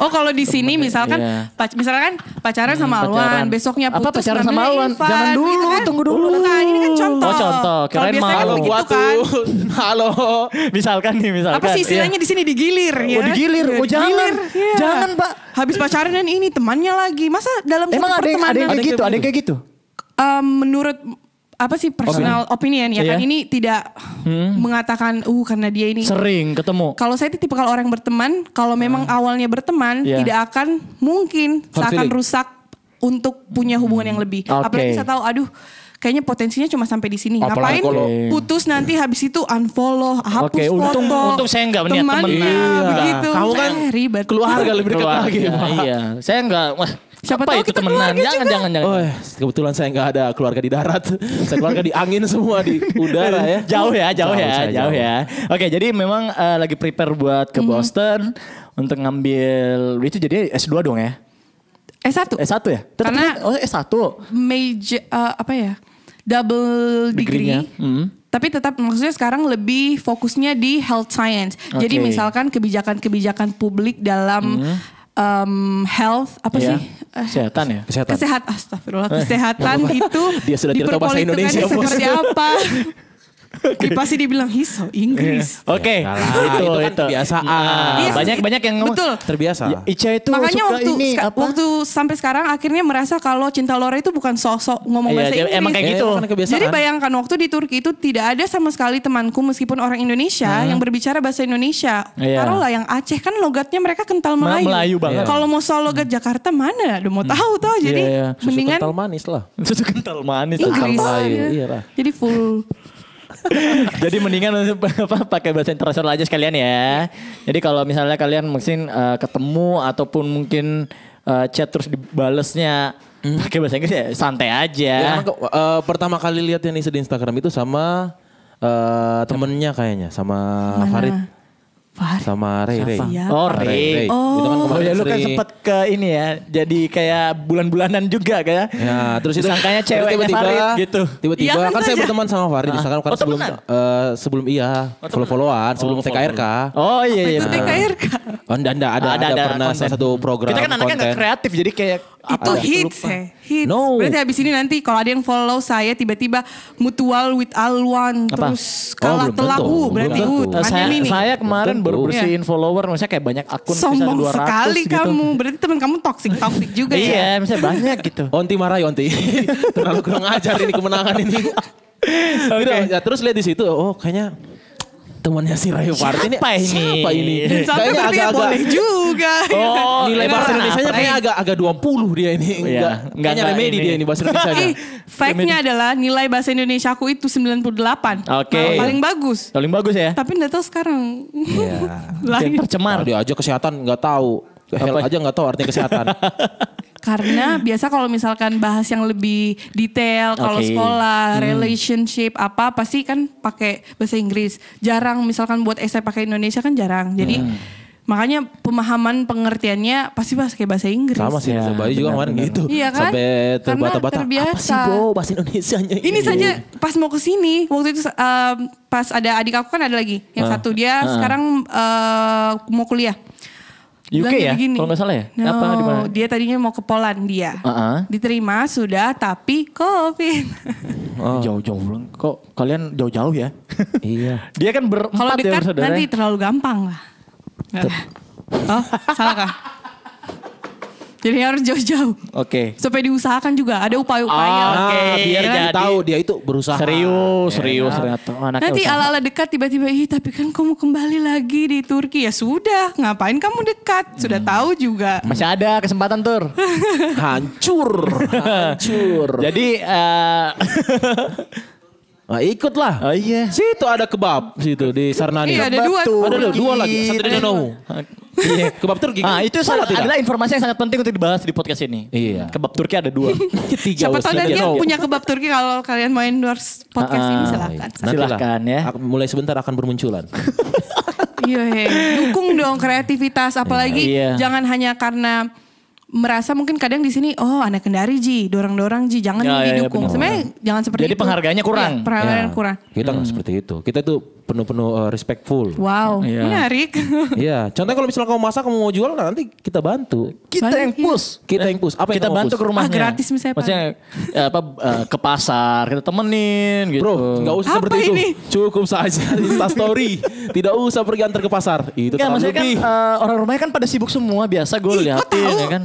Speaker 5: Oh, kalau di sini misalkan
Speaker 4: Iya. Hmm,
Speaker 5: pac- misalkan pacaran sama Alwan,
Speaker 4: pacaran.
Speaker 5: besoknya
Speaker 4: Apa
Speaker 5: putus gitu
Speaker 4: pacaran sama
Speaker 5: ngambilnya
Speaker 4: Alwan?
Speaker 5: Irfan,
Speaker 4: Jangan dulu, tunggu dulu.
Speaker 5: Nah, ini kan contoh.
Speaker 4: Oh, contoh.
Speaker 5: Kalau
Speaker 4: Kirain
Speaker 5: biasanya
Speaker 4: malu.
Speaker 5: kan begitu
Speaker 3: Waktu,
Speaker 5: kan.
Speaker 3: halo.
Speaker 4: misalkan nih, misalkan.
Speaker 5: apa sih istilahnya di sini digilir ya?
Speaker 4: iya. Oh, digilir.
Speaker 5: Iya,
Speaker 4: Oh, jangan.
Speaker 5: Iya.
Speaker 4: Jangan, Pak.
Speaker 5: Habis pacaran dan ini temannya lagi. Masa dalam
Speaker 4: Iya. Emang
Speaker 5: satu
Speaker 4: ada yang, ada
Speaker 5: pertemanan
Speaker 4: yang kayak gitu,
Speaker 3: Ada yang
Speaker 4: ada yang kayak gitu.
Speaker 5: Em, menurut apa sih personal opinion ya
Speaker 4: Iya.
Speaker 5: kan
Speaker 4: Hmm.
Speaker 5: ini tidak mengatakan uh karena dia ini
Speaker 4: Sering ketemu.
Speaker 5: kalau saya tipe kalau orang yang berteman, kalau memang awalnya
Speaker 4: Ah.
Speaker 5: berteman,
Speaker 4: Iya.
Speaker 5: tidak akan mungkin
Speaker 3: Hard
Speaker 5: akan
Speaker 3: feeling.
Speaker 5: rusak untuk punya hubungan yang lebih.
Speaker 4: Oke.
Speaker 5: Apalagi saya tahu, aduh, kayaknya potensinya cuma sampai di sini.
Speaker 3: Apalagi
Speaker 5: Ngapain
Speaker 3: kalau-
Speaker 5: putus nanti habis itu unfollow, hapus
Speaker 4: Oke, untung-
Speaker 5: foto.
Speaker 4: untung saya nggak niat
Speaker 5: temannya,
Speaker 4: temenan.
Speaker 3: Iya.
Speaker 5: begitu.
Speaker 3: Kamu kan
Speaker 5: Eh, ribet.
Speaker 3: keluarga lebih dekat
Speaker 4: Keluarga,
Speaker 3: lagi. Pak.
Speaker 4: Iya, saya nggak. Wah,
Speaker 5: Siapa
Speaker 4: apa
Speaker 5: tahu
Speaker 4: itu
Speaker 5: kita
Speaker 4: temenan?
Speaker 5: keluarga
Speaker 4: Jangan,
Speaker 5: juga.
Speaker 4: jangan, jangan.
Speaker 3: Oh, kebetulan saya nggak ada keluarga di darat. Saya keluarga di angin semua di udara ya.
Speaker 4: Jauh ya, jauh, ya,
Speaker 3: saya
Speaker 4: jauh, ya. Oke, jadi memang eh, lagi prepare buat
Speaker 5: Mm-hmm.
Speaker 4: ke Boston untuk ngambil itu jadi S2 dong ya.
Speaker 5: Eh satu,
Speaker 4: S1 ya? Tetep
Speaker 5: Karena-
Speaker 4: oh S1.
Speaker 5: major eh, apa ya? Double
Speaker 4: Degree-nya,
Speaker 5: degree.
Speaker 3: Hmm.
Speaker 5: Tapi tetap maksudnya sekarang lebih fokusnya di health science. Jadi
Speaker 4: Oke.
Speaker 5: misalkan kebijakan-kebijakan publik dalam em, health apa
Speaker 4: Iya.
Speaker 5: sih? Eh,
Speaker 4: Kesehatan ya.
Speaker 3: Hmm. Kesehatan. Eh,
Speaker 5: Kesehatan, astagfirullah, kesehatan itu
Speaker 3: Dia sudah tidak tahu bahasa
Speaker 5: diperpolitikannya
Speaker 3: Indonesia, Bos.
Speaker 5: seperti apa? Dia pasti dibilang hiso Inggris.
Speaker 4: Oke,
Speaker 3: Ya lah, itu kan kebiasaan.
Speaker 5: Iya sih.
Speaker 4: banyak banyak yang ngomong.
Speaker 5: Betul.
Speaker 3: Terbiasa.
Speaker 4: Ya, Ica itu
Speaker 5: Makanya
Speaker 4: suka
Speaker 5: waktu
Speaker 4: ini
Speaker 5: ska-
Speaker 4: apa?
Speaker 5: waktu sampai sekarang akhirnya merasa kalau cinta Lore itu bukan sosok ngomong
Speaker 4: Iya,
Speaker 5: bahasa
Speaker 4: dia-
Speaker 5: Inggris.
Speaker 4: emang kayak
Speaker 3: gitu. Iya, karena kebiasaan.
Speaker 5: Jadi bayangkan waktu di Turki itu tidak ada sama sekali temanku meskipun orang Indonesia yang berbicara bahasa Indonesia.
Speaker 4: Hmm. Iya.
Speaker 5: Taruhlah yang Aceh kan logatnya mereka kental
Speaker 4: Ma-
Speaker 5: Melayu.
Speaker 4: Melayu banget.
Speaker 5: Kalau mau soal logat Jakarta mana? Udah mau tahu tuh. Jadi
Speaker 4: Iya, iya.
Speaker 3: Susu
Speaker 5: mendingan
Speaker 3: kental manis lah.
Speaker 4: Susu kental manis.
Speaker 5: Inggris.
Speaker 3: kental Melayu,
Speaker 5: Iya.
Speaker 3: iyalah.
Speaker 5: Jadi full.
Speaker 4: Jadi mendingan apa, pakai bahasa internasional aja sekalian ya. Jadi kalau misalnya kalian mungkin eh, ketemu ataupun mungkin eh, chat terus dibalesnya pakai bahasa Inggris ya santai aja.
Speaker 3: Hmm. Ya, karena ke- eh, pertama kali lihat yang di Instagram itu sama eh, temennya kayaknya sama
Speaker 5: Mana?
Speaker 3: Farid
Speaker 5: Farid.
Speaker 3: sama Ray Ray.
Speaker 5: Siapa?
Speaker 4: Oh,
Speaker 3: Ray, Ray.
Speaker 4: Ray.
Speaker 3: Itu kan
Speaker 4: Oh
Speaker 3: kemarin
Speaker 4: ya lu kan
Speaker 3: sering-
Speaker 4: sempet ke ini ya, jadi kayak bulan-bulanan juga kayak.
Speaker 3: Ya, terus itu
Speaker 4: Sangkanya
Speaker 3: terus
Speaker 4: ceweknya Farid gitu.
Speaker 3: Tiba-tiba
Speaker 5: Iya
Speaker 3: kan,
Speaker 5: kan
Speaker 3: saya
Speaker 5: saja.
Speaker 3: berteman sama Farid di Instagram karena
Speaker 4: Oh,
Speaker 3: sebelum
Speaker 4: temenan?
Speaker 3: eh, sebelum iya follow-followan, sebelum TKRK.
Speaker 4: Oh iya iya.
Speaker 5: Itu
Speaker 4: bener.
Speaker 5: TKRK.
Speaker 3: Oh, anda, anda, ada, ada, pernah
Speaker 4: konten.
Speaker 3: salah satu program
Speaker 4: Kita kan anaknya
Speaker 3: konten.
Speaker 4: nggak kreatif jadi kayak
Speaker 5: Itu
Speaker 4: apa,
Speaker 5: hits
Speaker 4: lupa.
Speaker 5: ya. Hits.
Speaker 3: No.
Speaker 5: Berarti habis ini nanti kalau ada yang follow saya tiba-tiba mutual with Alwan.
Speaker 4: Apa?
Speaker 5: Terus
Speaker 3: Oh,
Speaker 5: kalah
Speaker 3: belum
Speaker 5: telaku.
Speaker 3: tentu,
Speaker 5: Berarti
Speaker 3: belum
Speaker 5: uh,
Speaker 3: tentu.
Speaker 4: Eh, saya,
Speaker 5: pandemi nih.
Speaker 4: saya kemarin
Speaker 3: Belum
Speaker 4: baru
Speaker 3: tentu.
Speaker 4: bersihin follower, maksudnya kayak banyak akun bisa
Speaker 5: Sombong
Speaker 4: 200
Speaker 5: sekali
Speaker 4: gitu.
Speaker 5: kamu. Berarti teman kamu toksik toksik juga ya.
Speaker 4: Iya, misalnya banyak gitu.
Speaker 3: Onti marah ya Onti. Terlalu kurang ajar ini kemenangan ini. Gitu, ya, terus lihat di situ, oh kayaknya temannya si Rayo Party ini
Speaker 4: Siapa ini?
Speaker 3: Siapa ini?
Speaker 5: Dan sampai
Speaker 3: Kayaknya
Speaker 5: berarti ya
Speaker 3: agak-agak
Speaker 5: boleh juga.
Speaker 4: Oh,
Speaker 3: nilai bahasa
Speaker 4: kenapa?
Speaker 3: Indonesia kayaknya agak agak 20 dia ini.
Speaker 4: Iya,
Speaker 3: Enggak,
Speaker 4: enggak,
Speaker 3: kayaknya
Speaker 4: enggak
Speaker 3: remedi
Speaker 4: ini.
Speaker 3: dia ini bahasa Indonesia.
Speaker 5: Ih, fact-nya adalah nilai bahasa Indonesia aku itu 98.
Speaker 4: Oke.
Speaker 5: Malah Paling bagus.
Speaker 4: Paling bagus ya.
Speaker 5: Tapi nggak tahu sekarang.
Speaker 3: Iya.
Speaker 5: Lain.
Speaker 4: Tercemar.
Speaker 3: Dia aja kesehatan nggak tahu. Hell aja nggak tahu artinya kesehatan.
Speaker 5: Karena biasa kalau misalkan bahas yang lebih detail kalau
Speaker 4: Oke. Hmm.
Speaker 5: sekolah, relationship apa pasti kan pakai bahasa Inggris. Jarang misalkan buat esai pakai Indonesia kan jarang. Jadi
Speaker 4: Hmm.
Speaker 5: makanya pemahaman pengertiannya pasti bahas kayak bahasa Inggris.
Speaker 3: Sama sih,
Speaker 4: Iya,
Speaker 3: ya, Bayu juga kemarin gitu.
Speaker 5: Iya kan?
Speaker 3: Sampai
Speaker 5: Karena
Speaker 3: terbata-bata. Apa sih
Speaker 5: terbiasa.
Speaker 3: bro bahasa Indonesianya
Speaker 5: Ini
Speaker 4: Iya.
Speaker 5: saja pas mau ke sini waktu itu um, pas ada adik aku kan ada lagi
Speaker 4: Ah.
Speaker 5: yang satu dia sekarang uh, mau kuliah.
Speaker 4: UK
Speaker 5: Bilangnya
Speaker 4: ya?
Speaker 5: begini,
Speaker 4: Kalau nggak salah ya?
Speaker 5: No,
Speaker 4: Apa, di mana?
Speaker 5: dia tadinya mau ke Polandia.
Speaker 4: Uh-uh.
Speaker 5: Diterima sudah tapi COVID.
Speaker 4: Jauh-jauh belum. Kok kalian jauh-jauh ya?
Speaker 3: Iya.
Speaker 4: Dia kan berempat
Speaker 5: Kalau
Speaker 4: ya
Speaker 5: dekat
Speaker 4: saudara.
Speaker 5: nanti terlalu gampang lah. Oh, salah kah? Jadi harus jauh-jauh.
Speaker 4: Oke.
Speaker 5: Supaya diusahakan juga ada upaya-upaya.
Speaker 4: Ah, oke.
Speaker 3: Ah, biar
Speaker 4: Jadi-
Speaker 3: dia tahu dia itu berusaha.
Speaker 4: Serius, serius ternyata Oh, anaknya
Speaker 5: Nanti
Speaker 4: usaha.
Speaker 5: ala-ala dekat tiba-tiba, ih tapi kan kamu kembali lagi di Turki. Ya sudah, ngapain kamu dekat? Sudah
Speaker 4: Hmm.
Speaker 5: tahu juga.
Speaker 4: masih ada kesempatan tur.
Speaker 3: Hancur. Hancur.
Speaker 4: Jadi eh
Speaker 3: Nah, ikutlah.
Speaker 4: oh iya.
Speaker 3: Situ ada kebab situ di Sarnani.
Speaker 5: Iya, ada dua.
Speaker 3: Ada dua, dua lagi. Satu di
Speaker 4: Turki.
Speaker 3: Nonowu.
Speaker 4: Iya.
Speaker 3: Kebab Turki.
Speaker 4: Ah, itu salah
Speaker 3: Salah tidak?
Speaker 4: adalah informasi yang sangat penting untuk dibahas di podcast ini.
Speaker 3: Iya.
Speaker 4: Kebab Turki ada dua.
Speaker 3: Tiga.
Speaker 5: Siapa
Speaker 3: Wes,
Speaker 5: tahu
Speaker 3: nanti
Speaker 5: nanti yang
Speaker 3: tahu.
Speaker 5: punya kebab Turki kalau kalian mau endorse podcast ini
Speaker 4: ya, Ah,
Speaker 5: silakan.
Speaker 4: Nanti lah. Silahkan ya.
Speaker 3: Ak- Mulai sebentar akan bermunculan.
Speaker 5: Iya, hei. dukung dong kreativitas. Apalagi
Speaker 4: Iya.
Speaker 5: jangan hanya karena merasa mungkin kadang di sini oh anak kendari ji dorang-dorang ji jangan
Speaker 4: Ya,
Speaker 5: ini
Speaker 4: ya, ya,
Speaker 5: didukung
Speaker 4: benar.
Speaker 5: sebenarnya jangan seperti
Speaker 4: Jadi
Speaker 5: itu
Speaker 4: penghargaannya kurang.
Speaker 5: Iya, penghargaan
Speaker 3: Ya,
Speaker 5: kurang
Speaker 3: Kita nggak seperti itu. Kita itu penuh-penuh eh, respectful.
Speaker 5: wow
Speaker 4: Iya.
Speaker 5: menarik
Speaker 3: Iya, contohnya kalau misalnya kamu masak kamu mau jual nah nanti kita bantu.
Speaker 4: Kita
Speaker 5: Banyak,
Speaker 4: yang
Speaker 5: iya.
Speaker 4: push.
Speaker 3: Kita yang push. Apa yang
Speaker 4: kita
Speaker 3: kamu
Speaker 4: bantu
Speaker 3: push?
Speaker 4: ke rumahnya.
Speaker 5: Ah, gratis misalnya, Pak.
Speaker 4: Maksudnya eh, apa eh, ke pasar, kita temenin gitu.
Speaker 3: Bro, nggak usah
Speaker 5: Apa
Speaker 3: seperti
Speaker 5: ini?
Speaker 3: itu. Cukup saja Insta story. Tidak usah pergi antar ke pasar.
Speaker 4: Enggak,
Speaker 3: Itu terlalu
Speaker 4: maksudnya kan
Speaker 3: lebih.
Speaker 4: eh, orang rumahnya kan pada sibuk semua biasa gue liatin ya kan.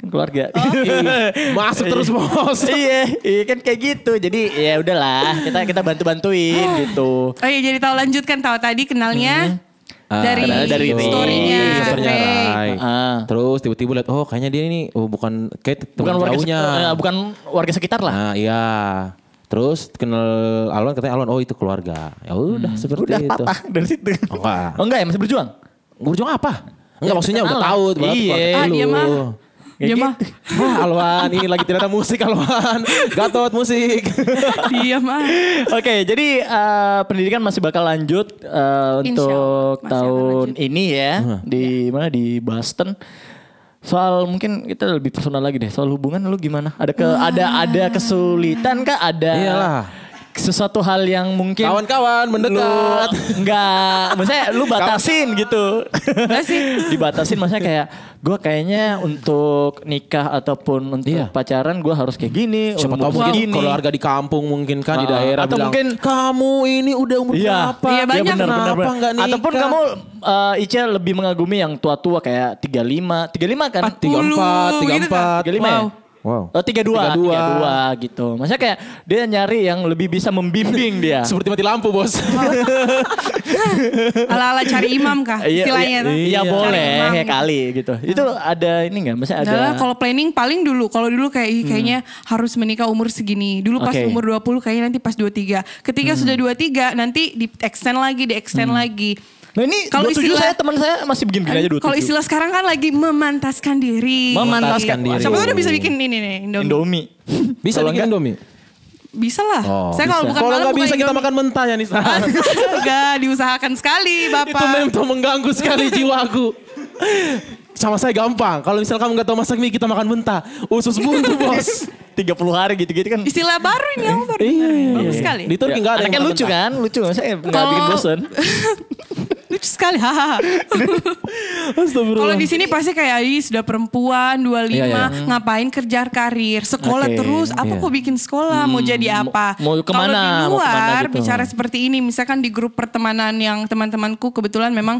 Speaker 4: Kan keluarga.
Speaker 5: Oh.
Speaker 4: eh,
Speaker 3: Ih, Masuk terus bos.
Speaker 4: iya, iya kan kayak gitu. Jadi ya udahlah, kita kita bantu-bantuin gitu.
Speaker 5: oh iya jadi tahu lanjutkan tahu tadi kenalnya
Speaker 3: Ah,
Speaker 5: dari,
Speaker 4: Hmm. kenalnya dari Ray.
Speaker 5: storynya
Speaker 4: Iya,
Speaker 3: Story-nya
Speaker 5: Ray.
Speaker 3: Ray.
Speaker 4: Ah.
Speaker 3: Terus tiba-tiba lihat oh kayaknya dia ini oh, bukan kayak
Speaker 4: Bukan
Speaker 3: teman
Speaker 4: warga
Speaker 3: jauhnya.
Speaker 4: sekitar, eh, bukan warga sekitar lah.
Speaker 3: Nah, iya. Terus kenal Alwan katanya Alwan oh itu keluarga. Ya udah
Speaker 4: Hmm,
Speaker 3: seperti
Speaker 4: Udah
Speaker 3: itu.
Speaker 4: patah dari situ.
Speaker 3: Enggak.
Speaker 4: Oh enggak ya masih berjuang.
Speaker 3: Berjuang apa? Enggak maksudnya udah
Speaker 4: Kenalan.
Speaker 3: tahu berarti
Speaker 4: Iya.
Speaker 3: keluarga
Speaker 5: ah dia
Speaker 3: lu.
Speaker 5: mah
Speaker 4: Ya
Speaker 5: dia
Speaker 4: gitu.
Speaker 5: mah
Speaker 3: Wah, Alwan ini lagi ternyata musik Alwan. Gatot musik.
Speaker 5: dia Iya, mah
Speaker 4: Oke, jadi eh, pendidikan masih bakal lanjut eh, untuk
Speaker 5: masih akan
Speaker 4: tahun
Speaker 5: lanjut. Iya.
Speaker 4: ini ya di mana di Boston. Soal mungkin kita lebih personal lagi deh. Soal hubungan lu gimana? Ada ke
Speaker 5: Ah.
Speaker 4: ada ada kesulitan kah? Ada
Speaker 3: Iyalah. kan
Speaker 4: sesuatu hal yang mungkin
Speaker 3: Kawan-kawan mendekat.
Speaker 4: Lu, enggak, maksudnya lu
Speaker 3: kan
Speaker 4: batasin gitu.
Speaker 5: Enggak sih.
Speaker 4: Dibatasin maksudnya kayak gue kayaknya untuk nikah ataupun untuk
Speaker 3: Iya.
Speaker 4: pacaran gue harus kayak gini,
Speaker 3: Siapa
Speaker 4: umur
Speaker 3: tahu mungkin
Speaker 4: segini.
Speaker 3: keluarga di kampung mungkin kan di
Speaker 4: Ah,
Speaker 3: daerah
Speaker 4: atau
Speaker 3: bilang,
Speaker 4: mungkin
Speaker 3: kamu ini udah umur
Speaker 4: Iya.
Speaker 3: berapa?
Speaker 5: Iya, banyak.
Speaker 3: benar,
Speaker 4: Benar,
Speaker 3: kenapa
Speaker 4: benar, benar.
Speaker 3: nggak nikah?
Speaker 4: Ataupun kamu eh, Ica lebih mengagumi yang tua-tua kayak 35, 35 kan?
Speaker 3: 34,
Speaker 5: 40, gitu kan?
Speaker 3: 34.
Speaker 4: 35
Speaker 5: Wow.
Speaker 4: ya?
Speaker 3: Wow.
Speaker 4: Oh, 32,
Speaker 3: 32.
Speaker 4: 32 gitu. Maksudnya kayak dia nyari yang lebih bisa membimbing dia.
Speaker 3: Seperti mati lampu, Bos.
Speaker 5: ala-ala cari imam kah
Speaker 4: Iya,
Speaker 5: istilahnya
Speaker 4: iya,
Speaker 5: tuh.
Speaker 4: iya,
Speaker 5: Cari imam.
Speaker 4: boleh ya kali gitu. Itu ada ini nggak? Maksudnya ada?
Speaker 5: Adalah Nah, kalau planning paling dulu. Kalau dulu kayak "Ih, kayaknya
Speaker 3: Hmm.
Speaker 5: harus menikah umur segini. Dulu pas
Speaker 4: Oke.
Speaker 5: umur
Speaker 3: Hmm.
Speaker 5: 20 kayaknya nanti pas 23. Ketika sudah 23 nanti di extend lagi, di extend lagi.
Speaker 4: Nah ini
Speaker 5: Kalau
Speaker 4: kalau istilah
Speaker 5: istilah- Eh,
Speaker 4: saya teman saya masih begini-begini aja dua
Speaker 5: Kalau istilah sekarang kan lagi memantaskan diri.
Speaker 4: Memantaskan
Speaker 5: Gitu.
Speaker 4: diri.
Speaker 5: Siapa tuh udah bisa bikin ini nih, Indomie.
Speaker 4: Indomie.
Speaker 3: Bisa
Speaker 4: Kalau
Speaker 3: bikin
Speaker 4: enggak-
Speaker 3: Indomie?
Speaker 5: Bisa lah.
Speaker 3: Oh,
Speaker 5: Saya kalau
Speaker 3: bisa.
Speaker 5: bukan
Speaker 3: Kalau
Speaker 5: malam
Speaker 3: nggak
Speaker 5: bukan
Speaker 3: bisa kita
Speaker 5: Indomie.
Speaker 3: makan mentah ya Nisa.
Speaker 5: Astaga, diusahakan sekali Bapak.
Speaker 3: Itu memang mengganggu sekali jiwaku. Sama saya gampang. Kalau misalnya kamu nggak tahu masak mie, kita makan mentah. Usus buntu bos.
Speaker 4: 30 hari gitu-gitu kan.
Speaker 5: Istilah baru ini aku baru dengar. Bagus sekali.
Speaker 3: Iya, Di Turki nggak ada
Speaker 4: Ya, Iya. Anaknya
Speaker 3: yang makan
Speaker 4: lucu
Speaker 3: mentah.
Speaker 4: kan? Lucu. Saya nggak
Speaker 5: Kalau-
Speaker 4: bikin bosen.
Speaker 5: Lucu sekali. hahaha. Kalau di sini pasti kayak Adi sudah perempuan 25
Speaker 3: Iya, iya.
Speaker 5: ngapain kerja karir, sekolah
Speaker 4: Oke, Hmm,
Speaker 5: terus, apa
Speaker 3: iya.
Speaker 5: kok bikin sekolah, mau jadi apa?
Speaker 4: mau kemana,
Speaker 5: Kalau di
Speaker 4: mau kemana
Speaker 5: luar
Speaker 4: gitu.
Speaker 5: bicara seperti ini, misalkan di grup pertemanan yang teman-temanku kebetulan memang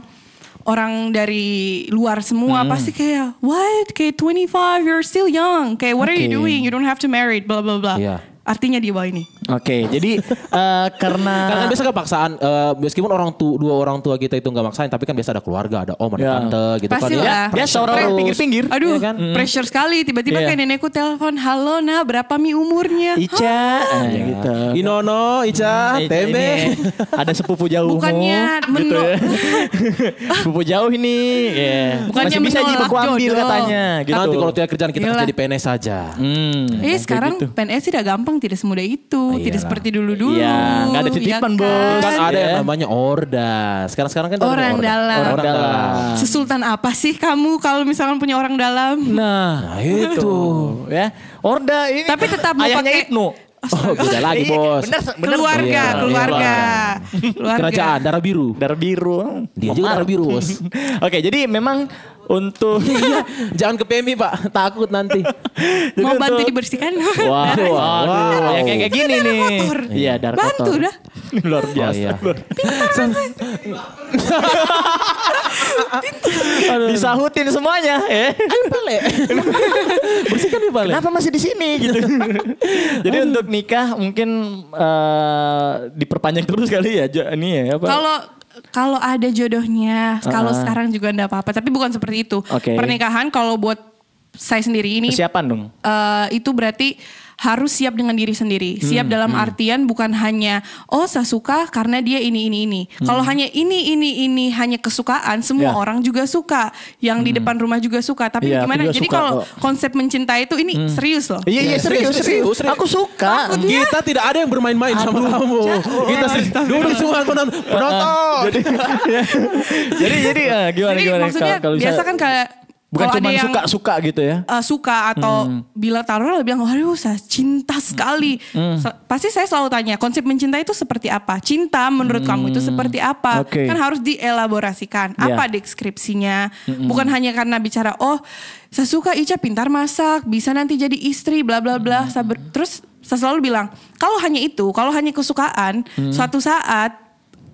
Speaker 5: orang dari luar semua
Speaker 4: Hmm.
Speaker 5: pasti kayak what kayak 25 you're still young kayak what are you
Speaker 4: Oke.
Speaker 5: doing you don't have to marry bla bla bla
Speaker 3: Iya.
Speaker 5: artinya di bawah ini
Speaker 4: Oke, jadi eh, karena
Speaker 5: Ah.
Speaker 3: Karena kan biasa kepaksaan, eh, meskipun orang tu, dua orang tua kita itu nggak maksain, tapi kan biasa ada keluarga, ada om, ada
Speaker 4: Ya.
Speaker 3: tante gitu kan.
Speaker 5: Pasti
Speaker 3: Ya,
Speaker 5: lah.
Speaker 4: biasa orang
Speaker 5: Pressure.
Speaker 4: pinggir-pinggir.
Speaker 5: aduh
Speaker 3: Iya kan?
Speaker 5: pressure sekali tiba-tiba
Speaker 4: Hmm. Iya.
Speaker 5: kayak nenekku telepon halo nah berapa mi umurnya
Speaker 4: Ica ah, gitu.
Speaker 5: Ya.
Speaker 3: Inono, Ica,
Speaker 4: Hmm, Ica
Speaker 3: Tembe.
Speaker 4: iya, ini, Ada sepupu jauh.
Speaker 5: Bukannya menol-
Speaker 4: sepupu jauh ini. Iya.
Speaker 5: Bukannya
Speaker 4: Masih bisa Ji,
Speaker 5: menolak
Speaker 4: aku ambil
Speaker 5: jodoh.
Speaker 4: katanya gitu.
Speaker 3: Nanti kalau tiap kerjaan kita
Speaker 5: Iyalah.
Speaker 3: kerja di PNS saja.
Speaker 4: Hmm.
Speaker 5: Eh sekarang PNS tidak gampang, tidak semudah itu, tidak
Speaker 3: iyalah.
Speaker 5: seperti
Speaker 4: Oh,
Speaker 5: dulu-dulu.
Speaker 4: Iya, nggak ada titipan, Bos.
Speaker 3: Kan
Speaker 4: Kan
Speaker 3: ada yang
Speaker 4: ya.
Speaker 3: namanya orda. Sekarang sekarang kan ada
Speaker 5: Orang
Speaker 3: orda.
Speaker 5: dalam.
Speaker 3: Orang,
Speaker 4: Orang
Speaker 3: dalam.
Speaker 4: dalam.
Speaker 5: Sesultan apa sih kamu kalau misalkan punya orang dalam?
Speaker 4: Nah,
Speaker 3: Nah, itu.
Speaker 4: ya. Orda ini.
Speaker 5: Tapi tetap mau
Speaker 4: ayahnya
Speaker 5: pakai-
Speaker 4: Ibnu.
Speaker 3: Oh, beda lagi,
Speaker 4: Iya,
Speaker 3: Bos.
Speaker 4: Bener, bener.
Speaker 5: Keluarga,
Speaker 3: Iya,
Speaker 5: keluarga,
Speaker 4: iya.
Speaker 5: keluarga.
Speaker 3: Kerajaan darah biru.
Speaker 4: Darah biru.
Speaker 3: Dia juga
Speaker 4: Memar.
Speaker 3: darah biru, Bos.
Speaker 4: Oke, jadi memang untuk
Speaker 3: Iya. Jangan ke PMI, Pak. Takut nanti.
Speaker 4: Jadi
Speaker 5: Mau bantu
Speaker 4: untuk-
Speaker 5: dibersihkan?
Speaker 4: Wah,
Speaker 3: Darah.
Speaker 4: wah,
Speaker 3: Wow.
Speaker 4: yang kayak gini
Speaker 5: Darah
Speaker 4: nih.
Speaker 5: kotor.
Speaker 4: Iya, Oh, darah
Speaker 5: Bantu
Speaker 4: kotor.
Speaker 5: dah.
Speaker 4: Luar biasa.
Speaker 3: iya.
Speaker 5: Pintar,
Speaker 4: Disahutin semuanya, ya.
Speaker 3: Bersihkan ya, nih, Pak. Le.
Speaker 4: Kenapa masih di sini gitu? Jadi untuk nikah mungkin eh, diperpanjang terus kali ya, Jo- ini ya apa?
Speaker 5: Kalau kalau ada jodohnya, kalau sekarang juga enggak apa-apa, tapi bukan seperti itu.
Speaker 4: Oke.
Speaker 5: Pernikahan kalau buat saya sendiri ini
Speaker 4: Persiapan dong.
Speaker 5: eh, itu berarti harus siap dengan diri sendiri. Siap
Speaker 4: Hmm,
Speaker 5: dalam artian bukan hanya oh saya suka karena dia ini ini ini. Kalau hanya ini ini ini hanya kesukaan, semua
Speaker 4: Hmm. Ya.
Speaker 5: orang juga suka. Yang di depan rumah juga suka. Tapi
Speaker 4: Iya, aku
Speaker 5: gimana?
Speaker 4: juga
Speaker 5: Jadi
Speaker 4: suka
Speaker 5: kalau
Speaker 4: kok.
Speaker 5: konsep mencintai itu ini serius loh.
Speaker 4: Iya iya serius, serius, Aku suka.
Speaker 3: Kita tidak ada yang bermain-main sama kamu. Kita sih duduk semua penonton. penonton.
Speaker 4: jadi jadi jadi eh, gimana
Speaker 5: Jadi
Speaker 4: gimana
Speaker 5: maksudnya
Speaker 4: kalau- kalau bisa-
Speaker 5: biasa kan kayak
Speaker 4: bukan
Speaker 5: kalau ada
Speaker 4: cuma
Speaker 5: yang-
Speaker 4: suka suka gitu ya. Hmm.
Speaker 5: eh, suka atau bila taruh lebih bilang aduh saya cinta sekali
Speaker 4: Hmm.
Speaker 5: Se- pasti saya selalu tanya konsep mencinta itu seperti apa cinta menurut kamu itu seperti apa
Speaker 4: Hmm. Oke.
Speaker 5: kan harus dielaborasikan
Speaker 4: Ya. Hmm.
Speaker 5: apa deskripsinya bukan hanya karena bicara oh saya suka Ica pintar masak bisa nanti jadi istri bla bla
Speaker 4: Hmm.
Speaker 5: bla Saya ber- terus saya selalu bilang kalau hanya itu kalau hanya kesukaan
Speaker 4: Hmm.
Speaker 5: suatu saat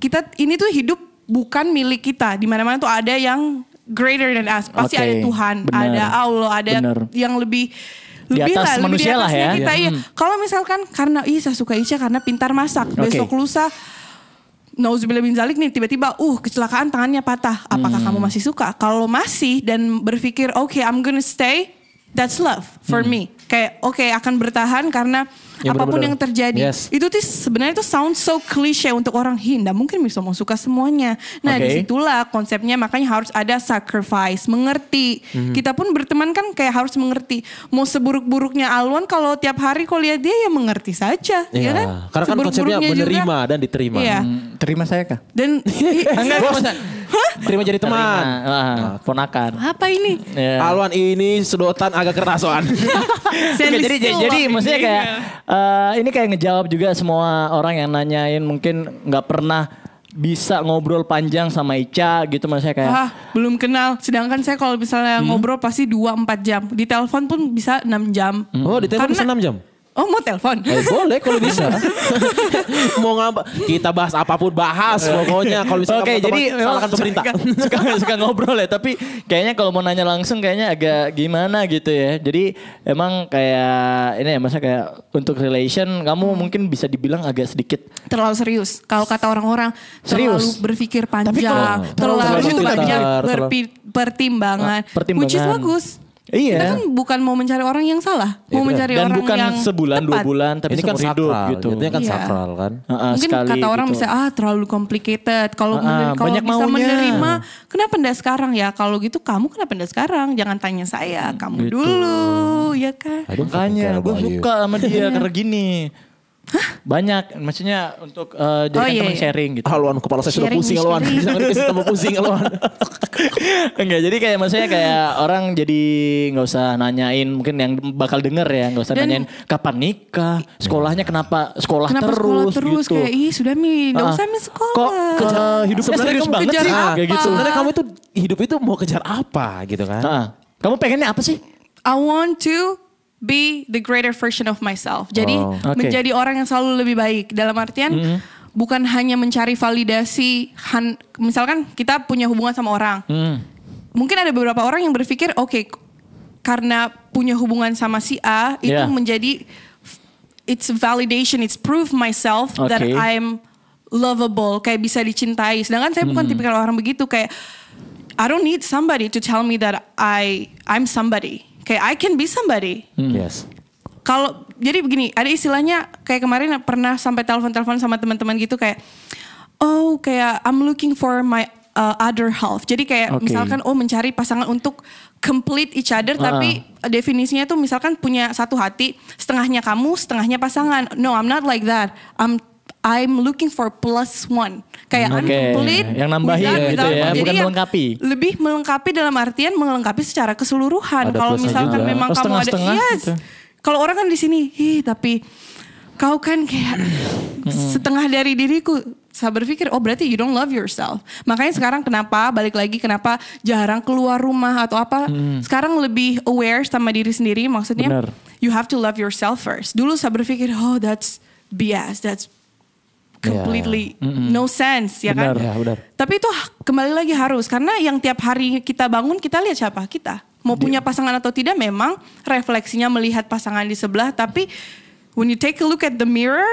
Speaker 5: kita ini tuh hidup bukan milik kita di mana mana tuh ada yang greater than us
Speaker 4: Oke,
Speaker 5: pasti ada Tuhan
Speaker 4: benar.
Speaker 5: ada Allah ada
Speaker 4: Benar.
Speaker 5: yang lebih
Speaker 4: Di
Speaker 5: lebih
Speaker 4: atas
Speaker 5: lebih
Speaker 4: manusia lah
Speaker 5: atasnya
Speaker 4: ya.
Speaker 5: kita,
Speaker 4: Iya.
Speaker 5: iya. Kalau misalkan karena ih saya suka Ica karena pintar masak.
Speaker 4: Oke.
Speaker 5: Besok lusa Nauzubillah bin zalik nih tiba-tiba uh kecelakaan tangannya patah. Apakah
Speaker 4: Hmm.
Speaker 5: kamu masih suka? Kalau masih dan berpikir oke I'm gonna stay that's love for
Speaker 4: Hmm.
Speaker 5: me. Kayak oke akan bertahan karena
Speaker 3: Ya,
Speaker 5: apapun
Speaker 3: benar-benar.
Speaker 5: yang terjadi.
Speaker 3: Yes.
Speaker 5: Itu tuh sebenarnya itu sound so cliche untuk orang Hinda. Mungkin bisa mau suka semuanya. Nah
Speaker 4: Oke.
Speaker 5: disitu itulah konsepnya makanya harus ada sacrifice mengerti
Speaker 3: Mhm.
Speaker 5: kita pun berteman kan kayak harus mengerti mau seburuk-buruknya Alwan kalau tiap hari kau lihat dia ya mengerti saja ya,
Speaker 3: Iya,
Speaker 5: kan
Speaker 3: Karena kan konsepnya
Speaker 5: Seburuk-buruknya juga.
Speaker 3: menerima dan diterima.
Speaker 5: iya
Speaker 4: Hmm, Terima saya kah?
Speaker 5: dan
Speaker 4: Enggak,
Speaker 3: Bos. Terima jadi
Speaker 4: Terima.
Speaker 3: teman. Iya.
Speaker 4: Ah, ponakan.
Speaker 5: apa ini
Speaker 4: Ya.
Speaker 3: Alwan ini sedotan agak kertasoan.
Speaker 4: Oke,
Speaker 5: Sandwich
Speaker 4: jadi jadi,
Speaker 5: tuh, Iya.
Speaker 4: jadi
Speaker 5: Bang.
Speaker 4: maksudnya kayak eh, ini kayak ngejawab juga semua orang yang nanyain mungkin nggak pernah bisa ngobrol panjang sama Ica gitu maksudnya
Speaker 3: Iya.
Speaker 4: kayak
Speaker 5: ah belum kenal sedangkan saya kalau misalnya
Speaker 3: Mhm.
Speaker 5: ngobrol pasti 2-4 jam di telepon pun bisa 6 jam
Speaker 3: oh, di telepon
Speaker 5: Karena-
Speaker 3: bisa 6 jam.
Speaker 5: oh mau telepon
Speaker 3: Eh, boleh kalau bisa. Mau ngapa? Kita bahas apapun bahas pokoknya kalau
Speaker 4: Iya.
Speaker 3: misalnya
Speaker 4: Oke,
Speaker 3: kamu teman,
Speaker 4: jadi
Speaker 5: ya,
Speaker 4: memang
Speaker 3: salahkan
Speaker 4: suka-
Speaker 3: pemerintah.
Speaker 4: Suka, suka ngobrol ya, tapi kayaknya kalau mau nanya langsung kayaknya agak gimana gitu ya. Jadi emang kayak ini ya masa kayak untuk relation kamu
Speaker 5: Hmm.
Speaker 4: mungkin bisa dibilang agak sedikit
Speaker 5: terlalu serius. Kalau kata orang-orang
Speaker 4: Serius.
Speaker 5: terlalu berpikir panjang,
Speaker 4: kalau-
Speaker 5: terlalu,
Speaker 4: terlalu
Speaker 5: banyak
Speaker 3: pintar,
Speaker 5: berpi- pertimbangan.
Speaker 4: Ah, pertimbangan.
Speaker 5: Nah, Which is bagus. Kita kan
Speaker 4: Iya.
Speaker 5: bukan mau mencari orang yang salah, mau mencari
Speaker 4: Dan
Speaker 5: orang
Speaker 4: bukan
Speaker 5: yang
Speaker 4: sebulan dua
Speaker 5: tepat.
Speaker 4: bulan tapi
Speaker 3: Ini kan
Speaker 4: seumur hidup
Speaker 3: sakral,
Speaker 4: gitu.
Speaker 3: jatuhnya kan
Speaker 5: Iya.
Speaker 3: sakral kan.
Speaker 4: Heeh,
Speaker 5: Mungkin
Speaker 4: sekali
Speaker 5: kata orang
Speaker 4: gitu.
Speaker 5: bisa ah terlalu complicated. Kalau
Speaker 4: Ah,
Speaker 5: bener- kalau
Speaker 4: banyak
Speaker 5: bisa
Speaker 4: maunya.
Speaker 5: menerima, kenapa ndak sekarang ya? Kalau gitu kamu kenapa ndak sekarang? Jangan tanya saya,
Speaker 4: Hmm,
Speaker 5: kamu
Speaker 4: gitu.
Speaker 5: dulu, ya kan?
Speaker 3: I don't fucking
Speaker 4: Makanya
Speaker 3: care
Speaker 4: gue
Speaker 3: about you.
Speaker 4: suka sama
Speaker 5: Iya.
Speaker 4: dia karena gini. Banyak, maksudnya untuk eh jadikan
Speaker 5: Oh, iya,
Speaker 4: teman
Speaker 5: iya.
Speaker 4: sharing gitu.
Speaker 3: Ah luan kepala saya sudah
Speaker 5: Sharing,
Speaker 3: pusing luan.
Speaker 5: sharing.
Speaker 3: Jangan dikasih tambah pusing luan.
Speaker 4: Enggak, jadi kayak maksudnya kayak orang jadi nggak usah nanyain mungkin yang bakal denger ya, nggak usah
Speaker 5: Dan-
Speaker 4: nanyain kapan nikah, sekolahnya kenapa sekolah
Speaker 5: Kenapa
Speaker 4: terus
Speaker 5: sekolah terus
Speaker 4: gitu.
Speaker 5: kayak ih sudah mi, ndak
Speaker 4: Ah,
Speaker 5: usah mi sekolah.
Speaker 4: Kok ke- hidupnya
Speaker 3: Sebenarnya
Speaker 4: serius
Speaker 3: kamu
Speaker 4: banget
Speaker 5: kejar
Speaker 4: sih
Speaker 5: apa?
Speaker 4: kayak gitu.
Speaker 3: Sebenarnya kamu itu hidup itu mau kejar apa gitu kan?
Speaker 4: Ah, kamu pengennya apa sih?
Speaker 5: I want to be the greater version of myself. Jadi
Speaker 3: Oh,
Speaker 4: oke.
Speaker 5: menjadi orang yang selalu lebih baik. Dalam artian bukan hanya mencari validasi han- misalkan kita punya hubungan sama orang. Mungkin ada beberapa orang yang berpikir, "Oke, k- karena punya hubungan sama si A, itu
Speaker 4: Yeah.
Speaker 5: menjadi it's validation, it's proof myself that
Speaker 4: Oke.
Speaker 5: I'm lovable, kayak bisa dicintai." Sedangkan saya bukan tipikal orang begitu kayak I don't need somebody to tell me that I I'm somebody. Kayak I can be somebody.
Speaker 4: Hmm.
Speaker 3: Yes.
Speaker 5: Kalau jadi begini, ada istilahnya kayak kemarin pernah sampai telepon-telepon sama teman-teman gitu kayak oh kayak I'm looking for my uh, other half. Jadi kayak
Speaker 4: Oke.
Speaker 5: misalkan oh mencari pasangan untuk complete each other
Speaker 4: Ah.
Speaker 5: tapi definisinya tuh misalkan punya satu hati, setengahnya kamu, setengahnya pasangan. No, I'm not like that. I'm I'm looking for plus one. Kayak I'm
Speaker 4: Oke,
Speaker 5: complete.
Speaker 4: yang nambahin
Speaker 5: without-
Speaker 4: gitu
Speaker 5: without-
Speaker 4: ya,
Speaker 5: Jadi
Speaker 4: bukan
Speaker 5: yang
Speaker 4: melengkapi.
Speaker 5: Lebih melengkapi dalam artian melengkapi secara keseluruhan.
Speaker 3: Ada
Speaker 5: Kalau
Speaker 3: plusnya
Speaker 5: misalkan
Speaker 3: juga.
Speaker 5: memang
Speaker 4: Oh,
Speaker 5: kamu ada
Speaker 4: setengah-setengah
Speaker 5: yes.
Speaker 4: gitu.
Speaker 5: Kalau orang kan di sini, "Ih, tapi kau kan kayak setengah dari diriku. Saya berpikir, oh berarti you don't love yourself. Makanya sekarang kenapa balik lagi kenapa jarang keluar rumah atau apa? Sekarang lebih aware sama diri sendiri. Maksudnya
Speaker 4: Benar.
Speaker 5: you have to love yourself first. Dulu saya berpikir, oh that's BS, that's completely no sense ya
Speaker 4: Benar,
Speaker 5: kan.
Speaker 3: ya, benar.
Speaker 5: Tapi itu ha- kembali lagi harus karena yang tiap hari kita bangun kita lihat siapa kita. Mau punya pasangan atau tidak memang refleksinya melihat pasangan di sebelah tapi when you take a look at the mirror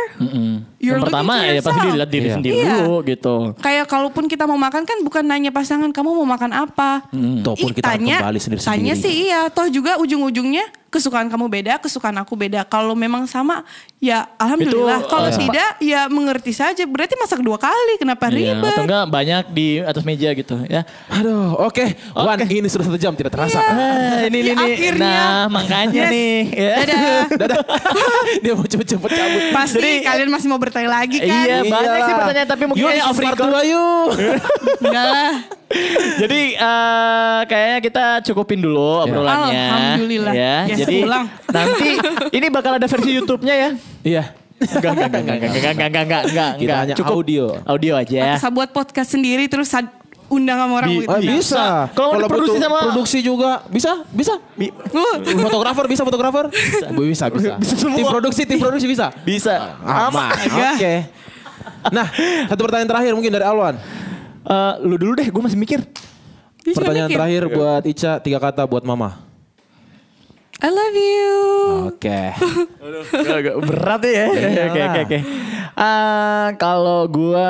Speaker 5: you're
Speaker 4: Yang
Speaker 5: looking
Speaker 4: pertama
Speaker 5: to
Speaker 4: ya pasti
Speaker 5: yourself.
Speaker 4: dilihat diri
Speaker 3: Iya.
Speaker 4: sendiri
Speaker 5: Iya.
Speaker 4: dulu gitu.
Speaker 5: Kayak kalaupun kita mau makan kan bukan nanya pasangan kamu mau makan apa.
Speaker 3: Ataupun
Speaker 5: Ih,
Speaker 3: Hmm. kita kembali sendiri-sendiri. gitu.
Speaker 5: Tanya sih iya, toh juga ujung-ujungnya kesukaan kamu beda, kesukaan aku beda. Kalau memang sama ya alhamdulillah.
Speaker 4: Itu,
Speaker 5: Kalau
Speaker 3: Iya.
Speaker 4: eh,
Speaker 5: tidak ya mengerti saja. Berarti masak dua kali, kenapa
Speaker 4: Iya,
Speaker 5: ribet?
Speaker 4: atau enggak banyak di atas meja gitu ya.
Speaker 3: Aduh, oke. Wan, ini sudah satu jam tidak terasa.
Speaker 4: Ah, ini ini
Speaker 5: Ya,
Speaker 4: ini.
Speaker 5: akhirnya.
Speaker 4: Nah, makanya
Speaker 5: Yes.
Speaker 4: nih. Ya.
Speaker 5: Dadah.
Speaker 3: Dia mau cepet-cepet cabut.
Speaker 5: Pasti kalian masih mau bertanya lagi kan?
Speaker 4: Iya, banyak sih pertanyaan tapi mungkin
Speaker 3: yuk,
Speaker 4: kayaknya off
Speaker 3: off
Speaker 4: record. Iya.
Speaker 3: record. yuk.
Speaker 5: Enggak lah.
Speaker 4: Jadi eh, kayaknya kita cukupin dulu obrolannya.
Speaker 5: Alhamdulillah.
Speaker 4: Ya,
Speaker 5: Ya,
Speaker 4: jadi
Speaker 5: seulang.
Speaker 4: nanti ini bakal ada versi YouTube-nya ya.
Speaker 3: Iya.
Speaker 4: Enggak, enggak, enggak, enggak, enggak, enggak, enggak, enggak, enggak,
Speaker 3: Kita
Speaker 4: enggak.
Speaker 3: hanya audio.
Speaker 4: Audio aja.
Speaker 5: Saya buat podcast sendiri terus sad- undang sama orang
Speaker 4: Di-
Speaker 5: gitu.
Speaker 3: Ah, bisa.
Speaker 4: Kalau mau diproduksi
Speaker 3: butuh
Speaker 4: sama-
Speaker 3: produksi juga bisa, bisa.
Speaker 5: Uh,
Speaker 3: fotografer bisa fotografer? Bisa, bisa.
Speaker 4: Bisa semua.
Speaker 3: Tim produksi, tim produksi bisa.
Speaker 4: Bisa. ya.
Speaker 3: Aman.
Speaker 4: ah.
Speaker 3: Oke. Nah, satu pertanyaan terakhir mungkin dari Alwan.
Speaker 4: Eh, lu dulu deh, gue masih mikir.
Speaker 5: dia cuma
Speaker 3: Pertanyaan
Speaker 5: mikir,
Speaker 3: terakhir buat Ica, tiga kata buat Mama.
Speaker 5: I love you.
Speaker 4: Oh.
Speaker 3: Oke.
Speaker 4: Agak berat ya. Oke oke oke. Ah, Kalau gua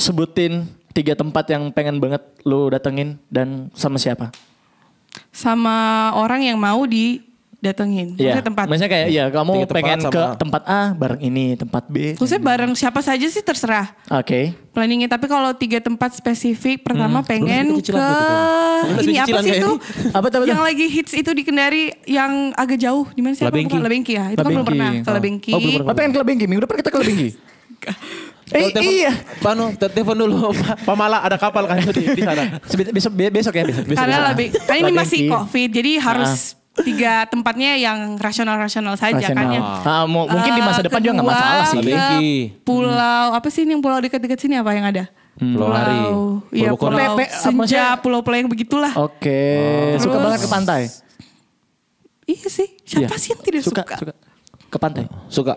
Speaker 4: sebutin tiga tempat yang pengen banget lu datengin dan sama siapa?
Speaker 5: Sama orang yang mau
Speaker 3: Iya.
Speaker 5: didatengin. Maksudnya tempat.
Speaker 4: Maksudnya kayak ya kamu
Speaker 3: Tiga tempat
Speaker 4: pengen ke
Speaker 3: sama-
Speaker 4: tempat A bareng ini, tempat B. Oke.
Speaker 5: Khususnya bareng siapa saja sih terserah planningnya. Tapi kalau tiga tempat spesifik,
Speaker 4: Hmm.
Speaker 5: pertama pengen
Speaker 3: itu
Speaker 5: ke
Speaker 4: kan?
Speaker 3: cicilan gitu kayaknya. Lu
Speaker 5: ini apa
Speaker 3: cicilan
Speaker 5: sih
Speaker 3: kayak
Speaker 5: itu?
Speaker 3: ini.
Speaker 4: Apa tuh, apa tuh?
Speaker 5: Yang lagi hits itu di Kendari yang agak jauh di mana sih? Aku
Speaker 3: Labengki.
Speaker 5: lupa. Labengki ya. Itu kan belum pernah ke
Speaker 4: Oh.
Speaker 5: Labengki.
Speaker 4: Oh, belum pernah. Oh, pengen ke Labengki. Minggu depan kita ke Labengki. eh, iya.
Speaker 3: Panu, telepon dulu. Pa- Pamala ada kapal kan di, di sana.
Speaker 4: Sebe- Besok, be- besok ya besok. besok.
Speaker 5: Karena
Speaker 4: besok.
Speaker 5: lebih, kan ini
Speaker 4: Labengki.
Speaker 5: masih covid, jadi harus tiga tempatnya yang rasional-rasional saja
Speaker 4: Ah. Rasional.
Speaker 5: kan ya.
Speaker 4: Ah, mu- mungkin di masa
Speaker 5: Eh,
Speaker 4: depan juga nggak
Speaker 5: kedua,
Speaker 4: masalah sih.
Speaker 5: ke
Speaker 3: Labengki.
Speaker 5: Pulau apa sih ini yang pulau dekat-dekat sini apa yang ada?
Speaker 3: Pulau Hari.
Speaker 5: Iya,
Speaker 3: Pulau Komodo.
Speaker 5: pulau
Speaker 4: Pepe, apa
Speaker 5: Senja,
Speaker 4: maksudnya?
Speaker 5: pulau pulau yang begitulah.
Speaker 4: Oke, suka
Speaker 5: Terus-
Speaker 4: banget ke pantai.
Speaker 5: Iya sih. Siapa
Speaker 4: Iya.
Speaker 5: sih yang tidak suka?
Speaker 4: Ke pantai.
Speaker 3: Suka.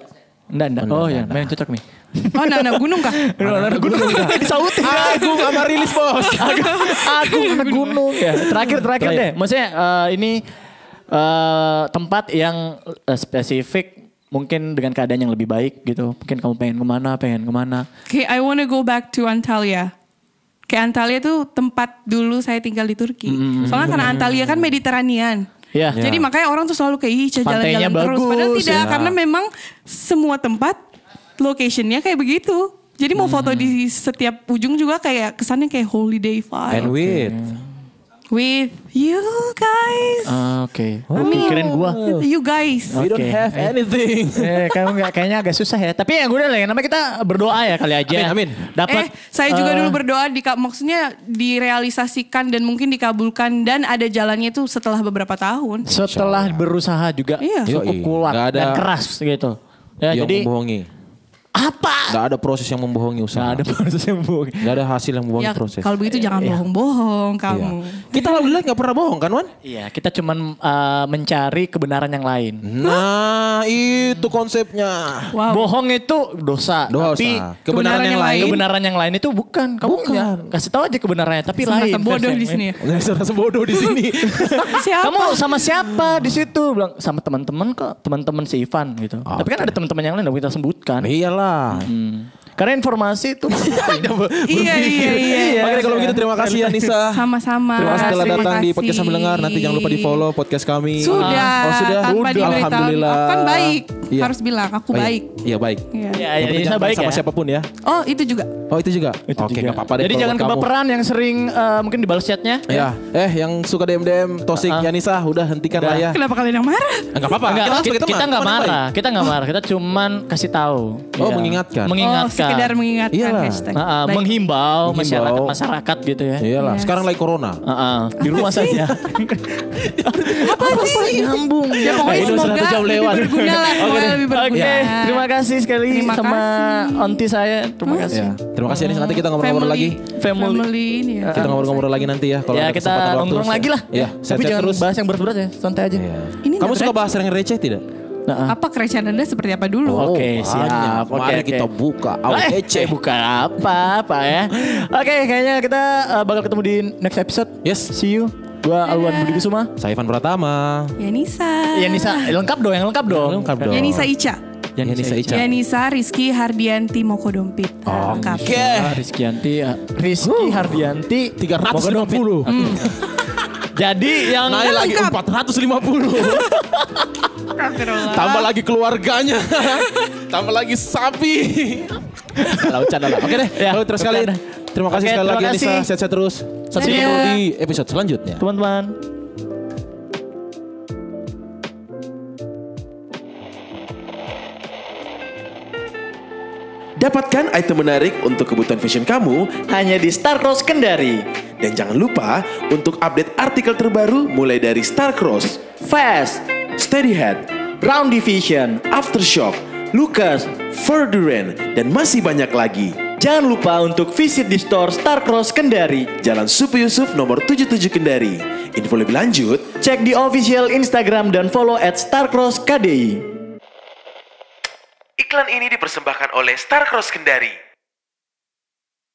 Speaker 4: Enggak, enggak. Oh ya, main cocok nih.
Speaker 5: Oh, anak-anak gunung kah?
Speaker 4: Anak gunung ya? disautin.
Speaker 3: Agung sama rilis bos.
Speaker 4: Aku anak gunung ya. Terakhir terakhir deh. Maksudnya eh, ini eh, tempat yang eh, spesifik mungkin dengan keadaan yang lebih baik gitu. Mungkin kamu pengen kemana, pengen kemana.
Speaker 5: Oke, I wanna go back to Antalya. Kayak Antalya tuh tempat dulu saya tinggal di Turki. Soalnya karena Antalya kan Mediteranian.
Speaker 4: Mm-hmm. Iya.
Speaker 5: Jadi makanya orang tuh selalu kayak "Ih, Ica
Speaker 4: Pantainya
Speaker 5: jalan-jalan terus. Padahal
Speaker 4: bagus,
Speaker 5: tidak,
Speaker 4: ya.
Speaker 5: karena memang semua tempat locationnya kayak begitu. Jadi mau foto di
Speaker 4: Mm-hmm.
Speaker 5: setiap ujung juga kayak kesannya kayak holiday vibe.
Speaker 3: And with
Speaker 5: With you guys.
Speaker 4: Ah, Oke.
Speaker 5: I mean,
Speaker 4: Kirain gua.
Speaker 5: You guys.
Speaker 3: we don't
Speaker 4: Oke.
Speaker 3: have anything.
Speaker 4: Eh, kamu nggak kayaknya agak susah ya. Tapi yang udah lah, yang namanya kita berdoa ya kali aja.
Speaker 3: Amin, amin.
Speaker 4: Dapat.
Speaker 5: eh, saya juga
Speaker 4: eh,
Speaker 5: dulu berdoa di maksudnya direalisasikan dan mungkin dikabulkan dan ada jalannya itu setelah beberapa tahun.
Speaker 4: setelah berusaha juga
Speaker 5: Iya.
Speaker 4: cukup
Speaker 3: Yoi.
Speaker 4: kuat
Speaker 3: Nggak ada- Iya,
Speaker 4: dan keras gitu. Ya,
Speaker 3: yang
Speaker 4: jadi
Speaker 3: membohongi.
Speaker 4: apa?
Speaker 3: Gak ada proses yang membohongi usaha.
Speaker 4: Nggak
Speaker 3: Gak
Speaker 4: ada
Speaker 3: ada,
Speaker 4: proses yang bohong.
Speaker 3: hasil yang membohongi
Speaker 5: Ya,
Speaker 3: proses.
Speaker 5: kalau begitu jangan bohong-bohong
Speaker 3: Iya.
Speaker 5: kamu.
Speaker 3: Kita alhamdulillah gak pernah bohong kan Wan?
Speaker 4: Iya, kita cuman eh, mencari kebenaran yang lain.
Speaker 3: Nah itu konsepnya.
Speaker 5: Wow.
Speaker 4: Bohong itu dosa,
Speaker 3: Dosa.
Speaker 4: tapi
Speaker 3: Kebenaran yang lain.
Speaker 4: Kebenaran yang lain itu bukan, kamu nggak kasih tahu aja kebenarannya, tapi
Speaker 5: Merasa
Speaker 4: lain.
Speaker 5: bodoh di sini ya.
Speaker 3: Nggak bisa rasa bodoh di sini.
Speaker 5: Siapa?
Speaker 4: Kamu sama siapa di situ? Bilang sama teman-teman kok, teman-teman si Ivan gitu.
Speaker 3: Ah,
Speaker 4: Tapi kan ada teman-teman yang lain yang kita sebutkan. Hmm.
Speaker 3: Iyalah.
Speaker 4: Karena informasi itu
Speaker 5: iya, iya, iya.
Speaker 3: Makanya kalau begitu terima kasih ya, Anissa.
Speaker 5: Sama-sama.
Speaker 3: Terima kasih telah
Speaker 5: Terima
Speaker 3: datang di
Speaker 5: kasih.
Speaker 3: podcast mendengar. Nanti jangan lupa di follow podcast kami.
Speaker 5: Sudah.
Speaker 3: Oh sudah.
Speaker 5: Tanpa
Speaker 3: Udah,
Speaker 5: diberitahu.
Speaker 3: Alhamdulillah.
Speaker 5: Kan baik.
Speaker 3: Iya.
Speaker 5: Harus bilang aku
Speaker 3: Oh, iya.
Speaker 5: baik.
Speaker 3: Iya baik.
Speaker 5: Iya.
Speaker 4: Ya,
Speaker 3: Yang
Speaker 4: ya,
Speaker 3: penting
Speaker 4: Anissa
Speaker 3: jangan
Speaker 4: baik
Speaker 3: sama
Speaker 4: ya.
Speaker 3: siapapun ya.
Speaker 5: Oh, itu juga.
Speaker 3: Oh itu juga. Oke
Speaker 4: juga.
Speaker 3: nggak apa-apa deh.
Speaker 4: Jadi
Speaker 3: kalau
Speaker 4: jangan
Speaker 3: buat kamu.
Speaker 4: kebaperan ya? yang sering eh, mungkin dibalas chatnya.
Speaker 3: Ya. Eh yang suka DM DM Tosik Yanisa udah hentikan lah ya.
Speaker 5: Kenapa kalian yang marah?
Speaker 3: Enggak apa-apa.
Speaker 4: Enggak,
Speaker 3: Kita
Speaker 4: kita,
Speaker 3: sebagai teman.
Speaker 4: kita Ah. nggak
Speaker 3: teman yang
Speaker 4: marah,
Speaker 3: baik.
Speaker 4: kita nggak marah, kita cuman kasih tahu. Iya.
Speaker 3: Oh, mengingatkan.
Speaker 4: Mengingatkan.
Speaker 5: Oh, sekedar mengingatkan
Speaker 3: Iyalah.
Speaker 5: hashtag.
Speaker 4: Ah, ah,
Speaker 5: Baik.
Speaker 4: menghimbau
Speaker 3: Menghimbau. Iya.
Speaker 4: masyarakat masyarakat gitu ya.
Speaker 3: Iyalah,
Speaker 5: Yes.
Speaker 3: sekarang lagi corona.
Speaker 4: Ah, ah, di rumah saja.
Speaker 5: Apa sih? Nyambung. Ya pokoknya
Speaker 3: Nah, ini
Speaker 5: semoga
Speaker 3: satu jam
Speaker 5: lebih
Speaker 3: lewat.
Speaker 5: berguna lah. Semoga lebih
Speaker 4: Oke,
Speaker 5: berguna.
Speaker 4: terima kasih sekali
Speaker 5: Terima
Speaker 4: sama
Speaker 5: kasih. Hmm.
Speaker 4: onti saya. Terima kasih.
Speaker 3: Ya. Terima kasih Anissa. Nanti kita ngobrol-ngobrol lagi.
Speaker 4: Family.
Speaker 5: Family ini ya.
Speaker 3: Kita ngobrol-ngobrol lagi nanti ya kalau
Speaker 4: Ya,
Speaker 3: ada
Speaker 4: kita
Speaker 3: kesempatan waktu.
Speaker 4: nongkrong lagi lah.
Speaker 3: Ya,
Speaker 4: Tapi
Speaker 3: sehat-sehat
Speaker 4: jangan
Speaker 3: terus.
Speaker 4: bahas yang berat-berat ya, santai aja.
Speaker 3: Iya.
Speaker 5: Ini
Speaker 3: Kamu
Speaker 5: nggak
Speaker 3: suka
Speaker 5: berat.
Speaker 3: bahas yang receh tidak?
Speaker 4: Nah, ah.
Speaker 5: Apa kerjaan anda seperti apa dulu?
Speaker 4: Oke,
Speaker 3: Oh, banyak.
Speaker 4: siap. Oke,
Speaker 3: Mari
Speaker 4: oke.
Speaker 3: kita buka out
Speaker 4: Eh,
Speaker 3: receh.
Speaker 4: bukan apa apa ya. Oke, kayaknya kita eh, bakal ketemu di next episode.
Speaker 3: Yes.
Speaker 4: See you. Gua Alwan Budi Kusuma.
Speaker 3: Saya Ivan Pratama.
Speaker 5: Yanisa.
Speaker 4: Yanisa lengkap dong, yang lengkap dong.
Speaker 3: Lengkap dong.
Speaker 5: Yanisa Ica.
Speaker 3: Yanisa Iya, Ica.
Speaker 5: Yanisa Rizky Hardianti Moko Dompit. Lengkap.
Speaker 2: Eh.
Speaker 4: Ah, Rizky Yanti, ah, Rizky Hardianti
Speaker 3: 350.
Speaker 4: Jadi yang
Speaker 3: Naik lagi
Speaker 5: Lengkap.
Speaker 3: 450. Tambah lagi keluarganya. Tambah lagi sapi. Kalau bercanda lah. Oke deh.
Speaker 4: Ya,
Speaker 3: Kalau terus sekali.
Speaker 4: bercanda.
Speaker 3: Terima kasih
Speaker 4: Oke,
Speaker 3: sekali
Speaker 4: terima
Speaker 3: lagi Anissa.
Speaker 4: kasih.
Speaker 3: Sehat-sehat terus. Sampai
Speaker 5: Dadah.
Speaker 3: ketemu di episode selanjutnya.
Speaker 4: teman-teman
Speaker 1: Dapatkan item menarik untuk kebutuhan fashion kamu
Speaker 2: Hanya di Starcross Kendari.
Speaker 1: dan jangan lupa untuk update artikel terbaru mulai dari Starcross,
Speaker 2: Fast,
Speaker 1: Steadyhead,
Speaker 2: Brown Division.
Speaker 1: Aftershock,
Speaker 2: Lucas,
Speaker 1: Ferdurant, dan masih banyak lagi.
Speaker 2: jangan lupa untuk visit di store Starcross Kendari.
Speaker 1: Jalan Supi Yusuf nomor 77 Kendari. Info lebih lanjut
Speaker 2: Cek di official Instagram dan follow at Starcross KDI.
Speaker 1: Iklan ini dipersembahkan oleh Starcross Kendari.